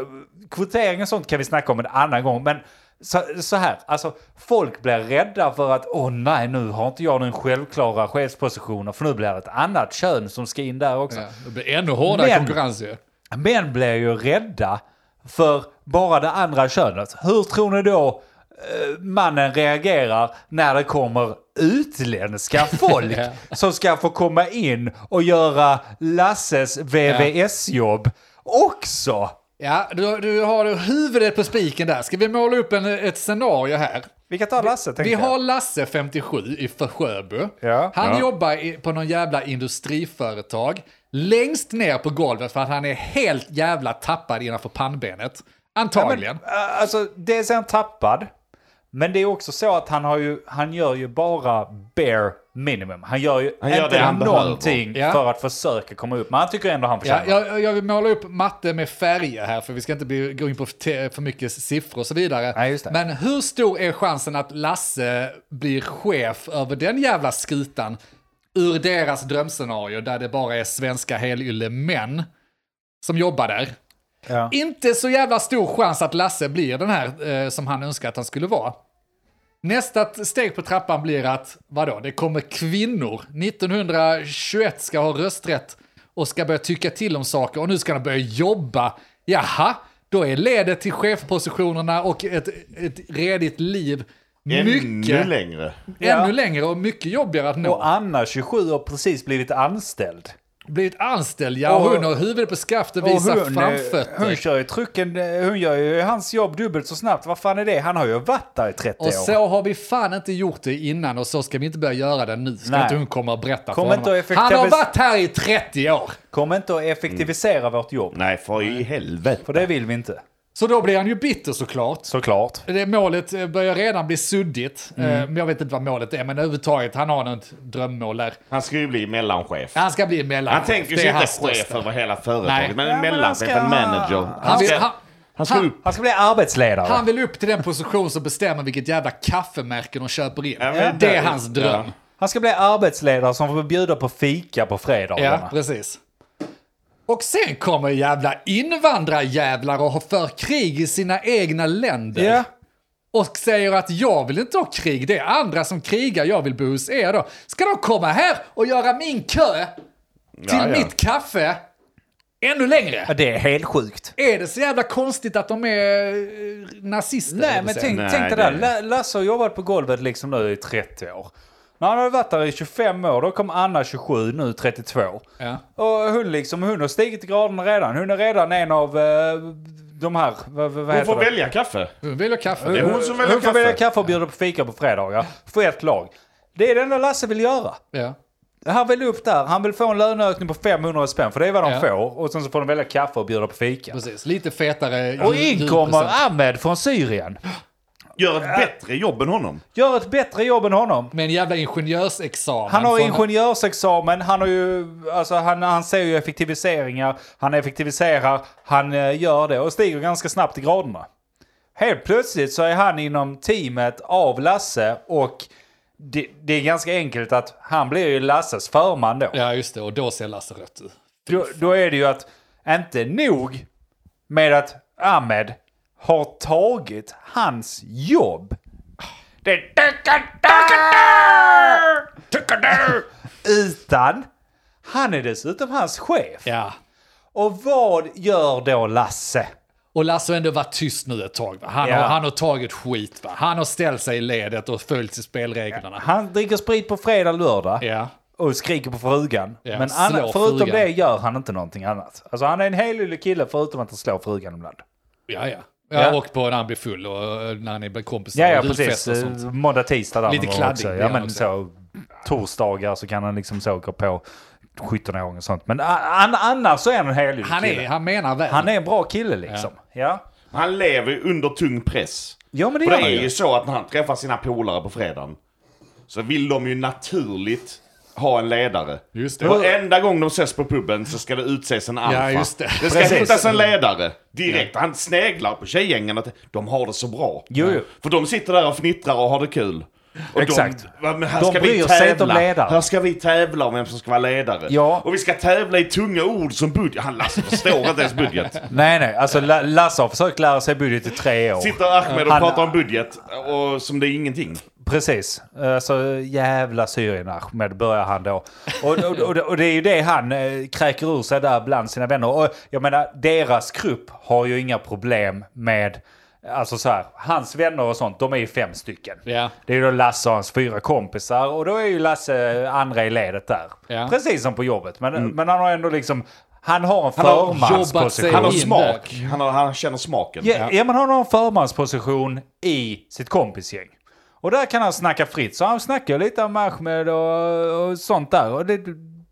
S1: kvotering och sånt kan vi snacka om en annan gång. Men så, så här, alltså folk blir rädda för att åh nej, nu har inte jag den självklara chefspositionen för nu blir det ett annat kön som ska in där också.
S3: Ja, det blir ännu hårdare
S1: Men-
S3: konkurrens ju.
S1: Män blir ju rädda för bara det andra könet. Hur tror ni då eh, mannen reagerar när det kommer utländska folk som ska få komma in och göra Lasses VVS-jobb också?
S3: Ja, du, du har huvudet på spiken där. Ska vi måla upp en, ett scenario här?
S1: Vi kan ta Lasse, tänkte
S3: Vi har Lasse, 57, i För- Sjöbo.
S1: Ja.
S3: han
S4: Ja.
S3: jobbar i, på någon jävla industriföretag. Längst ner på golvet för att han är helt jävla tappad innanför pannbenet. Antagligen.
S1: jag. Eh, Alltså, dels är han tappad, men det är också så att han, har ju, han gör ju bara bare minimum. Han gör ju
S4: gör
S1: inte
S4: det han behöver.
S1: någonting
S3: Ja.
S1: för att försöka komma upp, men han tycker ändå han
S3: Ja,
S1: förtjänar.
S3: jag, jag vill måla upp matte med färger här, för vi ska inte bli, gå in på te, för mycket siffror och så vidare.
S1: Nej, just det.
S3: Men hur stor är chansen att Lasse blir chef över den jävla skutan ur deras drömscenario där det bara är svenska helylle män som jobbar där?
S1: Ja.
S3: Inte så jävla stor chans att Lasse blir den här eh, som han önskar att han skulle vara. Nästa t- steg på trappan blir att, vadå, det kommer kvinnor. 1921 ska ha rösträtt och ska börja tycka till om saker och nu ska de börja jobba. Jaha, då är ledet till chefpositionerna och ett, ett redigt liv mycket,
S4: Ännu
S3: ännu,
S4: längre.
S1: Ja.
S3: längre och mycket jobbigare att nå.
S1: Och Anna, 27, har precis blivit anställd.
S3: Blivit anställd, ja, och
S1: Och-
S3: hon har huvudet på skaftet,
S1: Och
S3: visar
S1: hon, eh,
S3: framfötter.
S1: hon kör ju trucken, eh, hon gör ju hans jobb dubbelt så snabbt. Vad fan är det? Han har ju varit där i 30
S3: Och
S1: år.
S3: så har vi fan inte gjort det innan och så ska vi inte börja göra det nu. Ska
S1: Nej.
S3: inte hon komma och berätta
S1: Kom
S3: för
S1: inte
S3: honom.
S1: och effektivis-
S3: Han har varit här i 30 år.
S1: Kommer inte att effektivisera vårt jobb.
S4: Nej, för i helvete.
S1: För det vill vi inte.
S3: Så då blir han ju bitter såklart.
S1: Såklart.
S3: Det målet eh, börjar redan bli suddigt. Eh,
S4: Mm.
S3: Men jag vet inte vad målet är, men överhuvudtaget, han har något drömmål där.
S4: Han ska ju bli mellanchef.
S3: Han ska bli mellanchef.
S4: Han tänker
S3: Det
S4: sig
S3: är
S4: inte
S3: hans
S4: chef
S3: största.
S4: över hela
S3: Nej.
S4: företaget, men
S1: Ja,
S4: en
S1: men han
S4: mellanchef,
S1: ska-
S4: en manager.
S3: Han
S4: Han
S3: vill,
S4: ska,
S3: han,
S4: han ska
S3: han-
S4: upp.
S1: Han ska bli arbetsledare.
S3: han vill upp till den position som bestämmer vilket jävla kaffemärke de köper in.
S4: Ja, men
S3: det är
S4: där-
S3: hans dröm.
S4: Ja.
S1: Han ska bli arbetsledare som får bjuda på fika på
S3: Ja,
S1: fredagarna.
S3: precis. Och sen kommer jävla invandrarjävlar och har för krig i sina egna länder.
S1: Ja.
S3: Och säger att jag vill inte ha krig, det är andra som krigar, jag vill bo hos er då. Ska de komma här och göra min kö till
S4: Ja, ja.
S3: mitt kaffe ännu längre?
S1: Ja, det är helt sjukt.
S3: Är det så jävla konstigt att de är eh, nazister?
S1: Nej,
S3: höll
S1: men
S3: jag på att
S1: tänk,
S3: säga.
S4: Nej,
S1: tänk det
S4: det-
S1: där. La- Lasse har jobbat på golvet liksom nu i 30 år. När han hade varit där i 25 år, då kom Anna 27, nu 32.
S3: Ja.
S1: Och hon, liksom, hon har stigit i graderna redan. Hon är redan en av eh, de här... Vad, vad
S4: Hon
S1: heter
S4: får
S1: det?
S4: välja kaffe.
S3: Hon vill ha kaffe.
S4: Det är hon som väljer
S1: Hon får välja
S4: kaffe.
S1: kaffe och bjuda på fika på fredagar. För ett lag. Det är det enda Lasse vill göra.
S3: Ja.
S1: Han vill upp där. Han vill få en löneökning på 500 spänn, för det är vad de
S3: Ja.
S1: får. Och sen så får de välja kaffe och bjuda på fika.
S3: Precis, lite fetare.
S1: Och
S3: ljud-
S1: in kommer
S3: ljudpresent.
S1: Ahmed från Syrien.
S4: Gör
S1: Äh.
S4: ett bättre jobb än honom.
S1: Gör ett bättre jobb än honom.
S3: Med en jävla ingenjörsexamen.
S1: Han har
S3: från-
S1: ingenjörsexamen, han, har ju, alltså han, han ser ju effektiviseringar, han effektiviserar, han eh, gör det och stiger ganska snabbt i graderna. Helt plötsligt så är han inom teamet av Lasse och det, det är ganska enkelt att han blir ju Lasses förman då.
S3: Ja, just det. Och då ser Lasse rött ut.
S1: då, då är det ju att inte nog med att Ahmed har tagit hans jobb. Det är Utan han är dessutom hans chef.
S3: Ja.
S1: Och vad gör då Lasse?
S3: Och Lasse har ändå varit tyst nu ett tag. Va? Han,
S1: Ja.
S3: har, han har tagit skit. Va? Han har ställt sig i ledet och följt spelreglerna.
S1: Han dricker sprit på fredag, lördag.
S3: Ja.
S1: och skriker på frugan.
S3: Ja,
S1: men
S3: slår
S1: anna, förutom
S3: frugan.
S1: det gör han inte någonting annat. Alltså han är en helylle kille förutom att han slår frugan ibland.
S3: Ja, ja.
S1: Ja.
S3: Ja, och på när han blir full och eh, när han är med kompisar
S1: Ja, ja
S3: och
S1: precis.
S3: och sånt.
S1: Eh, Måndag, tisdag där
S3: Lite
S1: någon gång
S3: kladdig
S1: också.
S3: blir
S1: Ja,
S3: han
S1: men
S3: också.
S1: så torsdagar så kan han liksom så gå på 17 åring och sånt. Men a- an, annars så är han en helylle
S3: Han, är,
S1: kille.
S3: han menar väl.
S1: Han är en bra kille liksom. Ja, ja.
S4: Han lever ju under tung press.
S1: men det
S4: För
S1: gör
S4: det
S1: han
S4: är ju
S1: ju.
S4: så att när han träffar sina polare på fredagen så vill de ju naturligt ha en ledare.
S3: Just det.
S4: Varenda gång de ses på puben så ska det utses en alfa.
S3: just det.
S4: det ska
S1: Precis.
S4: hittas en ledare direkt. Han sneglar på tjejgängen att de har det så bra.
S1: Jo, jo.
S4: För de sitter där och fnittrar och har det kul. Och
S1: Exakt.
S4: De, va, men här
S1: De
S4: ska vi
S1: bryr sig inte om
S4: tävla.
S1: ledaren.
S4: Här ska vi tävla om vem som ska vara ledare.
S1: Ja.
S4: Och vi ska tävla i tunga ord som budget. Han Lasse förstår inte ens budget.
S1: Nej, nej. Alltså La- Lasse har försökt lära sig budget i tre år.
S4: Sitter Ahmed och
S1: Han-
S4: pratar om budget och som det är ingenting.
S1: Precis. Alltså jävla Syrien Ahmed börjar han då. Och, och, och, och det är ju det han eh, kräker ur sig där bland sina vänner. Och jag menar, deras grupp har ju inga problem med... Alltså så här, hans vänner och sånt, de är ju fem stycken.
S3: Ja.
S1: Det är ju då Lasse och hans fyra kompisar och då är ju Lasse eh, andra i ledet där.
S3: Ja.
S1: Precis som på jobbet. Men, men han har ändå liksom... Han har en
S4: Han har
S3: jobbat
S1: förmansposition.
S3: sig
S4: Han har
S3: in
S4: smak. Han, har, han känner smaken.
S1: Ja, ja. men han har en förmansposition i sitt kompisgäng. Och där kan han snacka fritt. Så han snackar lite om Ahmed och, och sånt där. Och det,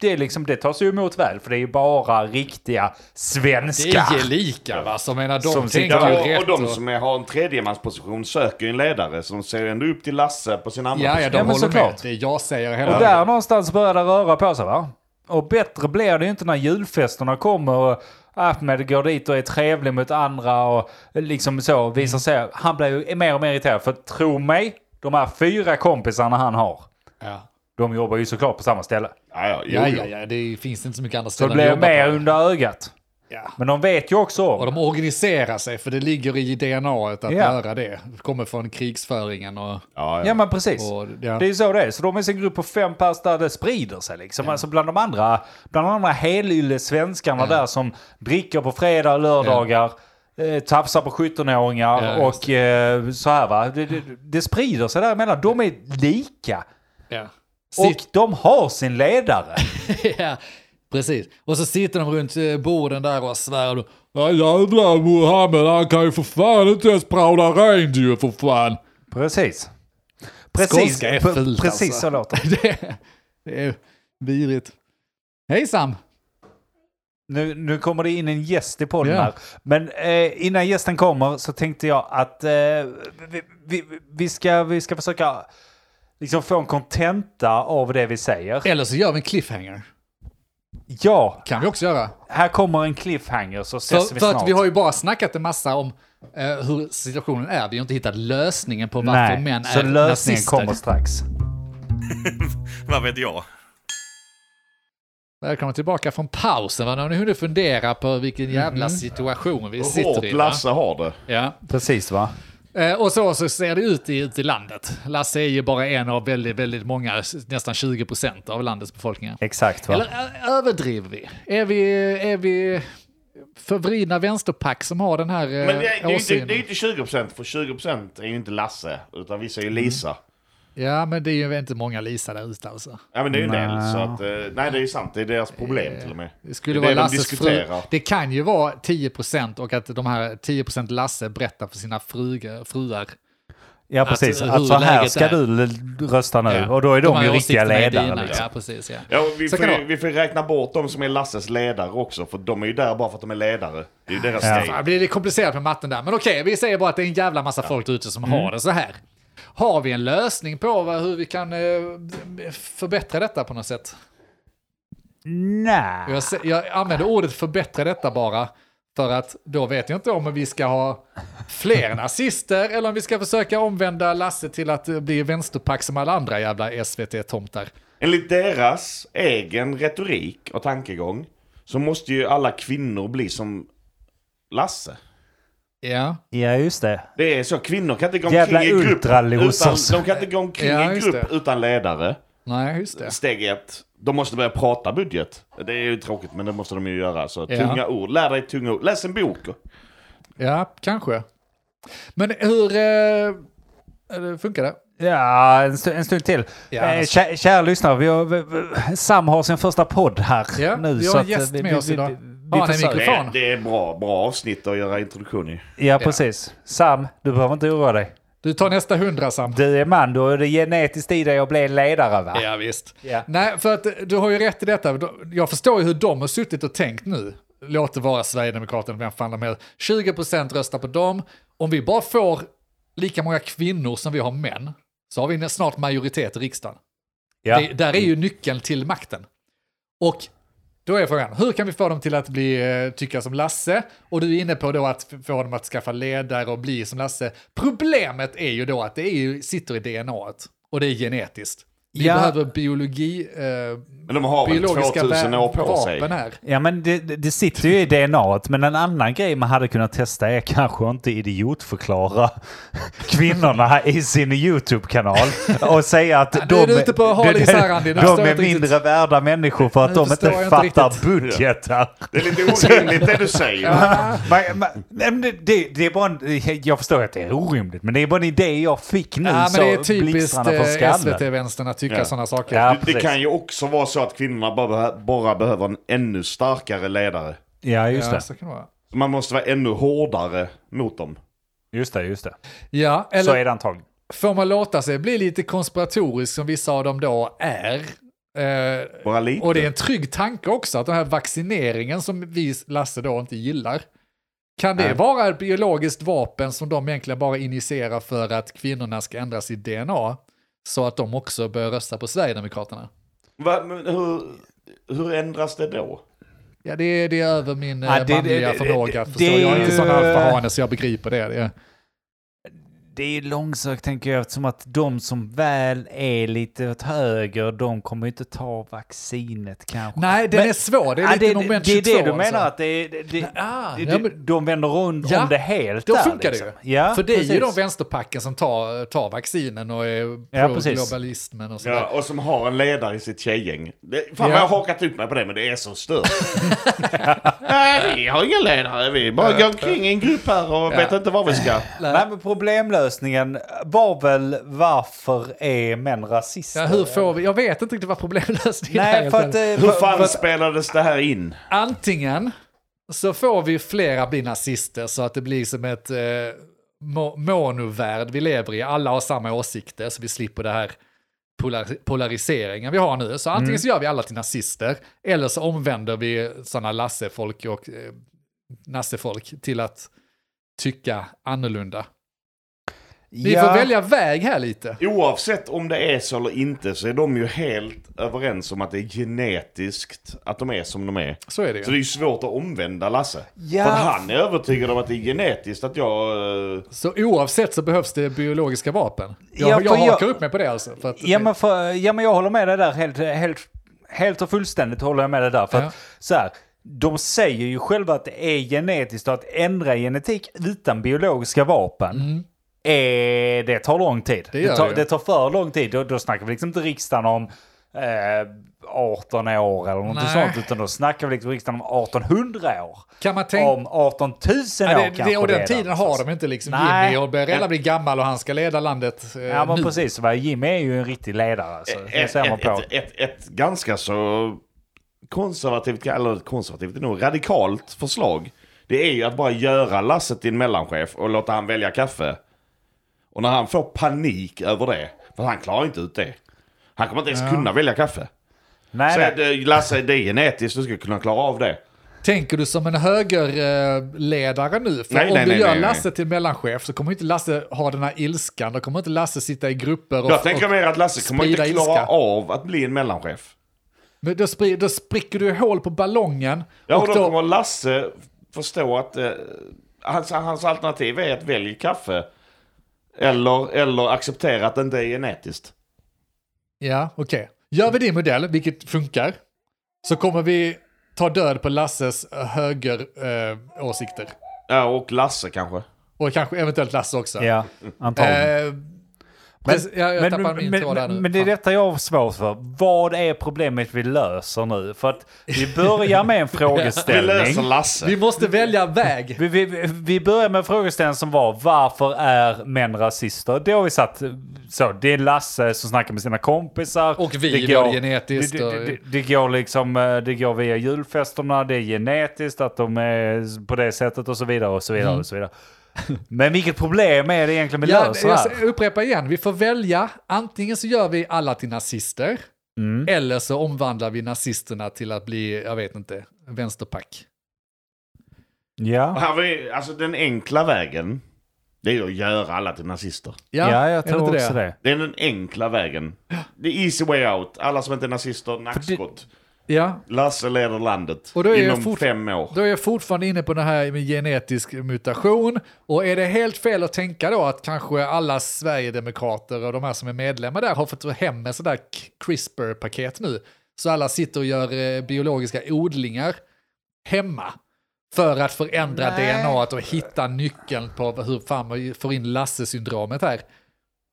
S1: det, är liksom, det tas ju emot väl, för det är ju bara riktiga
S3: Det är
S1: svenskar.
S3: gelika va, som menar de
S1: Som sitter
S3: tänker
S4: Ja,
S3: ju
S4: och, och
S3: rätt.
S4: de som är, har en tredjemansposition söker ju en ledare, så de ser ändå upp till Lasse på sin andra
S3: ja, ja,
S4: position.
S3: de
S1: Ja, men
S3: håller med.
S1: såklart.
S3: Det är jag säger
S1: Och
S3: hela
S1: där någonstans börjar det röra på sig va? Och bättre blir det ju inte när julfesterna kommer och Ahmed går dit och är trevlig mot andra och liksom så visar sig. Han blir ju mer och mer irriterad. För tro mig, de här fyra kompisarna han har,
S3: Ja.
S1: de jobbar ju såklart på samma ställe.
S4: Ja, ja, jo,
S3: Ja,
S4: jo.
S3: ja, ja, det finns inte så mycket andra
S1: Så det
S3: ställen
S1: blir
S3: att
S1: mer
S3: jobba på.
S1: under ögat.
S3: Ja.
S1: Men de vet ju också
S3: Och
S1: om.
S3: de organiserar sig, för det ligger i DNA att
S1: Ja.
S3: göra det. Det kommer från krigsföringen och...
S4: Ja,
S1: Ja
S4: ja.
S1: men precis.
S3: och ja.
S1: Det är ju så det är. Så de är sin grupp på fem pers där det sprider sig liksom. Alltså bland de andra, bland de andra helylle svenskarna där som dricker på fredag och lördagar. eh, Tafsar på 17-åringar
S3: Ja, just
S1: och eh, så här va. Det, det, det sprider sig däremellan. De är lika.
S3: ja.
S1: Och de har sin ledare.
S3: ja, precis. Och så sitter de runt eh, borden där och svär. och- Ja, jävla Mohammed, han kan ju för fan inte ens prata reindeer för fan.
S1: Precis.
S3: Skånska är
S1: Pre-
S3: fult,
S1: Precis
S3: alltså.
S1: så låter det.
S3: Det, det är virigt. Hej Sam!
S1: Nu, nu kommer det in en gäst i podden
S3: Ja.
S1: här. Men eh, innan gästen kommer så tänkte jag att eh, vi, vi, vi, ska, vi ska försöka liksom få en kontenta av det vi säger.
S3: Eller så gör vi en cliffhanger.
S1: Ja,
S3: Kan vi också göra.
S1: här kommer en cliffhanger så ses
S3: För,
S1: vi
S3: för
S1: snart.
S3: att vi har ju bara snackat en massa om eh, hur situationen är. Vi har inte hittat lösningen på varför
S1: Nej,
S3: män
S1: så
S3: är
S1: lösningen
S3: nazister.
S1: kommer strax.
S2: Vad vet jag?
S3: Välkomna tillbaka från pausen. Va? Nu har ni hunnit fundera på vilken jävla situation vi
S4: Hur
S3: sitter
S4: hårt
S3: i. Va?
S4: Lasse har det.
S3: Ja.
S1: Precis va?
S3: Eh, Och så, så ser det ut i, ut i landet. Lasse är ju bara en av väldigt, väldigt många, s- nästan 20 procent av landets befolkningar.
S1: Exakt va?
S3: Eller ö- överdriver vi? Är vi, är vi förvridna vänsterpack som har den här
S4: Men
S3: eh,
S4: det, det, är ju inte,
S3: åsynen?
S4: det är ju inte 20% för 20% är ju inte Lasse, utan vissa är ju Lisa.
S3: Ja, men det är ju inte många Lisa där ute alltså.
S4: Ja men det är ju en del, så att, eh, nej det är ju sant, det är deras problem till och med.
S3: Det skulle
S4: det
S3: vara
S4: är det de
S3: Lasses fru.
S4: diskuterar.
S3: Det kan ju vara 10 procent och att de här 10 procent Lasse berättar för sina fruge, fruar.
S1: Ja precis,
S3: alltså, hur
S1: att så här
S3: läget
S1: ska
S3: är.
S1: du l- rösta nu. Och då är de,
S3: här
S1: ju riktiga
S3: åsikterna är
S1: ledare.
S3: dina.
S1: Liksom.
S3: Ja, precis. Ja.
S4: Ja, och vi,
S3: Så
S4: får,
S3: kan det
S4: ju-
S3: vara.
S4: vi får räkna bort de som är Lasses ledare också, för de är ju där bara för att de är ledare. Det är ju deras
S1: Ja.
S4: grej.
S3: Fan, blir Alltså, det komplicerat med matten där. Men okej, vi säger bara att det är en jävla massa folk där ute som har det så här. Har vi en lösning på vad, hur vi kan eh, förbättra detta på något sätt?
S1: Nej.
S3: Jag, se- jag använder ordet förbättra detta bara för att då vet jag inte om vi ska ha fler nazister eller om vi ska försöka omvända Lasse till att eh, bli vänsterpack som alla andra jävla SVT-tomtar.
S4: Enligt deras egen retorik och tankegång så måste ju alla kvinnor bli som Lasse.
S3: Ja,
S1: Ja just det.
S4: Det är så, kvinnor kan inte gå
S1: Jävla
S4: omkring i grupp utan,
S1: ultralosers.
S4: de kan inte gå omkring
S3: Ja,
S4: i
S3: just
S4: grupp
S3: det.
S4: utan ledare.
S3: nej just det.
S4: Steg ett, de måste börja prata budget. Det är ju tråkigt men det måste de ju göra. Så
S3: Ja.
S4: tunga ord, lär dig tunga ord, läs en bok.
S3: Ja, kanske. Men hur eh, eh, funkar det?
S1: Ja, en, stu- en stund till.
S3: Ja,
S1: eh,
S3: alltså.
S1: kä- kära lyssnare, vi har, vi- vi- Sam har sin första podd här
S3: Ja,
S1: nu.
S3: vi har
S1: så
S3: en
S1: att, eh,
S3: gäst
S1: vi-
S3: med
S1: vi-
S3: oss
S1: vi-
S3: idag.
S1: Vi,
S3: Har han
S1: vi
S3: en
S1: försöker.
S3: mikrofon?
S4: Det, det är bra, bra avsnitt att göra introduktion i.
S1: Ja, precis. Sam, du behöver inte oroa dig.
S3: Du tar nästa hundra Sam.
S1: Du är man, du är det genetiskt i dig att bli en ledare va?
S3: Ja, visst.
S1: Ja.
S3: Nej, för att eh, du har ju rätt i detta. De- Jag förstår ju hur de har suttit och tänkt nu. Låt det vara Sverigedemokraterna, vem fan de är. 20% röstar på dem. Om vi bara får lika många kvinnor som vi har män, så har vi nä- snart majoritet i riksdagen.
S1: Ja.
S3: Det, där är ju nyckeln till makten. Och då är frågan, hur kan vi få dem till att bli, eh, tycka som Lasse? Och du är inne på då att f- få dem att skaffa ledare och bli som Lasse. Problemet är ju då att det är ju, sitter i DNA -et. och det är genetiskt. Vi
S1: Ja.
S3: behöver biologi, eh,
S4: Men de har väl
S3: biologiska
S4: 2000 år på sig?
S3: vapen här.
S1: Ja men det, det det sitter ju i DNA, men en annan grej man hade kunnat testa är kanske att inte idiotförklara kvinnorna i sin YouTube-kanal och säga att
S3: nu
S1: de,
S3: är du ute på hal is här, Andy. Nu
S1: de,
S3: förstår jag
S1: är
S3: inte riktigt.
S1: mindre värda människor för att
S3: Nu
S1: de
S3: förstår jag
S1: inte
S3: inte
S1: fattar
S3: riktigt.
S1: budgetar.
S4: Det är lite orimligt det du säger.
S1: Men, men, nej, men det, det, det är bara en, jag förstår att det är orimligt, men det är bara en idé jag fick nu.
S3: Ja,
S1: så
S3: men det är typiskt
S1: blixtrarna från
S3: eh,
S1: skallen.
S3: SVT-vänstern att tycka
S4: Ja.
S3: sådana saker.
S1: Ja,
S4: Det
S1: precis.
S4: kan ju också vara så att kvinnorna bara, beh- bara behöver en ännu starkare ledare.
S1: Ja, just
S3: Ja,
S1: det.
S3: så kan det vara.
S4: Man måste vara ännu hårdare mot dem.
S1: Just det, just det.
S3: Ja, eller
S1: Så är det antagligen.
S3: får man låta sig bli lite konspiratorisk som vissa av dem då är. Eh,
S4: Bara lite.
S3: och det är en trygg tanke också, att den här vaccineringen som vi, Lasse, då inte gillar. Kan det vara ett biologiskt vapen som de egentligen bara initierar för att kvinnorna ska ändra sitt DNA? Så att de också börjar rösta på Sverigedemokraterna.
S4: Va, men hur, hur ändras det då?
S3: Ja, det är, det är över min
S1: Ja,
S3: ja,
S1: det-
S3: manliga
S1: det- det-
S3: förmåga.
S1: det-
S3: förstår
S1: det är
S3: jag är inte
S1: ju-
S3: sån alfahane så jag begriper det. det.
S1: Det är ju långsökt tänker jag eftersom att de som väl är lite åt höger, de kommer ju inte ta vaccinet kanske.
S3: Nej, den
S1: Men-
S3: är svår. Det är
S1: Ja,
S3: lite moment 22.
S1: Det är det du menar,
S3: alltså.
S1: att det, är- det, det,
S3: Ah,
S1: det,
S3: ja, men-
S1: de vänder runt
S3: Ja,
S1: om det helt
S3: Då
S1: där,
S3: funkar
S1: liksom.
S3: det ju.
S1: Ja,
S3: För det är ju de
S1: precis.
S3: vänsterpacken som tar, tar vaccinen och är
S1: Ja, precis.
S3: pro-globalismen och sådär.
S4: Ja, och som har en ledare i sitt tjejgäng. Det, fan
S3: Ja.
S4: vad jag har hakat ut mig på det, men det är så stört. Nej, vi har inga ledare. Vi bara går omkring i en grupp här och vet inte vad vi ska.
S1: Nej, men problemlösningen var väl varför är män rasister?
S3: Ja, hur får vi? Jag vet inte riktigt vad problemlösningen
S1: Nej,
S3: är.
S1: för att... eh,
S4: Hur
S1: för- för
S4: fan
S1: att-
S4: spelades det här in?
S3: Antingen så får vi flera bli nazister så att det blir som ett eh, mo- monovärld vi lever i. Alla har samma åsikter så vi slipper det här polar- polariseringen vi har nu. Så
S1: Mm.
S3: antingen så gör vi alla till nazister eller så omvänder vi sådana Lasse-folk och eh, Nasse-folk till att tycka annorlunda. Vi
S1: ja.
S3: får välja väg här lite.
S4: Oavsett om det är så eller inte så är de ju helt överens om att det är genetiskt att de är som de är.
S3: Så är det
S4: Så
S3: ju.
S4: det är ju svårt att omvända Lasse.
S1: Ja.
S4: För han är övertygad om att det är genetiskt att jag... eh,
S3: Så oavsett så behövs det biologiska vapen.
S1: Ja,
S3: Jag, jag
S1: för jag-
S3: hakar upp mig på det alltså. För att
S1: Ja men, för, ja, men jag håller med dig där helt, helt, helt och fullständigt. håller jag med dig där. För
S3: Ja.
S1: att, så här, de säger ju själva att det är genetiskt och att ändra genetik utan biologiska vapen. Eh, det tar lång tid.
S3: Mm. Det gör
S1: tar,
S3: det.
S1: det tar för lång tid. Då, då snackar vi liksom inte riksdagen om eh, 18 år eller någonting
S3: Nej.
S1: sånt. Utan då snackar vi liksom riksdagen om 1800 år.
S3: Kan man tänka-
S1: Om 18 000 år
S3: Ja, det,
S1: kanske
S3: det, och den
S1: redan.
S3: tiden har de inte liksom.
S1: alltså. Nej.
S3: Jimmy och Berella blir gammal och han ska leda landet. eh,
S1: Ja men
S3: nu.
S1: precis, va? Jimmy är ju en riktig ledare. Så det
S4: ett,
S1: ser man
S4: eh, ett,
S1: på.
S4: ett, ett, ett ganska så konservativt, eller konservativt är nog, radikalt förslag. Det är ju att bara göra Lasse till en mellanchef och låta han välja kaffe. Och när han får panik över det, för han klarar inte ut det. Han kommer inte ens kunna välja kaffe.
S1: Nej,
S4: Så
S1: nej.
S4: att, eh, Lasse, det är genetiskt, du ska kunna klara av det.
S3: Tänker du som en högerledare nu? För
S4: Nej,
S3: om
S4: nej,
S3: du
S4: nej,
S3: gör
S4: nej, nej.
S3: Lasse till mellanchef så kommer inte Lasse ha den här ilskan. Då kommer inte Lasse sitta i grupper. Och,
S4: Jag tänker
S3: och,
S4: mer att Lasse kommer inte
S3: sprida
S4: klara
S3: ilska.
S4: av att bli en mellanchef.
S3: men då, spri, då spricker du hål på ballongen.
S4: Ja, och
S3: och
S4: då kommer Lasse förstå att eh, hans, hans alternativ är att välja kaffe. Eller, eller acceptera att det inte är genetiskt.
S3: ja, okej. Gör vi din modell, vilket funkar, så kommer vi ta död på Lasses eh, högeråsikter.
S4: Ja, och Lasse kanske.
S3: och kanske eventuellt Lasse också.
S1: Ja, antagligen.
S3: Eh,
S1: Men,
S3: Precis, jag- jag tappar min
S1: men,
S3: tråd här nu.
S1: men det är
S3: Fan.
S1: detta jag har svårt för. Vad är problemet vi löser nu? För att vi börjar med en
S4: Vi löser
S1: frågeställning.
S4: Lasse.
S3: Vi måste välja väg.
S1: Vi, vi, vi börjar med en frågeställning som var varför är män rasister? Det har vi satt så. Det är Lasse som snackar med sina kompisar.
S3: Och vi
S1: det
S3: var genetiskt
S1: Det, det,
S3: och-
S1: det, det, går liksom, eh, det går via julfesterna, det är genetiskt att de är på det sättet och så vidare och så vidare. Och så vidare. Men vilket problem är det egentligen vi
S3: Mm. Ja,
S1: löser här?
S3: jag upprepar igen, vi får välja. Antingen så gör vi alla till nazister,
S1: Mm.
S3: eller så omvandlar vi nazisterna till att bli, jag vet inte, vänsterpack.
S1: Ja.
S4: Här har vi- Alltså den enkla vägen, det är att göra alla till nazister.
S1: Ja,
S3: är
S1: jag
S3: det
S1: tror
S3: inte
S1: också det.
S4: Det är den enkla vägen. The easy way out. Alla som inte är nazister, nackskott.
S3: Ja,
S4: Lasse leder landet
S3: Och då är jag
S4: inom
S3: fort-
S4: fem år.
S3: Då är jag fortfarande inne på den här med genetisk mutation. Och är det helt fel att tänka då att kanske alla Sverigedemokrater och de här som är medlemmar där har fått hem en sån där k- CRISPR-paket nu. Så alla sitter och gör eh, biologiska odlingar hemma. För att förändra DNA och hitta nyckeln på hur fan man får in Lasse-syndromet här.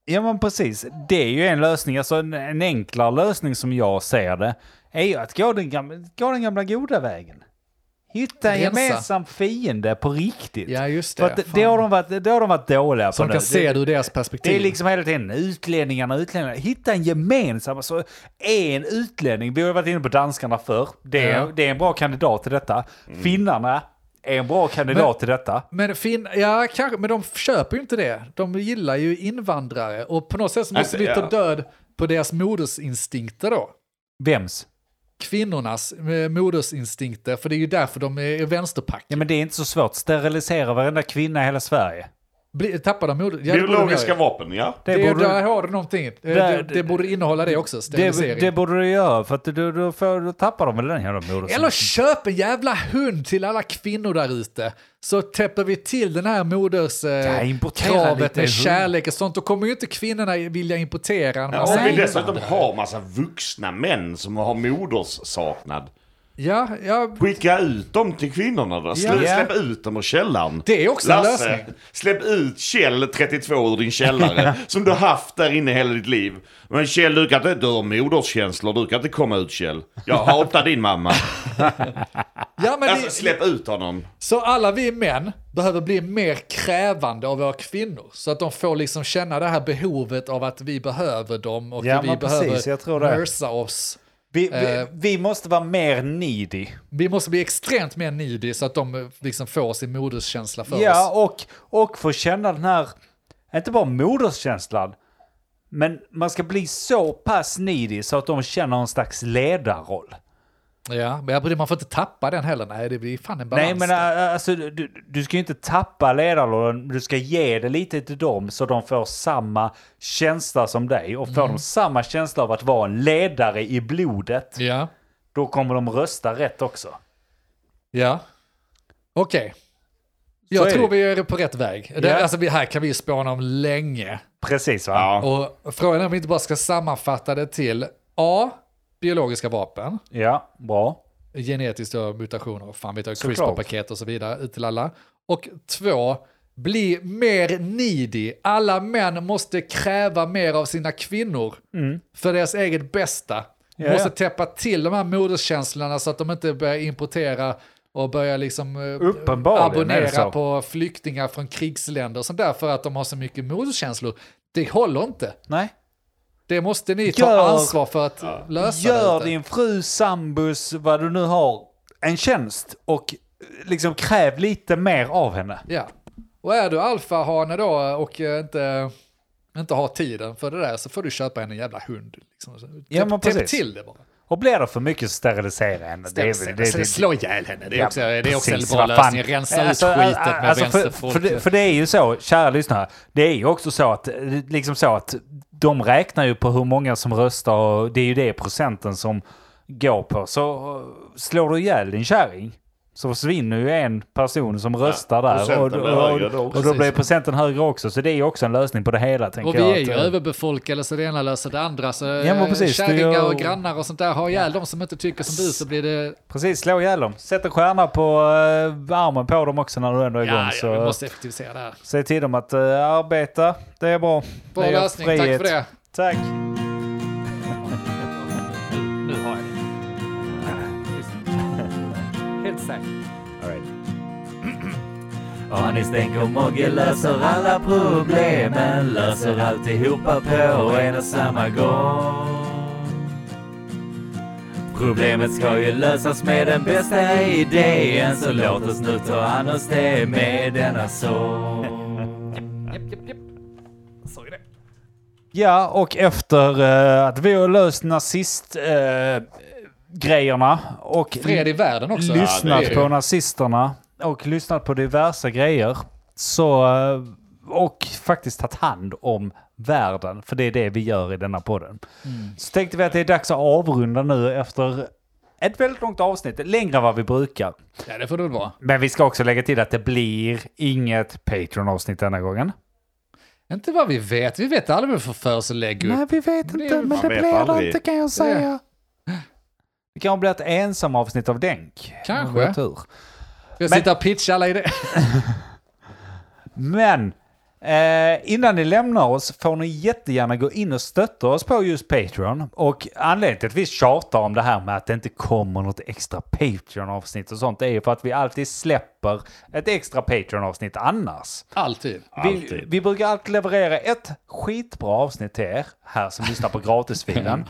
S1: Ja men precis, det är ju en lösning, alltså en, en enklare lösning som jag ser det, är ju att gå den gamla, gå den gamla goda vägen. Hitta en
S3: Rensa.
S1: gemensam fiende på riktigt.
S3: Ja, just
S1: För
S3: det.
S1: att det,
S3: Fan.
S1: det, har de varit, det har de varit dåliga på
S3: Som
S1: nu.
S3: kan se det
S1: det,
S3: ur deras
S1: det
S3: perspektiv.
S1: är liksom hela tiden utlänningarna, utlänningarna. Hitta en gemensam, alltså en utlänning. Vi har ju varit inne på danskarna förr. Det är,
S3: Ja. Mm.
S1: det är en bra kandidat till detta. Finnarna är en bra kandidat
S3: Men-
S1: till detta.
S3: Men, fin, ja, kanske, men de köper ju inte det. De gillar ju invandrare och på något sätt så
S4: Alltså,
S3: måste vi ta
S4: ja.
S3: död på deras modersinstinkter då.
S1: Vems?
S3: Kvinnornas eh, modersinstinkter, för det är ju därför de är vänsterpack.
S1: Ja men det är inte så svårt. Sterilisera varenda kvinna i hela Sverige.
S3: Bli, tappar de moder... Ja, det borde de
S4: Biologiska
S3: göra.
S4: vapen, ja.
S1: Det
S3: Det är,
S1: borde-
S3: där har du någonting. Eh, det,
S1: Där-
S3: det borde innehålla det också,
S1: Det,
S3: sterilisering.
S1: det borde du göra, för att du, du, får, du tappar dem väl den jävla modersen.
S3: Eller köp en jävla hund till alla kvinnor där ute. Så täpper vi till den här moders... eh,
S1: Ja, importera lite
S3: kravet med
S1: hund.
S3: kärlek och sånt. Då kommer ju inte kvinnorna vilja importera en
S4: Om vi
S3: invandrare.
S4: dessutom har massa vuxna män som har moderssaknad.
S3: Ja, ja,
S4: Skicka ut dem till kvinnorna då. Slä,
S1: Ja.
S4: Släpp ut dem ur källaren.
S3: Det är också en lösning.
S4: släpp ut Kjell 32 ur din källare. som du haft där inne hela ditt liv. Men Kjell, du kan inte, du har moderskänslor, du kan inte komma ut Kjell. Jag hatar din mamma.
S3: Ja, men
S4: Alltså
S3: det,
S4: släpp ut honom.
S3: Så alla vi män behöver bli mer krävande av våra kvinnor. Så att de får liksom känna det här behovet av att vi behöver dem och
S1: Ja,
S3: vi
S1: men
S3: behöver
S1: precis, jag tror det.
S3: nursa oss.
S1: vi,
S3: eh.
S1: vi, vi måste vara mer needy.
S3: Vi måste bli extremt mer needy så att de eh, liksom får sin moderskänsla för
S1: Ja,
S3: oss.
S1: och, och få känna den här, inte bara moderskänslan, men man ska bli så pass needy så att de känner en slags ledarroll.
S3: Ja, men jag- man får inte tappa den heller. Nej, det blir fan en balans.
S1: Nej, men
S3: där.
S1: äh, alltså, du, du ska ju inte tappa ledarrollen, du ska ge det lite till dem så de får samma känsla som dig. Och får
S3: Mm.
S1: de samma känsla av att vara en ledare i blodet,
S3: Ja,
S1: då kommer de rösta rätt också.
S3: ja. Okej.
S1: Så
S3: Jag
S1: är
S3: tror
S1: det.
S3: vi är på rätt väg. Det,
S1: Ja.
S3: alltså, vi, här kan vi spåna om länge.
S1: Precis va?
S4: Ja.
S3: Och frågan är om vi inte bara ska sammanfatta det till A. Biologiska vapen.
S1: Ja, bra.
S3: genetiskt och mutationer, fan vet jag,
S1: Såklart.
S3: CRISPR-paket och så vidare ut till alla. Och två, bli mer needy. Alla män måste kräva mer av sina kvinnor för deras eget bästa.
S1: Mm. Ja,
S3: måste
S1: ja.
S3: täppa till de här moderskänslorna så att de inte börjar importera och börjar liksom eh,
S1: Uppenbarligen är det
S3: abonnera
S1: så.
S3: på flyktingar från krigsländer och sånt där för att de har så mycket moderskänslor. Det håller inte.
S1: Nej.
S3: Det måste ni ta
S1: Gör-
S3: ansvar för att lösa. där
S1: Gör
S3: ute.
S1: din fru, sambus, vad du nu har, en tjänst och eh, liksom kräv lite mer av henne.
S3: Ja. Och är du alfahane då och eh, inte, inte har tiden för det där så får du köpa en jävla hund. Liksom. Så
S1: Ja,
S3: täpp-
S1: men
S3: täpp
S1: precis.
S3: till det bara. alltså,
S1: Och blir det för mycket så sterilisera henne. Det är- det- det-
S3: Slå ihjäl henne, det är
S1: Ja,
S3: också, det är också en
S1: precis,
S3: bra
S1: vad fan.
S3: lösning. Rensa ut
S1: Alltså,
S3: skitet med
S1: alltså, för, för, det,
S3: vänsterfolket.
S1: för det är ju så, kära lyssnare, det är ju också så att, eh, liksom så att de räknar ju på hur många som röstar äh, och det är ju det procenten som går på. Så eh, slår du ihjäl din kärring, så försvinner ju en person som röstar där.
S4: procenten
S1: Och,
S4: blir högre då
S1: och, och,
S4: också.
S1: då blir
S3: Precis.
S1: procenten högre också. Så det är ju också en lösning på det hela tänker
S3: Och vi
S1: jag.
S3: är ju
S1: att, eh,
S3: överbefolkade så det ena löser det andra. Så
S1: men
S3: eh,
S1: precis, det är ju-
S3: kärringar och grannar och sånt där har ihjäl de som inte tycker som du så blir det...
S1: Precis, slå ihjäl dem. Sätt en stjärna på eh, armen på dem också när du ändå är igång.
S3: Ja,
S1: så
S3: ja, vi måste effektivisera det här.
S1: Säg till dem att eh, arbeta, det är bra.
S3: Bra
S1: det ger
S3: lösning, tack för det.
S1: Tack.
S3: Nu har jag det.
S7: Helt säkert. Anis tänker och Mogge löser alla problemen, löser alltihopa på en och samma gång. Problemet ska ju lösas med den bästa idén, så låt oss nu ta an oss det med denna sång.
S1: Ja, och efter eh, att vi har löst
S7: eh,
S1: nazistgrejerna och
S3: Fred i världen också.
S1: lyssnat
S3: Ja, det är-
S1: på nazisterna och lyssnat på diverse grejer så, eh, och faktiskt tagit hand om världen, för det är det vi gör i denna podden. Så tänkte vi att det är dags att avrunda nu efter ett väldigt långt avsnitt, längre än vad vi brukar.
S3: Ja, det får det väl vara.
S1: Men vi ska också lägga till att det blir inget Patreon-avsnitt denna gången.
S3: Inte vad vi vet. Vi vet aldrig vad vi får för oss att lägga upp.
S1: vi vet
S3: Det är-
S1: men
S4: man vet aldrig.
S1: kan jag Det kan bli ett ensamavsnitt av Denk.
S3: Kanske.
S1: Om vi har tur.
S3: Jag
S1: men-
S3: sitter och pitchar alla idéer.
S1: Men eh, innan ni lämnar oss får ni jättegärna gå in och stötta oss på just Patreon. Och anledningen till att vi tjatar om det här med att det inte kommer något extra Patreon-avsnitt och sånt är ju för att vi alltid släpper ett extra Patreon-avsnitt annars.
S3: Alltid.
S1: Vi, vi brukar alltid leverera ett skitbra avsnitt till er här som lyssnar på gratisfilen.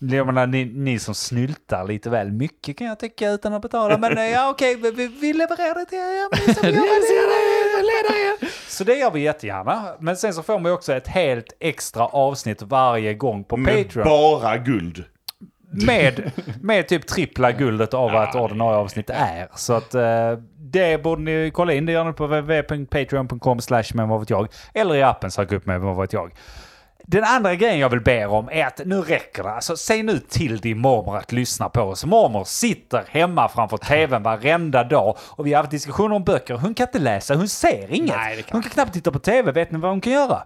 S1: Jag menar, ni, ni som snyltar lite väl mycket kan jag tycka utan att betala. Men eh, ja, okej, vi- vi, vi levererar det till er. Ni som gör det. Så det gör vi jättegärna. Men sen så får man ju också ett helt extra avsnitt varje gång på
S4: Med
S1: Patreon.
S4: bara guld.
S1: Med, med typ trippla guldet av vad ett ordinarie avsnitt är. Så att eh, det borde ni kolla in. Det gör ni på www.patreon.com slash men vad vet jag. Eller i appen sök upp med vad vet jag. Den andra grejen jag vill be er om är att nu räcker det. Alltså, säg nu till din mormor att lyssna på oss. Mormor sitter hemma framför tvn varenda dag och vi har haft diskussioner om böcker. Hon kan inte läsa, hon ser inget.
S3: Nej, det kan
S1: hon kan knappt titta på tv. Vet ni vad hon kan göra?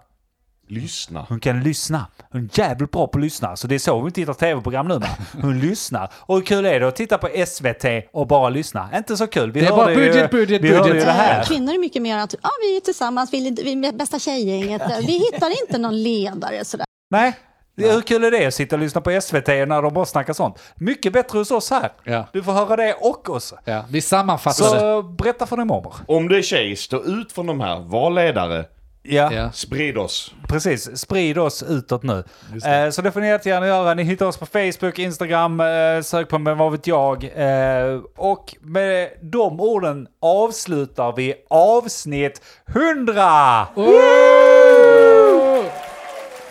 S4: Lyssna.
S1: Hon kan lyssna. Hon är jävligt bra på att lyssna. Så det är så hon tittar tv-program nu med. Hon lyssnar. Och hur kul är det att titta på SVT och bara lyssna? Inte så kul. Vi
S3: Det är
S1: hörde
S3: bara
S1: ju-
S3: budget, budget,
S1: vi hörde ju
S3: budget.
S1: Det här.
S6: Kvinnor är mycket mer att ja, vi är tillsammans, vi är, vi är bästa tjejgänget. Vi hittar inte någon ledare sådär.
S1: Nej. Hur kul är det att sitta och lyssna på SVT när de bara snackar sånt? Mycket bättre hos oss här.
S3: Ja.
S1: Du får höra det och oss.
S3: Ja, vi sammanfattar det.
S1: Så berätta för din mormor.
S4: Om du är tjej, stå ut från de här. Var ledare.
S3: Ja.
S4: Sprid oss.
S1: Precis, sprid oss utåt nu. Eh, så det får ni jättegärna göra. Ni hittar oss på Facebook, Instagram, eh, sök på Men vad vet jag. Eh, och med de orden avslutar vi avsnitt 100!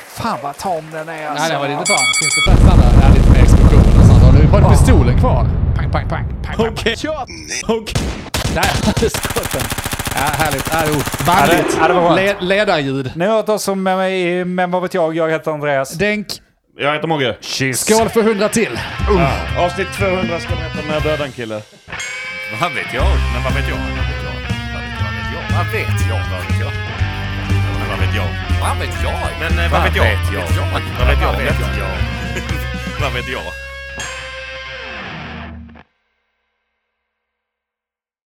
S1: Fan vad tom den är alltså.
S3: Nej, det var lite fan. Finns det plats andra? Ja, lite mer explosioner och sånt. Har du bara pistolen kvar? Pang, pang, pang. pang, pang. Okej. Där hade skotten. Ja, härligt. Ja, jo. Manligt.
S1: Ja, det- ja, det var skönt.
S3: Le- Ledarljud.
S1: Ni har hört oss som med mig i Men vad vet jag. Jag heter Andreas.
S3: Denk.
S4: Jag heter Mogge.
S1: Kyss!
S3: Skål för hundra till.
S1: Oh.
S4: Avsnitt 200 ska ni heta När döda en kille.
S2: Vad vet jag? Men vad vet jag? Vad vet jag? Vad vet jag? Men vad vet jag? Vad vet jag? Men eh, vad vet jag? Vad vet jag? Vad vet jag? Vad vet jag?